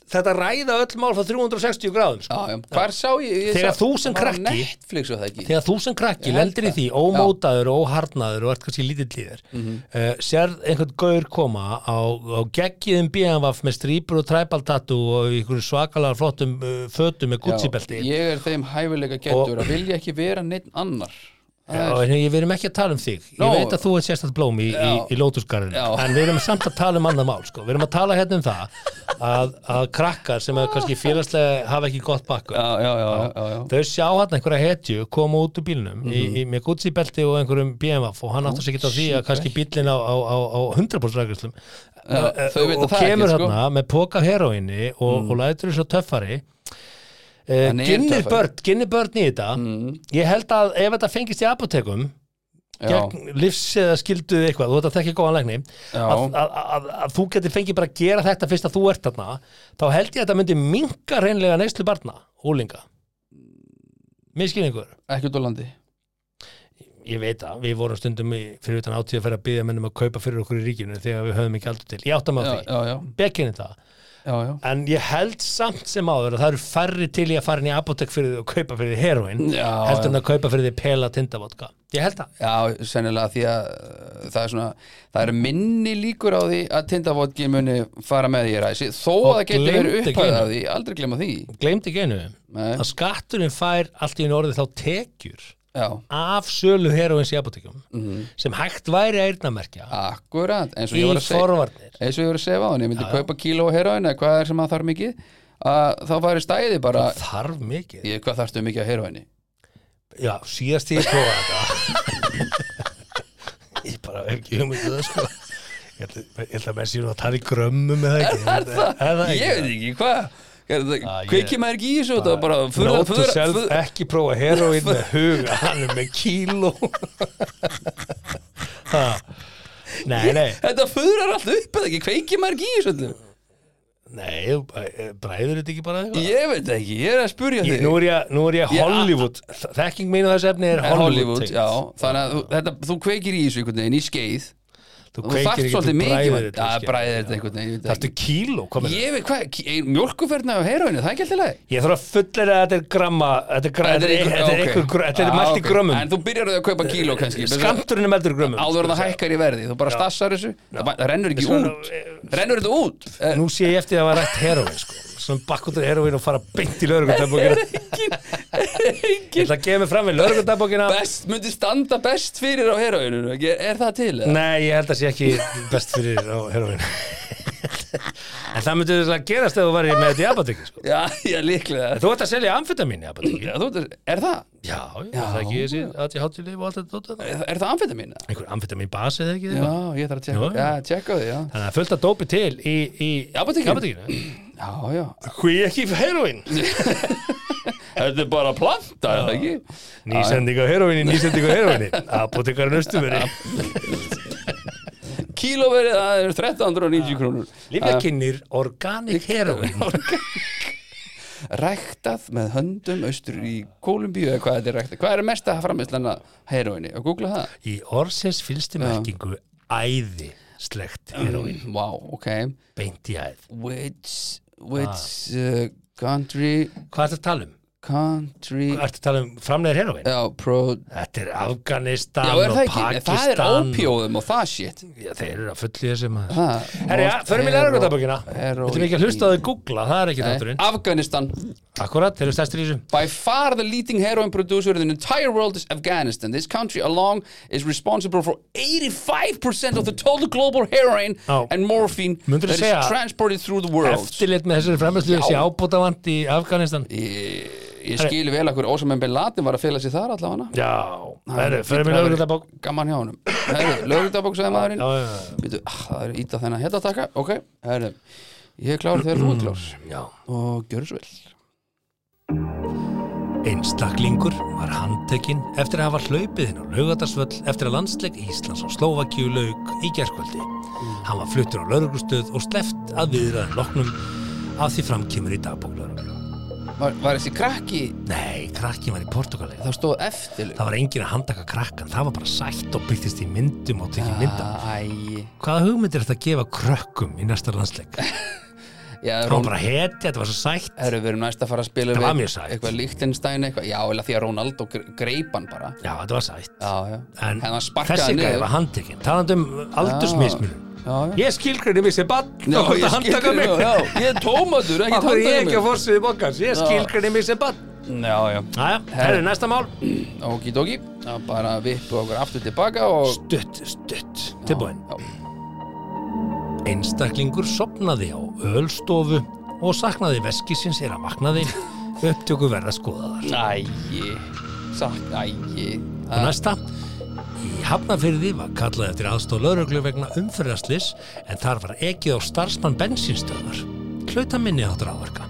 Speaker 1: Þetta ræða öll mál frá 360 gráðum sko.
Speaker 2: já, já. Hvar sá ég, ég
Speaker 1: Þegar
Speaker 2: sá,
Speaker 1: þú sem
Speaker 2: var á
Speaker 1: krakki-
Speaker 2: Netflix og það ekki
Speaker 1: þegar þú sem krakki
Speaker 2: Ég held
Speaker 1: lendir í
Speaker 2: það.
Speaker 1: því ómótaður og óharnaður og ert kannski lítill í þér
Speaker 2: Mhm.
Speaker 1: uh, sérð einhvern gaur koma á, á geggiðum BMWF með strýpur og træbaltatú og í einhverju svakalega flottum uh, fötum með
Speaker 2: Já,
Speaker 1: gutsibelti
Speaker 2: Ég er þeim hæfilega getur að vilja ekki vera neitt annar Það er-
Speaker 1: Já, en við erum ekki að tala um þig
Speaker 2: Nó.
Speaker 1: ég veit að þú ert sérstætt blóm í, í,
Speaker 2: Já.
Speaker 1: í lótusgarðinu
Speaker 2: Já.
Speaker 1: en við erum samt að tala um annað mál sko. við erum að tala hérna um það að, að krakkar sem er kannski félagslega hafa ekki gott bakku
Speaker 2: Já, já, já, já, já.
Speaker 1: þau sjá hann einhverja hetju koma út úr bílnum
Speaker 2: Mhm.
Speaker 1: í, í, með gutsibelti og einhverjum BMF og hann áttur sig ekki á því að kannski bílinn á, á, á, á 100% rækjuslum
Speaker 2: Já, þau vita
Speaker 1: og
Speaker 2: það ekki,
Speaker 1: kemur
Speaker 2: sko. Mm.
Speaker 1: hérna með póka heroinni og, og lætur þessu töffari uh,
Speaker 2: Hann er
Speaker 1: ginnir
Speaker 2: töffari. Mm.
Speaker 1: börn, ginnir börn í þetta ég held að ef þetta fengist í apotekum
Speaker 2: já.
Speaker 1: gegn livs eða skilduð eitthvað þú veit að þekki góðan lækni
Speaker 2: Já.
Speaker 1: að, að, að, að þú getur fengið bara að gera þetta fyrst að þú ert þarna þá held ég að þetta myndi minka reynlega neyslu barna, úlinga miskilningur
Speaker 2: Ekki út á landi
Speaker 1: ég veit að við vorum stundum í, fyrir utan átíð að færa að byggja mennum að kaupa fyrir okkur í ríkinu þegar við höfum ekki aldur til, ég átta mig á
Speaker 2: Já,
Speaker 1: því
Speaker 2: já, já,
Speaker 1: bekinni það,
Speaker 2: já, já.
Speaker 1: en ég held samt sem áður að það eru færri til í að fara inn í apotek fyrir því og kaupa fyrir því heroin
Speaker 2: Já,
Speaker 1: heldur en að kaupa fyrir því pela tindavodka ég held það,
Speaker 2: Já, sennilega því að uh, það er svona, það er minni líkur á því að tindavodki muni fara með því ræsi, þó
Speaker 1: Og
Speaker 2: að það geti verið
Speaker 1: gleymdi
Speaker 2: upphæða
Speaker 1: gleymdi.
Speaker 2: því, aldrei glemma því
Speaker 1: gleymd ekki einu
Speaker 2: Nei,
Speaker 1: að skatturinn fær allt í einu orðið þá tekjur
Speaker 2: já,
Speaker 1: af sölu heroins í apotekum sem hægt væri að eyrnamerkja
Speaker 2: akkurat Mhm. eins og
Speaker 1: í
Speaker 2: ég var að segja,
Speaker 1: forvarnir
Speaker 2: eins og ég var að segja á hann, ég myndi kaupa kíló og heroin eða hvað er sem að þarf mikið að þá væri stæði bara,
Speaker 1: þarf mikið,
Speaker 2: ég, hvað þarfstu mikið að heroinni
Speaker 1: já, síðast ég prófaði þetta ég bara hef ekki hugmynd um það sko ég held- ég held að menn sér að tala í grömmum með það ekki er það
Speaker 2: Ég veit ekki, hvað
Speaker 1: Ah,
Speaker 2: Er það-
Speaker 1: ég-
Speaker 2: Kveikir maður ekki í þessu þetta var bara furða-
Speaker 1: Nóttu
Speaker 2: furða-
Speaker 1: sjálf
Speaker 2: furða-
Speaker 1: ekki prófa heroin með huga, hann er með kíló Ha. Nei, nei
Speaker 2: Þetta fyrrar allt upp eða ekki, kveikir maður ekki í þessu öllu?
Speaker 1: Nei, þú bara- bræður þetta ekki bara eitthvað?
Speaker 2: Ég veit ekki, ég er að spurja
Speaker 1: Ah. Ég,
Speaker 2: þig
Speaker 1: nú, er ég, nú er ég
Speaker 2: Ég-
Speaker 1: Hollywood Þekking mín á þessu efni er
Speaker 2: Er Hollywood,
Speaker 1: Hollywood, tengt.
Speaker 2: já, þannig að þú, þetta, þú kveikir í þessu einhvern veginn í skeið
Speaker 1: Þú
Speaker 2: og þú
Speaker 1: kveikir
Speaker 2: þarft
Speaker 1: ekki,
Speaker 2: svolítið
Speaker 1: þú
Speaker 2: mikið
Speaker 1: bræðir
Speaker 2: ja,
Speaker 1: þetta
Speaker 2: bræðir þetta einhvern veginn ég veit
Speaker 1: Þetta
Speaker 2: ekki.
Speaker 1: er kíló, komið ég,
Speaker 2: ég veit hvað, mjölkuferðna á heroinu, það er ekki alltaf leið
Speaker 1: ég þarf að fullera að þetta er gramma Þetta er, gra, þetta er, þetta er, einhver, gr- þetta er mælt í
Speaker 2: en
Speaker 1: grömmum Eh,
Speaker 2: þú byrjar á því að kaupa kíló kannski
Speaker 1: Skamturinn er meldur í grömmum
Speaker 2: áður en það hækkar í verði, þú bara stassar þessu það það rennur ekki
Speaker 1: Svona,
Speaker 2: út rennur þetta út Eh,
Speaker 1: Nú sé ég eftir að það var rætt heroin sko. Svona bakkutur heroin og fara beint í lörgundabókina Ég ætla að gefa mig fram við lörgundabókina
Speaker 2: best, myndi standa best fyrir á heroinu er, er það til? eða?
Speaker 1: Nei, ég held að sé ekki best fyrir á heroin En það myndi þess að gerast ef þú væri með þetta í apotekki sko.
Speaker 2: já, já, líklega
Speaker 1: En Þú ert að selja amfetamín í apotekki
Speaker 2: Já, þú veit, er það?
Speaker 1: Já, já, það er ekki þessi að ég hátti líf og allt þetta dótið.
Speaker 2: Er er það amfetamín? eða?
Speaker 1: Einhver amfetamín basi eða ekki
Speaker 2: Já,
Speaker 1: þeirra
Speaker 2: ég þarf að
Speaker 1: Já,
Speaker 2: tjekka,
Speaker 1: já.
Speaker 2: já, tjekka á því, já
Speaker 1: Þannig að fullt að dópi til í, í
Speaker 2: apótekinu?
Speaker 1: apotekinu
Speaker 2: Já, já
Speaker 1: Hví ekki heroin
Speaker 2: Þetta er bara planta, er það ekki?
Speaker 1: Nýsending á heroinni, nýsending á heroinni Apotekarinn austumveri
Speaker 2: Kílóverið, það er 1390 krónur Ehm,
Speaker 1: Lífjakinnir organic heroin
Speaker 2: Ræktað með höndum austur í Kólumbíu eða hvað þetta er ræktað Hvað er mest að framistlan að heroinni? Að googla það?
Speaker 1: Í orsins fylstu merkingu æði slegt heroin
Speaker 2: Vá, ok
Speaker 1: Beint í æð
Speaker 2: Which, which uh, country
Speaker 1: Hvað er þetta að tala um?
Speaker 2: country
Speaker 1: Ertu að tala um framleiðir heroin?
Speaker 2: Já, pro
Speaker 1: Þetta er Afganistan
Speaker 2: Já, er það
Speaker 1: og
Speaker 2: ekki? Það er
Speaker 1: Pakistan
Speaker 2: ópjóðum og það shit
Speaker 1: Já, þeir eru að fulli þessi maður
Speaker 2: Ha,
Speaker 1: Herri, ja, förum í
Speaker 2: hero-
Speaker 1: lærargöndabökina
Speaker 2: hero-
Speaker 1: Við ætlum ekki að hlusta á þau googla, það er ekki
Speaker 2: Nei,
Speaker 1: þátturinn
Speaker 2: Afghanistan
Speaker 1: Akkurat, þeir eru stærstir í þessu
Speaker 2: By far the leading heroin producer in the entire world is Afghanistan. This country alone is responsible for 85% of the total global heroin
Speaker 1: Já.
Speaker 2: and morphine
Speaker 1: Myndirðu
Speaker 2: that
Speaker 1: segja-
Speaker 2: is transported through the world.
Speaker 1: Eftirlit með þessari fremlæslu
Speaker 2: Já.
Speaker 1: sé ábótavand í Afganistan
Speaker 2: Ég, ég skil vel að hver Ósamen Bin Laden var að fela sig þar allavega hana.
Speaker 1: Já, herri, förum í lærargöndabök
Speaker 2: Gaman hjá honum. Lögritabók sagði maðurinn.
Speaker 1: Já, já, já.
Speaker 2: Býtu, ah, það er íta þennan hérna taka. Ok, herri. Ég er klár þegar þú er klár.
Speaker 1: Já.
Speaker 2: Og gjörðu svo vel.
Speaker 1: Einstaklingur var handtekinn eftir að hafa hlaupið inn á laugatarsvöll eftir að landsleik Íslands og Slovakíu lauk í gerkvöldi.
Speaker 2: Mm.
Speaker 1: Hann var fluttur á lauruglustöð og sleft að viðraðin loknum að því framkýmur í dagbóklauruglu.
Speaker 2: Var, var þessi krakki,
Speaker 1: Nei, krakkin var í Portugalið.
Speaker 2: það stóð eftir.
Speaker 1: Það var engin að handtaka krakkan, það var bara sætt og byrtist í myndum og
Speaker 2: Ah.
Speaker 1: tekið mynda.
Speaker 2: Æ,
Speaker 1: Hvaða hugmynd er þetta að gefa krökkum í næsta landsleik?
Speaker 2: já,
Speaker 1: Það var bara heti, þetta var svo sætt.
Speaker 2: Herru, við erum næst að fara að spila
Speaker 1: Það var
Speaker 2: við
Speaker 1: mjög sætt.
Speaker 2: eitthvað Lichtenstein eitthvað, já, eða því að Ronaldo gre- greip hann bara
Speaker 1: Já, þetta var sætt.
Speaker 2: Já, já,
Speaker 1: En
Speaker 2: hann sparkaði
Speaker 1: þessi
Speaker 2: hann
Speaker 1: gæði
Speaker 2: niður
Speaker 1: var handtekinn, talandi um aldursmismunum.
Speaker 2: Já, já,
Speaker 1: Ég skilgrinni mig sem bann
Speaker 2: já,
Speaker 1: og þetta
Speaker 2: ég
Speaker 1: handtaka
Speaker 2: skilur
Speaker 1: mig
Speaker 2: nú, já, ég er tómatur, ekki
Speaker 1: Akkur er ég ekki að
Speaker 2: handtaka
Speaker 1: fórsviði bókans Ég skilgrinni mig sem bann
Speaker 2: mig Já, já,
Speaker 1: Jæja, það er næsta mál
Speaker 2: Mm. okidoki Já, bara vippu okkur aftur tilbaka og
Speaker 1: Stutt, stutt, tilbúin
Speaker 2: Já,
Speaker 1: Einstaklingur sopnaði á ölstofu og saknaði veskisins er að vaknaði upptöku verða skoðaðar
Speaker 2: ægi, sagt, ægi
Speaker 1: Og næsta Í Hafnafyrði var kallað eftir aðstóð lauruglu vegna umferðaslis en þar var ekið á starfsmann bensinstöðar Hlauta minni áttur áverka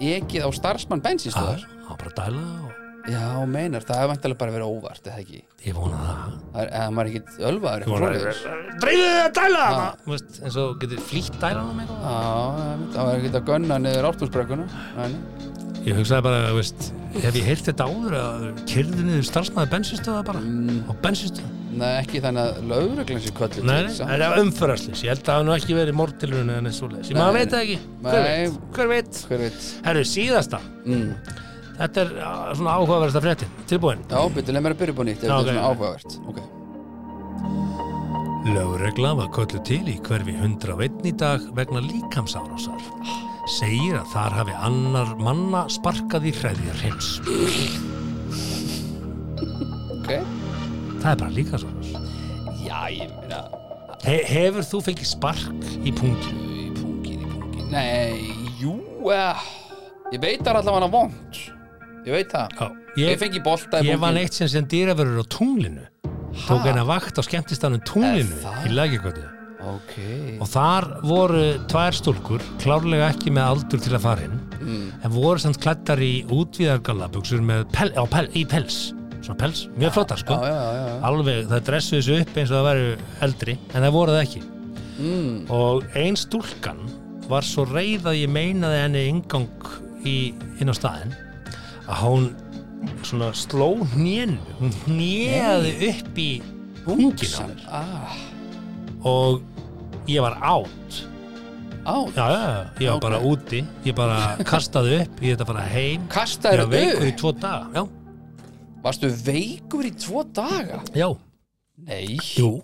Speaker 2: Ekið á starfsmann
Speaker 1: Það
Speaker 2: bensinstöðar
Speaker 1: var bara að dæla og
Speaker 2: Já, meinar, það hefur vantilega bara verið óvart, eða ekki
Speaker 1: ég vona það
Speaker 2: Það er, eða maður er ekkit ölvaður eitthvað svoleiðis.
Speaker 1: Dreifðu þið að dæla hana Þú veist, eins og getur flýtt dæla hana með
Speaker 2: Já, einmitt, það var ekkit að gunna niður áttúrsbrekkuna Þannig
Speaker 1: eitthvað Ég hugsaði bara, þú veist, hef ég heyrt þetta áður að kyrðu niður starfsmaður bensinstöða bara á bensinstöða
Speaker 2: Nei, ekki þannig að lögreglan sé köllu
Speaker 1: Mm. Nei, nei, það er umförðarslis, ég held að það hafi nú ekki verið mortilun eða neitt svoleiðis, ég maður
Speaker 2: Nei.
Speaker 1: veit það ekki Hver
Speaker 2: Nei.
Speaker 1: veit, hver veit
Speaker 2: Hver veit
Speaker 1: Herru, síðasta,
Speaker 2: mm.
Speaker 1: þetta er ah, svona áhugaverðasta fréttin, tilbúin
Speaker 2: Já, betur, leið mér að byrja upp á nýtt ef
Speaker 1: Já,
Speaker 2: Þetta
Speaker 1: ok.
Speaker 2: er svona áhugavert okay.
Speaker 1: Lögregla var köllu til í hverfi 101 í dag vegna líkamsárásar. Segir að þar hafi annar manna sparkað í hræðir heims.
Speaker 2: ok
Speaker 1: Það er bara líkamsárás.
Speaker 2: Já, ég meina
Speaker 1: He hefur þú fengið spark í punktinu?
Speaker 2: Í pungin, í pungin Nei, jú, eh, ég veit það er allavega vond Ég veit það
Speaker 1: Já.
Speaker 2: Ég,
Speaker 1: Ég,
Speaker 2: fengi bolta í
Speaker 1: ég vann
Speaker 2: pungin
Speaker 1: eitt sem sem dýraverur á tunglinu. Tók eina vakt á skemmtistanum tunglinu
Speaker 2: Er það?
Speaker 1: í lækjakotu.
Speaker 2: Ok
Speaker 1: Og þar voru tvær stúlkur, klárlega ekki með aldur til að fara inn,
Speaker 2: Mm.
Speaker 1: en voru samt klættar í útvíðargallabuxur með pel, á, pel, í pels, svona pels, mjög flottar sko.
Speaker 2: Já, já, já, já.
Speaker 1: Alveg, það dressuðu þessu upp eins og það væru eldri, en það voru það ekki.
Speaker 2: Mm.
Speaker 1: Og ein stúlkan var svo reið að ég meinaði henni ingang í, inn á staðinn að hún svona sló hnén, hún hnéði upp í hungin á
Speaker 2: Sam-
Speaker 1: mér
Speaker 2: Ah,
Speaker 1: og ég var átt
Speaker 2: á
Speaker 1: Já, já, já, ég var
Speaker 2: Ok.
Speaker 1: bara úti Ég bara kastaði upp, ég þetta bara heim Ég
Speaker 2: Kastaðir
Speaker 1: var veikur í
Speaker 2: upp
Speaker 1: tvo daga Já,
Speaker 2: Varstu veikur í tvo daga?
Speaker 1: já,
Speaker 2: Nei
Speaker 1: jú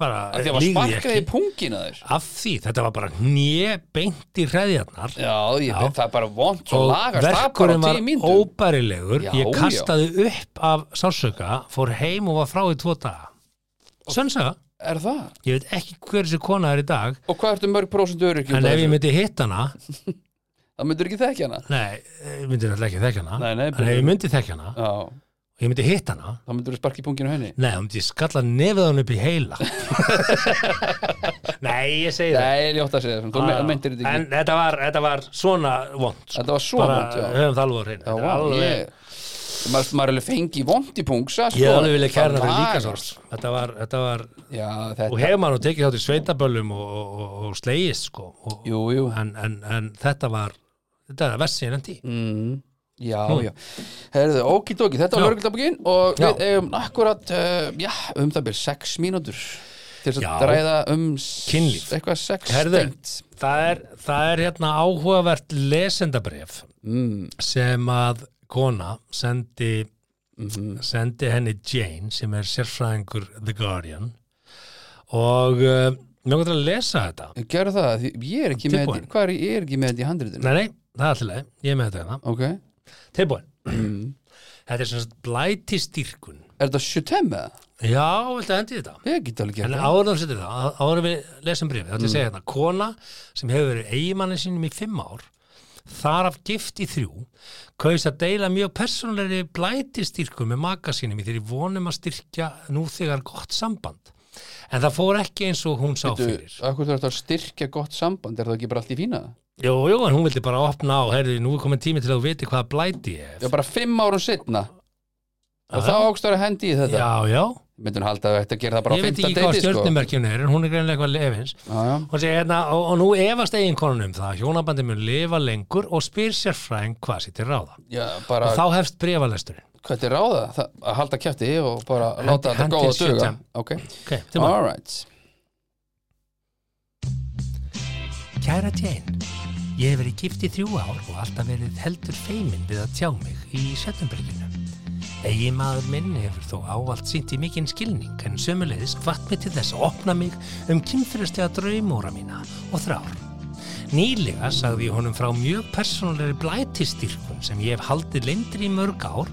Speaker 1: Bara
Speaker 2: Af því að var
Speaker 1: lýgði ég
Speaker 2: sparkað í pungin að þér
Speaker 1: Af því, þetta var bara hnjö beint í hreðjarnar
Speaker 2: Já, ég
Speaker 1: Já.
Speaker 2: veit, það er bara vond Svo
Speaker 1: og
Speaker 2: lagast það bara
Speaker 1: verkurinn
Speaker 2: á
Speaker 1: var
Speaker 2: tíu myndum
Speaker 1: óbærilegur
Speaker 2: Já,
Speaker 1: Ég
Speaker 2: já.
Speaker 1: kastaði upp af sásöka Fór heim og var frá í tvo daga Sönsaga,
Speaker 2: Er það?
Speaker 1: ég veit ekki hver þessi kona er í dag
Speaker 2: Og hvað ertu mörg prósent öryggi?
Speaker 1: En ef ég myndi hitt hana
Speaker 2: Það myndur ekki þekki hana
Speaker 1: Nei, ég myndi náttúrulega ekki þekja hana
Speaker 2: Nei, nei,
Speaker 1: En ef ég myndi þekja hana
Speaker 2: Já,
Speaker 1: og ég myndi hitt hana
Speaker 2: þá myndur þú sparki í punginu henni
Speaker 1: Nei, þá myndi ég skalla nefið á hann upp í heila Nei, ég segi það Ah.
Speaker 2: Nei, ég ljótt að segja það, þú me- meintir þetta
Speaker 1: En
Speaker 2: ekki
Speaker 1: þetta var, þetta var svona vond sko.
Speaker 2: Þetta var svo vond,
Speaker 1: Bara
Speaker 2: já
Speaker 1: höfum það alveg á hreinu
Speaker 2: Já,
Speaker 1: Þetta
Speaker 2: vá,
Speaker 1: er alveg-
Speaker 2: ég Maður maður er alveg fengi vond í pungsa sko.
Speaker 1: Ég hef alveg vilja kæra hana fyrir
Speaker 2: Það var-
Speaker 1: líkasár Þetta var, þetta var
Speaker 2: Já,
Speaker 1: Og
Speaker 2: þetta,
Speaker 1: hefur maður nú tekið þátt í sveitaböllum og, og, og, og slegist sko og,
Speaker 2: jú, jú
Speaker 1: en, en, en þetta var Þetta er versi en endi
Speaker 2: mm. Já, já Herðu, okidoki, þetta var
Speaker 1: Já.
Speaker 2: lörgildabokinn Og við
Speaker 1: Já.
Speaker 2: eigum akkurat, uh, já, um það byrð sex mínútur Til þess
Speaker 1: Já.
Speaker 2: að ræða um s-
Speaker 1: Kynlíf.
Speaker 2: Eitthvað sex
Speaker 1: Herðu.
Speaker 2: tengt.
Speaker 1: það er, það er hérna áhugavert lesendabref
Speaker 2: mm,
Speaker 1: sem að kona sendi,
Speaker 2: mm,
Speaker 1: sendi henni Jane sem er sérfræðingur The Guardian og uh, mjög gott að lesa þetta
Speaker 2: Gerðu það, því ég er ekki með
Speaker 1: Tilbúin.
Speaker 2: þetta- Hvað er ég er ekki með þetta í handritinu?
Speaker 1: Nei, nei, það er alltaf leið, ég er með þetta hérna.
Speaker 2: Ok
Speaker 1: Tilbúin,
Speaker 2: mm.
Speaker 1: þetta er sem sagt blæti styrkun
Speaker 2: Er þetta sjötem eða?
Speaker 1: Já, viltu að hendi þetta?
Speaker 2: Ég get alveg gert
Speaker 1: En
Speaker 2: það
Speaker 1: áður en setjum það, á- áður en við lesum bréfið, þá
Speaker 2: Mm.
Speaker 1: ætlum ég að segja hérna, kona sem hefur verið eigimanni sínum í fimm ár, þar af gift í þrjú, kaus að deila mjög persónulegri blætistyrku með maka sínum í þeirri vonum að styrkja nú þegar gott samband. En það fór ekki eins og hún sá
Speaker 2: Þú,
Speaker 1: fyrir.
Speaker 2: akkur þarf þetta að styrkja gott samband Er það ekki bara allt í fína?
Speaker 1: Jú, jú, en hún vildi bara opna á, herri, nú er komin tími til að þú viti hvaða blæti ég
Speaker 2: Já,
Speaker 1: hef.
Speaker 2: bara fimm árum setna Og
Speaker 1: Já,
Speaker 2: þá ákst það að hendi í þetta
Speaker 1: Já, já,
Speaker 2: Myndum halda að þetta gera það bara á
Speaker 1: ég veit
Speaker 2: fymta
Speaker 1: ekki hvað
Speaker 2: deiti sko.
Speaker 1: stjörnumerkjun er, en hún er greinlega eitthvað lefins.
Speaker 2: Já, já.
Speaker 1: Hún segir hérna, og, og nú efast eiginkonan um það að hjónabandi mun lifa lengur og spyr sér fræng hvað sér til ráða.
Speaker 2: já, bara
Speaker 1: Og þá hefst brefalesturinn.
Speaker 2: hvað er ráða? Það, að halda kjæfti og bara
Speaker 1: Hendi-
Speaker 2: láta þetta
Speaker 1: hendi
Speaker 2: góða
Speaker 1: í
Speaker 2: duga
Speaker 1: sjötem.
Speaker 2: Ok,
Speaker 1: Ok, til maður.
Speaker 2: alright
Speaker 1: Kæra Jane, ég hef verið gift í þrjú ár og alltaf verið heldur feiminn við að tjá mig í setjumbrillinu. Egi maður minn hefur þó ávalt sínt í mikinn skilning en sömulegis hvart mig til þess að opna mig um kynfyrirstega draumóra mína og þrár. Nýlega sagði ég honum frá mjög persónulegri blætistyrkun sem ég hef haldið lindri í mörg ár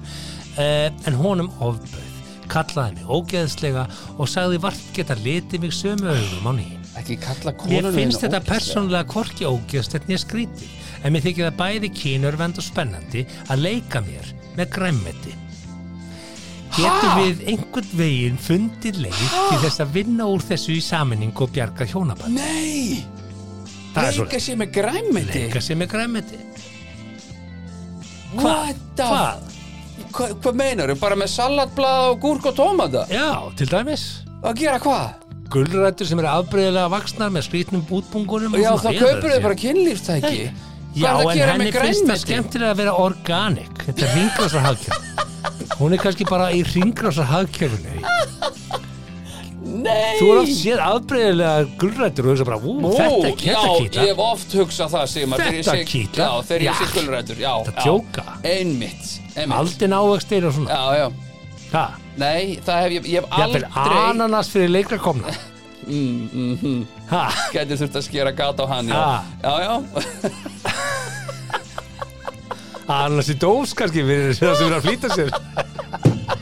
Speaker 1: eh, en honum ofböð, kallaði mig ógeðslega og sagði vart geta litið mig sömu augum á nýjum.
Speaker 2: Ekki kalla
Speaker 1: Mér
Speaker 2: konunum
Speaker 1: finnst þetta persónulega hvorki ógjast þetta ég skríti, en mér þykir það bæði kynurvend og spennandi að leika mér með græmmeti. Getum við einhvern veginn fundið leið til þess að vinna úr þessu í saminningu og bjarga hjónaband?
Speaker 2: Nei,
Speaker 1: Það er
Speaker 2: leika
Speaker 1: svoleiðis.
Speaker 2: sér með græmiti
Speaker 1: Leika sér með græmmeti.
Speaker 2: What the
Speaker 1: Hvað?
Speaker 2: Hva, Hvað meinar þau? Bara með salatblað og gúrk og tómata?
Speaker 1: Já, til dæmis.
Speaker 2: Að gera hvað?
Speaker 1: Gullrættur sem eru afbreyðilega vaksnar með skrítnum útbungunum. og
Speaker 2: Já,
Speaker 1: svona.
Speaker 2: það
Speaker 1: Ég veit
Speaker 2: kaupur þau
Speaker 1: ekki.
Speaker 2: bara kynlífstæki
Speaker 1: Nei.
Speaker 2: Hvað
Speaker 1: Já,
Speaker 2: er það að
Speaker 1: en
Speaker 2: gera
Speaker 1: henni finnst
Speaker 2: með
Speaker 1: það
Speaker 2: grænmeti?
Speaker 1: skemmtilega að vera organik Þetta er ringrásar hagkjörn Hún er kannski bara í ringrásar hagkjörnu
Speaker 2: Nei
Speaker 1: Þú er oft séð afbreyðilega gulrættur og hugsa bara, ú,
Speaker 2: Ó,
Speaker 1: þetta er
Speaker 2: já,
Speaker 1: kettakýta
Speaker 2: ég hef oft hugsað það Sigmar, þegar ég
Speaker 1: Þetta
Speaker 2: sé-
Speaker 1: kýtla.
Speaker 2: Já, þegar ég
Speaker 1: Já.
Speaker 2: sé gulrætur Já,
Speaker 1: Þetta
Speaker 2: já.
Speaker 1: djóka.
Speaker 2: Einmitt, einmitt
Speaker 1: Aldin ávöxtir og svona
Speaker 2: Já, já
Speaker 1: Það,
Speaker 2: Nei, það hef ég, ég hef
Speaker 1: jafnvel
Speaker 2: aldrei
Speaker 1: ananas fyrir leikakomna
Speaker 2: mm, mm, mm,
Speaker 1: Ha,
Speaker 2: Gæti þurft að skera gata á hann Já,
Speaker 1: Ah.
Speaker 2: já, já.
Speaker 1: ananas í dós kannski fyrir það sem er að flýta sér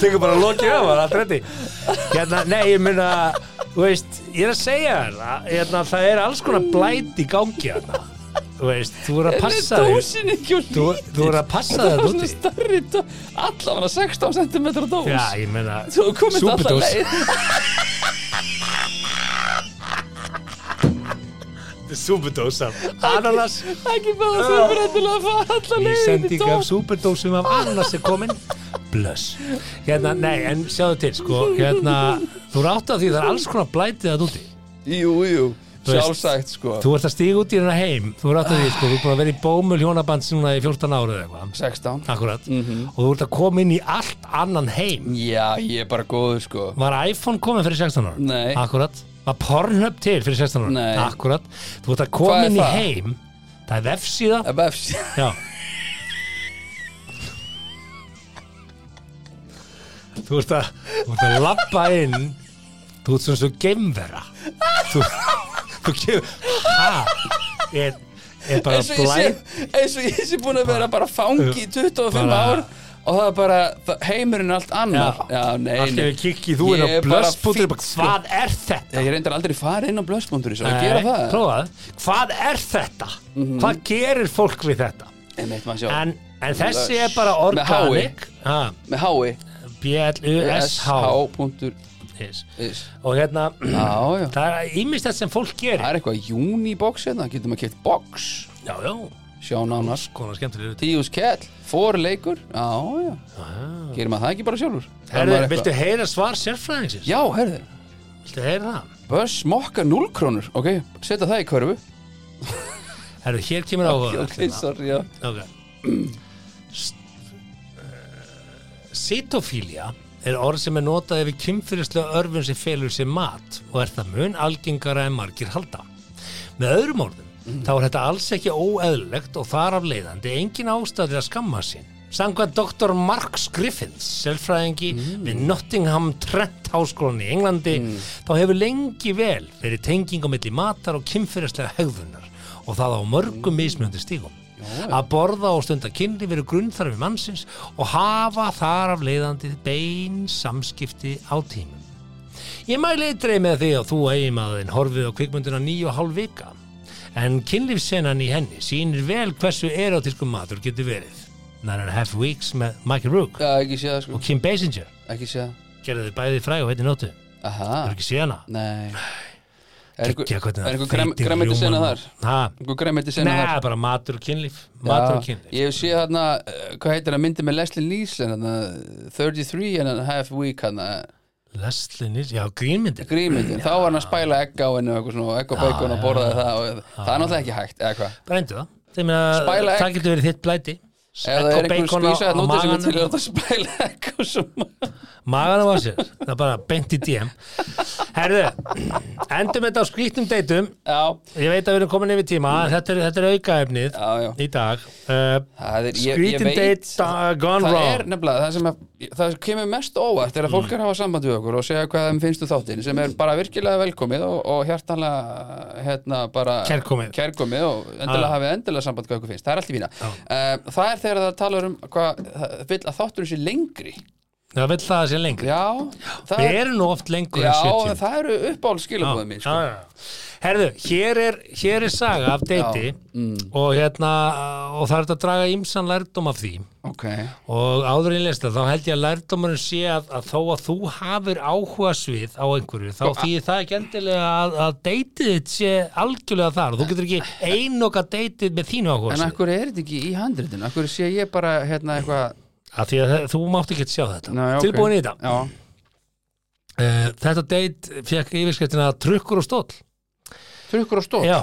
Speaker 1: Tekur bara lokið af, það er allt reddi Hérna, nei, ég meina, þú veist, ég er að segja þér að hérna, það er alls konar blæt í gangi hérna Þú veist, þú er að passa
Speaker 2: Nei,
Speaker 1: þér
Speaker 2: dósin ekki og
Speaker 1: Þú,
Speaker 2: lít
Speaker 1: þú er að passa
Speaker 2: Það
Speaker 1: þér
Speaker 2: var
Speaker 1: úti
Speaker 2: svona starri dó Allavega 16 cm dós
Speaker 1: Já, ég meina,
Speaker 2: Þú komist alltaf
Speaker 1: súpudós.
Speaker 2: leið
Speaker 1: Súpudósar Ananas
Speaker 2: Það er ekki bara þurfur endilega að fara alltaf leið
Speaker 1: Ísending af súperdósum af ananas er komin Blöss Hérna, nei, en sjáðu til, sko Hérna, þú rátt af því það er alls konar blætið að úti
Speaker 2: Jú, jú,
Speaker 1: Þú veist,
Speaker 2: sjálfsagt sko
Speaker 1: Þú ert að stíga út í hérna heim Þú rátt af því, sko, þú er búin að vera í bómul hjónaband núna í 14 ára eða eitthvað
Speaker 2: 16
Speaker 1: Akkurat
Speaker 2: Mhm.
Speaker 1: Og þú ert að koma inn í allt annan heim
Speaker 2: Já, ég er bara góður sko
Speaker 1: Var iPhone komið fyrir 16 ára?
Speaker 2: Nei.
Speaker 1: Akkurat Var Pornhub til fyrir 16 ára?
Speaker 2: Nei.
Speaker 1: Akkurat Þú ert að
Speaker 2: Hvað
Speaker 1: koma
Speaker 2: er
Speaker 1: inn í
Speaker 2: það?
Speaker 1: heim Það er vefsíða
Speaker 2: Það var efs-
Speaker 1: Já Þú ert að Þú ert að labba inn Þú ert svona svo geimvera Þú Þú kemur Hæ Er, er bara
Speaker 2: eins og ég
Speaker 1: blæð
Speaker 2: sé eins og ég sé búin að vera bara fangi í 25
Speaker 1: bara-
Speaker 2: ár og það er bara það, heimurinn allt annar já, nei,
Speaker 1: Allt
Speaker 2: nei
Speaker 1: hefur kikki Þú er
Speaker 2: Ég
Speaker 1: að
Speaker 2: er bara
Speaker 1: blössbútur
Speaker 2: fínn, sko.
Speaker 1: Hvað er þetta?
Speaker 2: ég reyndar aldrei fara inn á blössbúndur ég að gera það Mhm.
Speaker 1: Prófaðu Hvað er þetta? Hvað gerir fólk við þetta?
Speaker 2: Nei, meitt maður sjá,
Speaker 1: En, en þessi
Speaker 2: Blöss.
Speaker 1: er bara
Speaker 2: Með hái.
Speaker 1: organic Ha,
Speaker 2: með hái
Speaker 1: B-L-U-S-H
Speaker 2: sh.is
Speaker 1: Yes. Og hérna
Speaker 2: já, já
Speaker 1: Það er ímist þetta sem fólk
Speaker 2: það
Speaker 1: gerir
Speaker 2: er eitthvað unibox hérna getum að keitt box
Speaker 1: Já, já,
Speaker 2: sjá nánast
Speaker 1: konar skemmtilegur
Speaker 2: tíus kell fór leikur já, já gerir maður það ekki bara sjálfur
Speaker 1: Ah.
Speaker 2: Þarf
Speaker 1: Herðu,
Speaker 2: maður eitthvað-
Speaker 1: viltu heyra svar sérfræðingsins?
Speaker 2: já, herðu
Speaker 1: Viltu heyra það?
Speaker 2: Böss mokka 0 krónur, ok, setja það í körfu
Speaker 1: Herðu, hér kemur áhuga
Speaker 2: Ok, sorry, já
Speaker 1: Ok St- eh, Sitofília er orð sem er notað yfir kynfyrirslega örfun sem felur sér mat og er það mun algengara en margir halda. Með öðrum orðum, þá er þetta alls ekki óeðlilegt og þar af leiðandi engin ástæði að skamma sín. Samkvæmt Dr. Marks Griffiths, selfræðingi við Nottingham Trent Háskólan í Englandi, þá hefur lengi vel verið tenging á milli matar og kynferðislega hegðunar og það á mörgum mismjöndi stígum. Að borða og stunda kynli verið grunnþarfi mannsins og hafa þar af leiðandi bein samskipti á tímum. Ég mæli eitreið með því að þú eiginmaðurinn horfið á kvikmynduna níu og hálf vika. En kynlífssenan í henni sýnir vel hversu erotísku matur getur verið. Nine and a half weeks með Michael Rook
Speaker 2: Já, ekki séð það sko
Speaker 1: og Kim Basinger
Speaker 2: Ekki séð
Speaker 1: gerði þið bæði fræg og heiti nóttu. Það
Speaker 2: það Aha,
Speaker 1: er ekki síðana.
Speaker 2: nei Er einhver-
Speaker 1: Gekkja hvernig
Speaker 2: er
Speaker 1: það
Speaker 2: einhver grem-
Speaker 1: feitir
Speaker 2: grænmeti sena
Speaker 1: rjómann.
Speaker 2: þar?
Speaker 1: Ha,
Speaker 2: Einhver græmiti
Speaker 1: nei,
Speaker 2: sena þar?
Speaker 1: bara matur og kynlíf. Matur
Speaker 2: Já,
Speaker 1: og kynlíf.
Speaker 2: Ég hef séð hérna, eh, hvað heitir það, myndi með Leslie Nielsen hérna, 33 and a half week hérna,
Speaker 1: Leslinis, já, grínmyndir.
Speaker 2: grímyndin, þá var hann að spæla egg á hennu og eitthvað svona, og egg og bacon og borðaði það og
Speaker 1: Ah.
Speaker 2: það er náttúrulega ekki hægt, eða hvað
Speaker 1: Brændu það. Þeim að
Speaker 2: Spæla egg.
Speaker 1: það getur verið þitt blæti.
Speaker 2: Ef það
Speaker 1: Egg og
Speaker 2: er einhver
Speaker 1: bacon á-
Speaker 2: skvísa
Speaker 1: á
Speaker 2: hérna úti sem er
Speaker 1: maganum.
Speaker 2: til að láta spæla egg og svona
Speaker 1: maganum á sér, það er bara beint í DM Herðu, endum þetta á skrýtnum deytum
Speaker 2: Já,
Speaker 1: ég veit að við erum komin yfir tíma en þetta er, þetta er aukaefnið
Speaker 2: já, já
Speaker 1: í dag uh,
Speaker 2: Það er, ég, ég
Speaker 1: Skrýtin
Speaker 2: veit
Speaker 1: date uh, gone
Speaker 2: Það er
Speaker 1: wrong
Speaker 2: nefnilega, það sem að, það kemur mest óvart er að fólk er að hafa samband við okkur og segja hvað þeim finnst úr þáttin sem er bara virkilega velkomið og, og hjartanlega, hérna, bara
Speaker 1: Kærkomið. Ah.
Speaker 2: Kærkomið og endilega hafið endilega samband hvað okkur finnst, það er allt í fína uh, Það er þegar það talar um hvað, það vill að þátturinn sé lengri
Speaker 1: það vill það að sé lengur
Speaker 2: Já, það
Speaker 1: við erum nú oft lengur
Speaker 2: Já,
Speaker 1: en 70
Speaker 2: það eru uppáhald skilabóðið mín, sko
Speaker 1: Já, já. Herðu, hér er, hér er saga af deyti
Speaker 2: mm.
Speaker 1: og, hérna, og það er þetta að draga ímsan lærdóm af því
Speaker 2: Ok,
Speaker 1: og áður en ég leist það, þá held ég að lærdómurinn sé að, að þó að þú hafir áhuga svið á einhverju,
Speaker 2: Sko,
Speaker 1: þá þýðir það ekki endilega að, að deytið þitt sé algjörlega þar og þú getur ekki einoka deytið með þínu áhuga
Speaker 2: en
Speaker 1: svið
Speaker 2: akkur er þetta ekki í handritinu, akkur sé ég bara, hérna, eitthvað
Speaker 1: að því að þe- þú mátt ekki sjá þetta
Speaker 2: Nei, ok.
Speaker 1: tilbúin í þetta
Speaker 2: Já,
Speaker 1: uh, þetta deyt fekk yfirskriftina trukkur og stóll
Speaker 2: trukkur og stótt
Speaker 1: já,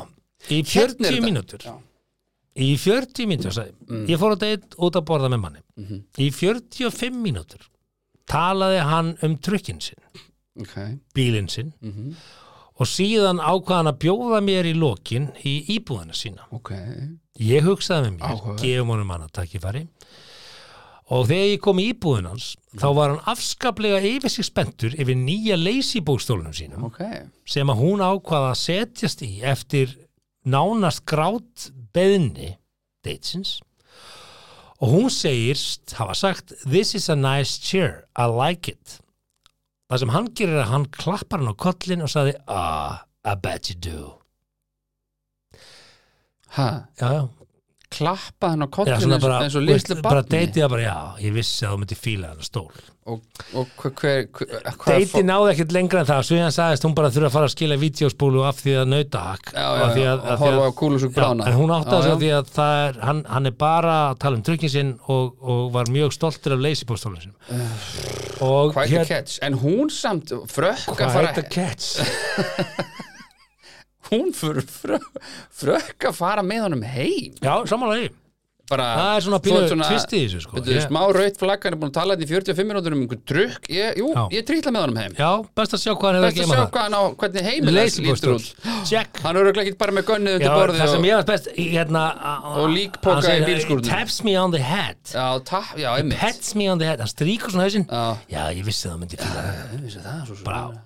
Speaker 1: í
Speaker 2: Hérna
Speaker 1: 40
Speaker 2: er þetta. Mm.
Speaker 1: mínútur
Speaker 2: Já.
Speaker 1: í 40 mínútur sagði. ég. ég fór á deyt út að borða með manni
Speaker 2: Mhm.
Speaker 1: í 45 mínútur talaði hann um trukkin sinn
Speaker 2: Ok,
Speaker 1: bílinn sinn
Speaker 2: Mhm.
Speaker 1: og síðan ákvað hann að bjóða mér í lokin í íbúðana sína.
Speaker 2: ok
Speaker 1: Ég hugsaði með mér,
Speaker 2: Áhugavert.
Speaker 1: gefum honum hann að takkifæri og þegar ég kom í íbúðin hans þá var hann afskaplega yfir sig spenntur yfir nýja leysibókstólunum sínum
Speaker 2: Ok,
Speaker 1: sem að hún ákvaða að setjast í eftir nánast grát beðni deitsins og hún segirst hafa sagt this is a nice chair, I like it það sem hann gerir er að hann klappar hann á kollin og sagði ah, I bet you do
Speaker 2: hæ,
Speaker 1: já, já,
Speaker 2: klappa hann á
Speaker 1: já
Speaker 2: kollin
Speaker 1: svona
Speaker 2: eins,
Speaker 1: bara,
Speaker 2: eins og litlu
Speaker 1: veist, bara
Speaker 2: barni
Speaker 1: deitið að bara, já, ég vissi að þú myndi fíla hann stól
Speaker 2: og, og hver, hver, hver hvað er
Speaker 1: Deiti
Speaker 2: fólk-
Speaker 1: náði ekkert lengra en það svo hann sagðist hún bara þurfa að fara að skila vídeospúlu af því að nautahakk
Speaker 2: Já,
Speaker 1: og
Speaker 2: já,
Speaker 1: af því
Speaker 2: já,
Speaker 1: að- af
Speaker 2: og
Speaker 1: því að-
Speaker 2: horfa á kúlusug brána
Speaker 1: Já, en hún átti að
Speaker 2: Já,
Speaker 1: segja
Speaker 2: já.
Speaker 1: því að það er, hann, hann er bara að tala um drukkin sinn og, og var mjög stoltur af leysipóstólun sinum.
Speaker 2: Eh,
Speaker 1: Og
Speaker 2: Quite the catch, en hún samt frökk að fara
Speaker 1: the catch?
Speaker 2: hún fyrir frökk, frökk að fara með honum heim
Speaker 1: Já, samanlega ég.
Speaker 2: bara,
Speaker 1: Það er svona
Speaker 2: þú ert
Speaker 1: pínu tvist í þessu, sko.
Speaker 2: veitu,
Speaker 1: Ég-
Speaker 2: smá raut flaggan er búin að tala þetta í 45 minútur um einhver drukk ég, jú,
Speaker 1: Já.
Speaker 2: ég trýtla með honum heim
Speaker 1: Já, best að sjá hvað hann hefur að
Speaker 2: best að
Speaker 1: geima
Speaker 2: sjá
Speaker 1: það.
Speaker 2: hvað hann á, hvernig heimil lítur
Speaker 1: Leysipóstól.
Speaker 2: út
Speaker 1: Check.
Speaker 2: hann eru ekki bara með
Speaker 1: Já,
Speaker 2: gönnið undir borðið
Speaker 1: það sem
Speaker 2: og-
Speaker 1: ég var best, hérna...
Speaker 2: Og líkpoka
Speaker 1: hann segir,
Speaker 2: í bílskúrnum.
Speaker 1: Taps me on the head.
Speaker 2: já, tap, já, einmitt
Speaker 1: Pets me on the head. Hann stríkur svona hausinn.
Speaker 2: Já.
Speaker 1: Já, ég vissi það myndi fíla. það.
Speaker 2: Ég vissi það, svo sem
Speaker 1: Bara,
Speaker 2: er.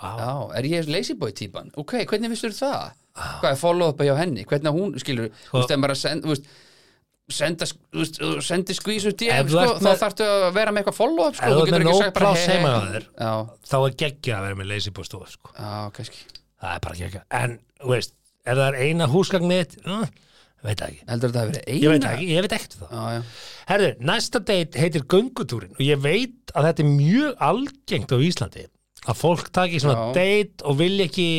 Speaker 1: wow.
Speaker 2: Já, er ég lazy boy típan? Ok, hvernig vissur það?
Speaker 1: Ah.
Speaker 2: Hvað er follow-up hjá henni? Hvernig hún, skilur,
Speaker 1: Sko-
Speaker 2: þú veist, ef maður að senda, þú veist, senda, þú veist, þú sendir skvís úr
Speaker 1: Ef
Speaker 2: DM,
Speaker 1: þú
Speaker 2: sko,
Speaker 1: ert
Speaker 2: þá
Speaker 1: með-
Speaker 2: þarftu að vera með eitthvað follow-up, sko,
Speaker 1: Ef þú ert með
Speaker 2: ekki
Speaker 1: nóg pláss
Speaker 2: hey,
Speaker 1: heima
Speaker 2: hey.
Speaker 1: hjá þér.
Speaker 2: Já,
Speaker 1: Þá er geggja að vera með leysipóstól, sko.
Speaker 2: já, kannski.
Speaker 1: það er bara ekki ekki en, þú veist, ef það er eina húsgagnið þitt, uh, veit það ekki
Speaker 2: Heldur þetta að vera eina?
Speaker 1: ég veit það ekki, ég veit ekkert um það
Speaker 2: Já, já,
Speaker 1: herðu, næsta date heitir göngutúrin og ég veit að þetta er mjög algengt á Íslandi að fólk taki svona
Speaker 2: Já.
Speaker 1: date og vilja ekki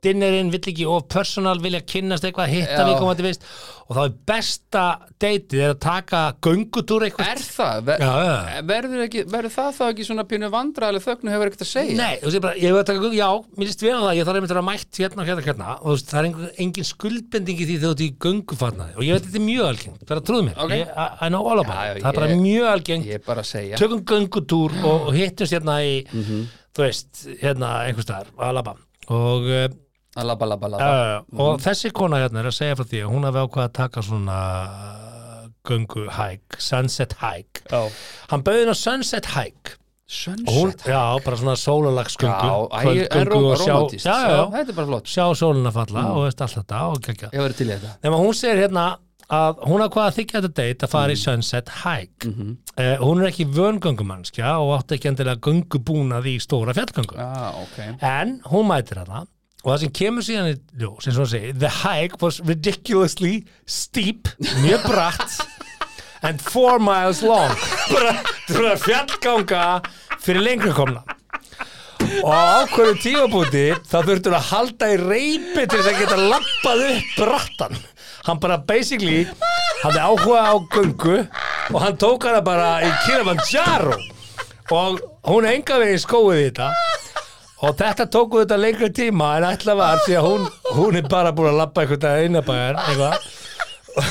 Speaker 1: dinnerinn, vill ekki of personal vilja kynnast eitthvað, hitta
Speaker 2: Já.
Speaker 1: við komandi vist og þá er besta dateið er að taka göngutúr eitthvað
Speaker 2: er það? Ver,
Speaker 1: Já, já, já.
Speaker 2: Verður, ekki, verður það þá ekki svona pínu vandræðileg þögnu hefur ekkert að segja?
Speaker 1: Nei, þú veist bara, ég hef að taka, já, mér líst vel á það, ég þarf einmitt að vera mætt hérna og hérna og hérna og þú veist, það er engin, engin skuldbending í því þegar þú ert í göngufarnaði og ég veit þetta er mjög algengt, bara trúðu mér,
Speaker 2: Ok.
Speaker 1: ég, I- I know all about
Speaker 2: Já, já,
Speaker 1: it, það er bara
Speaker 2: ég-
Speaker 1: mjög algengt,
Speaker 2: Ég er bara að segja.
Speaker 1: tökum göngutúr
Speaker 2: Mhm.
Speaker 1: og, og hittumst hérna í, þú veist, hérna einhvers staðar, á Alaba og uh,
Speaker 2: að Ah, labba, labba, labba
Speaker 1: Uh,
Speaker 2: Mhm.
Speaker 1: og þessi kona hérna er að segja frá því að hún hafi ákvað að taka svona göngu hike, sunset hike
Speaker 2: Já.
Speaker 1: hann bauði henni á sunset hike og hún,
Speaker 2: Sunset
Speaker 1: já, bara svona
Speaker 2: Já,
Speaker 1: sólalagsgöngu
Speaker 2: æ, en ró-
Speaker 1: sjá,
Speaker 2: romantist
Speaker 1: já, já, já,
Speaker 2: þetta er bara flott
Speaker 1: sjá sólina falla og veist allt þetta og gegja
Speaker 2: Ég verður til í þetta
Speaker 1: nema hún segir hérna að hún hafa hvað að þykja þetta date að
Speaker 2: Mm.
Speaker 1: fara í sunset hike mm
Speaker 2: Mhm.
Speaker 1: hún er ekki vöngöngumannskja og átti ekki endilega göngubúnað í stóra fjallgöngu
Speaker 2: ah, okay.
Speaker 1: En hún mætir hana og það sem kemur síðan í ljós, eins og hann segir, the hike was ridiculously steep, mjög bratt and four miles long. Bara, þú er fjallganga fyrir lengri komna. Og á hverju tímabúti þá þurftur að halda í reypi til þess að geta lappað upp brattan. Hann bara basically hafði áhuga á göngu og hann tók hana bara í Kilimanjaro og hún enga veginn skóið í þetta og þetta tóku þetta lengri tíma en ætla var því að hún, hún er bara búin að labba einhvern veginn innabæjar eitthvað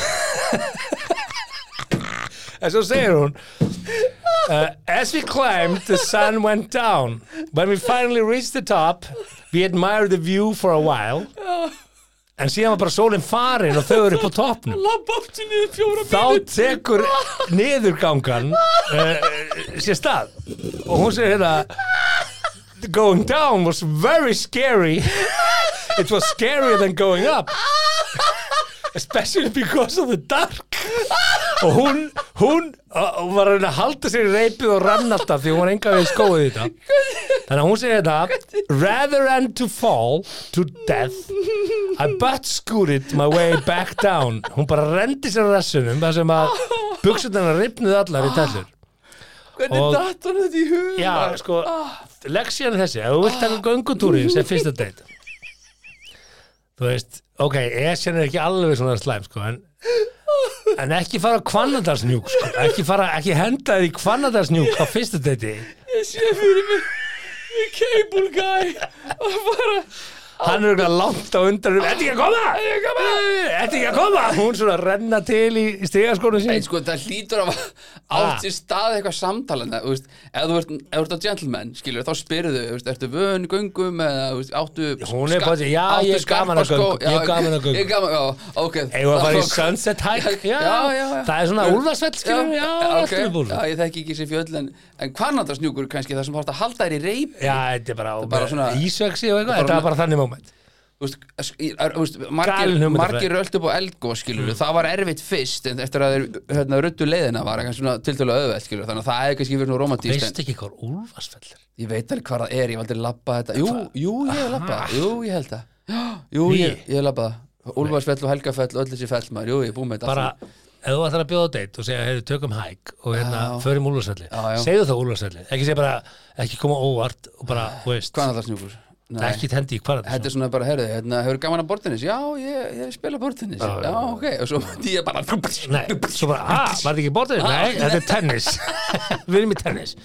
Speaker 1: en svo segir hún uh, as we climbed the sun went down when we finally reached the top we admired the view for a while en síðan var bara sólinn farin og þau eru upp á toppnum
Speaker 2: Labba aftur niður fjóra
Speaker 1: þá tekur niðurgangan uh, sér stað og hún segir hérna going down was very scary it was scarier than going up especially because of the dark og hún, hún uh, var að reyna að halda sér í reipið og rann alltaf því hún var enga við skóið í þetta þannig að hún segir þetta rather than to fall to death I butt scooted my way back down hún bara rendi sér á rassunum þar sem að buksutana ripnuð allar í tellur
Speaker 2: Hvernig
Speaker 1: Og-
Speaker 2: datt hann þetta í hug
Speaker 1: já, sko,
Speaker 2: Ah.
Speaker 1: leksíðan er þessi ef þú vilt taka göngutúrin sem fyrsta date þú veist ok, esjan er ekki alveg svona slæm sko, en, en ekki fara kvannadarsnjúk, sko, ekki fara ekki henda þér í kvannadarsnjúk á fyrsta date
Speaker 2: Ég sé fyrir mig Við cable guy Og bara
Speaker 1: hann er eitthvað langt á undanum Þetta ekki að koma! Þetta ekki að koma! Hún svona renna til í, í stigaskónum sín
Speaker 2: Nei, sko, það hlýtur að átt sér stað eitthvað samtalana, þú veist, ef þú ert, ef þú ert að gentleman, skilur, þá spyrðu, þú veist, ertu vön göngum eða, þú veist, áttu
Speaker 1: Hún er
Speaker 2: ska-
Speaker 1: bara að segja, já,
Speaker 2: áttu
Speaker 1: ég er
Speaker 2: skarpa
Speaker 1: gaman að
Speaker 2: skó-
Speaker 1: göngum, ég er
Speaker 2: já,
Speaker 1: gaman að
Speaker 2: Ég er gaman, já, ok.
Speaker 1: Eða að fara í
Speaker 2: Ok.
Speaker 1: Sunset Hike já,
Speaker 2: já, já, já.
Speaker 1: Það er svona úlfarsvell skilur Já,
Speaker 2: ok,
Speaker 1: alltaf búin
Speaker 2: já, ég þekki ekki sér fjöll, en, en kvarnandarsnjúkur kannski, það sem þú ert að halda þér í reip,
Speaker 1: Já, þetta er bara,
Speaker 2: bara svona-
Speaker 1: ísvegsi og eitthvað
Speaker 2: bara
Speaker 1: Þetta
Speaker 2: svona-
Speaker 1: er bara þannig moment
Speaker 2: þú veist, s- í- er- þú veist,
Speaker 1: Galin Mm.
Speaker 2: margir,
Speaker 1: hugmynd,
Speaker 2: margir rölt upp á eldgós skilur, það var erfitt fyrst en eftir að þeir hérna, röttu leiðina var það kannski svona tiltölulega auðvelt skilur, þannig að það er kannski verið svona romantíst
Speaker 1: Veist
Speaker 2: en
Speaker 1: ekki hvað úlfarsvell er
Speaker 2: ég veit alveg hvað það er, ég valdi að labba þetta jú, jú, ég hef labbað, það. jú, ég held það jú, ég, ég hef labbað það Úlfarsfell og Helgafell og öll þessi fell maður, jú, ég er búið með þetta
Speaker 1: Bara,
Speaker 2: allt saman.
Speaker 1: ef þú ætlar að bjóða á date og segja, heyrðu, tökum hæk og hérna, förum úlfarsvelli
Speaker 2: Já, já.
Speaker 1: Segðu það úlfarsvelli, ekki segja bara ekki koma óvart og bara, þú veist
Speaker 2: hvað er það snjúkur? Nei.
Speaker 1: ekki tendi í hvað
Speaker 2: Þetta er svona bara, heyrðu, hérna, hefur gaman að bortinnis? Já, ég, ég spila bortinnis. Já, ok, og svo mætti ég bara...
Speaker 1: Nei, svo bara, ah, var þetta ekki borðið? Nei, þetta er tennis Við erum í tennis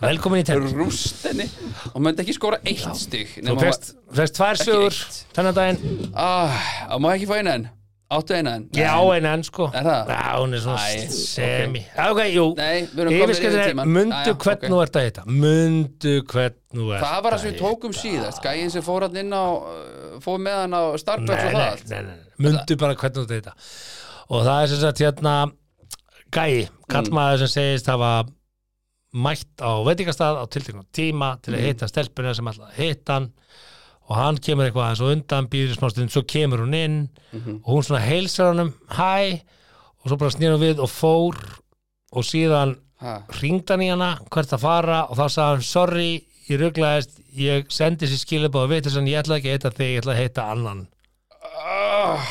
Speaker 1: Velkomin í tennis
Speaker 2: rúst henni og maður myndi ekki skora eitt stig
Speaker 1: Þú
Speaker 2: nema
Speaker 1: fegst, fegst tvær sögur
Speaker 2: eitt.
Speaker 1: Þennan daginn,
Speaker 2: ah, að maður ekki fá eina en áttu eina en
Speaker 1: já, en enn sko
Speaker 2: Er það?
Speaker 1: Já, hún er
Speaker 2: Æ,
Speaker 1: svona semi Já, ok, jú
Speaker 2: Nei, við erum komnir
Speaker 1: Yfirskriftin
Speaker 2: yfir
Speaker 1: er,
Speaker 2: tímann.
Speaker 1: Mundu
Speaker 2: Jæja,
Speaker 1: hvern
Speaker 2: ok.
Speaker 1: þú ert að hitta Mundu hvern þú ert
Speaker 2: það var það sem við tókum síðast gæinn sem fór hann inn á uh, fór með hann á
Speaker 1: Nei,
Speaker 2: Starbucks og það
Speaker 1: nei,
Speaker 2: allt
Speaker 1: nei, nei, nei. Mundu bara hvern þú ert að hitta Og það er sem sagt hérna Gæi, kallmaður sem segist hafa mætt á veitingastað á tilteknum tíma til að hitta stelpuna sem alltaf hitta hann og hann kemur eitthvað aðeins og undan býður í smá stund, svo kemur hún inn og hún svona heilsar honum, hæ og svo bara snýr hún við og fór og síðan
Speaker 2: Ha,
Speaker 1: ringd hann í hana hvert að fara og þá sagði hann, sorry ég ruglaðist, ég sendi sér skilabóð og veit þess að ég ætla ekki að hitta þig, ég ætla að hitta annan ha?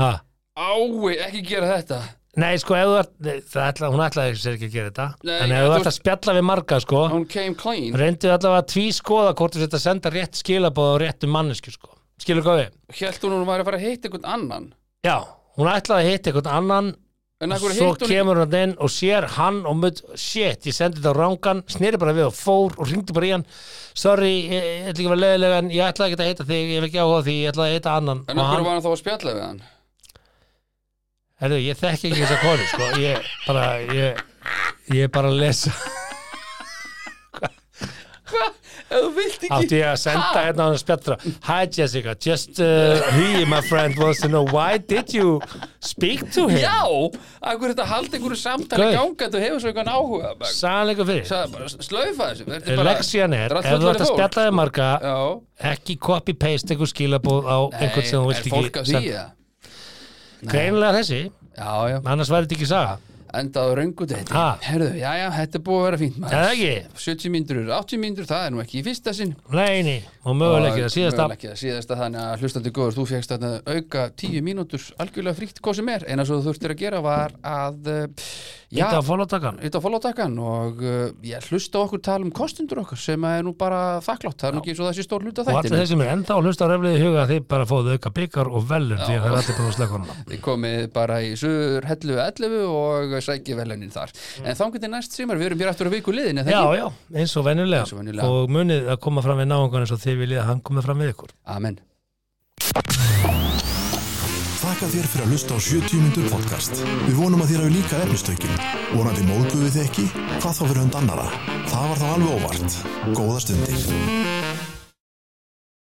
Speaker 2: Ah, ái, ekki gera þetta
Speaker 1: Nei, sko, ef þú ert, nei, það ætla, hún ætlaði sér ekki að gera þetta,
Speaker 2: Nei,
Speaker 1: en ef þú
Speaker 2: þú
Speaker 1: ert
Speaker 2: veist-
Speaker 1: að spjalla við marga, sko,
Speaker 2: hún came clean
Speaker 1: reyndu allavega að tvískoða hvort þú sett að senda rétt skilabóð og réttu mannesku, sko. Skilur hvað við?
Speaker 2: held hún að hún var að fara að hitta einhvern annan
Speaker 1: Já, hún ætlaði að hitta einhvern annan
Speaker 2: en
Speaker 1: og
Speaker 2: akkur
Speaker 1: svo
Speaker 2: hitt hún
Speaker 1: kemur hann inn og sér hann og mynd, shit, ég sendi þetta á rángan sneri bara við og fór og ringdi bara í hann sorry, ég ég ætla ekki að vera leðilega en ég ætla ekki að heita þig, ég vil ekki áhuga á því ég ætla að heita annan
Speaker 2: en
Speaker 1: og
Speaker 2: akkur
Speaker 1: hann,
Speaker 2: var hann þá að spjalla við hann
Speaker 1: herðu, ég þekki ekki þessa konu sko, ég bara ég, ég er bara að lesa
Speaker 2: Ef þú vilt ekki
Speaker 1: Átti ég að senda hérna á hann spjaldra Hi Jessica, just uh, he, my friend, wants to know Why did you speak to him?
Speaker 2: Já, akkur þetta haldi einhverju samtali
Speaker 1: Gaur.
Speaker 2: gangandi og hefur svo eitthvað áhuga bara.
Speaker 1: Sannleikur fyrir
Speaker 2: Sagði bara, Slaufa þessu vertu bara-
Speaker 1: Lexian er, ef
Speaker 2: Þetta allt
Speaker 1: þú ætti að
Speaker 2: fullorðið fólk.
Speaker 1: spjalla þig marga
Speaker 2: Já,
Speaker 1: ekki copy-paste einhver skilabóð á einhvern sem þú
Speaker 2: Nei,
Speaker 1: vilt
Speaker 2: er fólk
Speaker 1: ekki
Speaker 2: að því
Speaker 1: senda.
Speaker 2: eða?
Speaker 1: Greinilega þessi,
Speaker 2: Já, já,
Speaker 1: annars væri þetta ekki saga
Speaker 2: endaðu röngu þetta
Speaker 1: Ha.
Speaker 2: Herðu, já, já, þetta er búið að vera fínt
Speaker 1: Eða
Speaker 2: maður
Speaker 1: ekki,
Speaker 2: 70 mínútur, 80 mínútur, það er nú ekki í fyrsta sinn
Speaker 1: neini og möguleikir að síðast að
Speaker 2: Möguleiki það síðasta, þannig að hlustandi góður þú fegst að auka 10 mínútur algjörlega fríkt hvað sem er, eina svo þú þurftir að gera var að, uh, já,
Speaker 1: Þetta að fólóttakann
Speaker 2: hitta á follow-takkan og uh, ég hlusta á okkur tala um kostundur okkar sem að er nú bara þakklátt, það er nú ekki eins og þessi stór hluta
Speaker 1: Og allir
Speaker 2: þættir
Speaker 1: þeir sem er enda á hlusta á refliði huga þið bara fóðu auka byggar og velur því að það er allir búin að slaka honum á.
Speaker 2: Þið komið bara í sögur 11 11 og sækið velunin þar en þá getur næst sumar, við erum hér aftur á viku liðin
Speaker 1: Mm. Já, já, eins og venjulega,
Speaker 2: Eins og venjulega.
Speaker 1: og munið að koma fram við náungan eins og þið viljið að hann komið fram við ykkur
Speaker 2: Amen
Speaker 3: Þakka þér fyrir að hlusta á 70 myndur podcast. Við vonum að þér hafi líka efnistökin. Vonandi móðguðu þið ekki? Hvað þá fyrir hund annara? Það var þá alveg óvart. Góða stundir.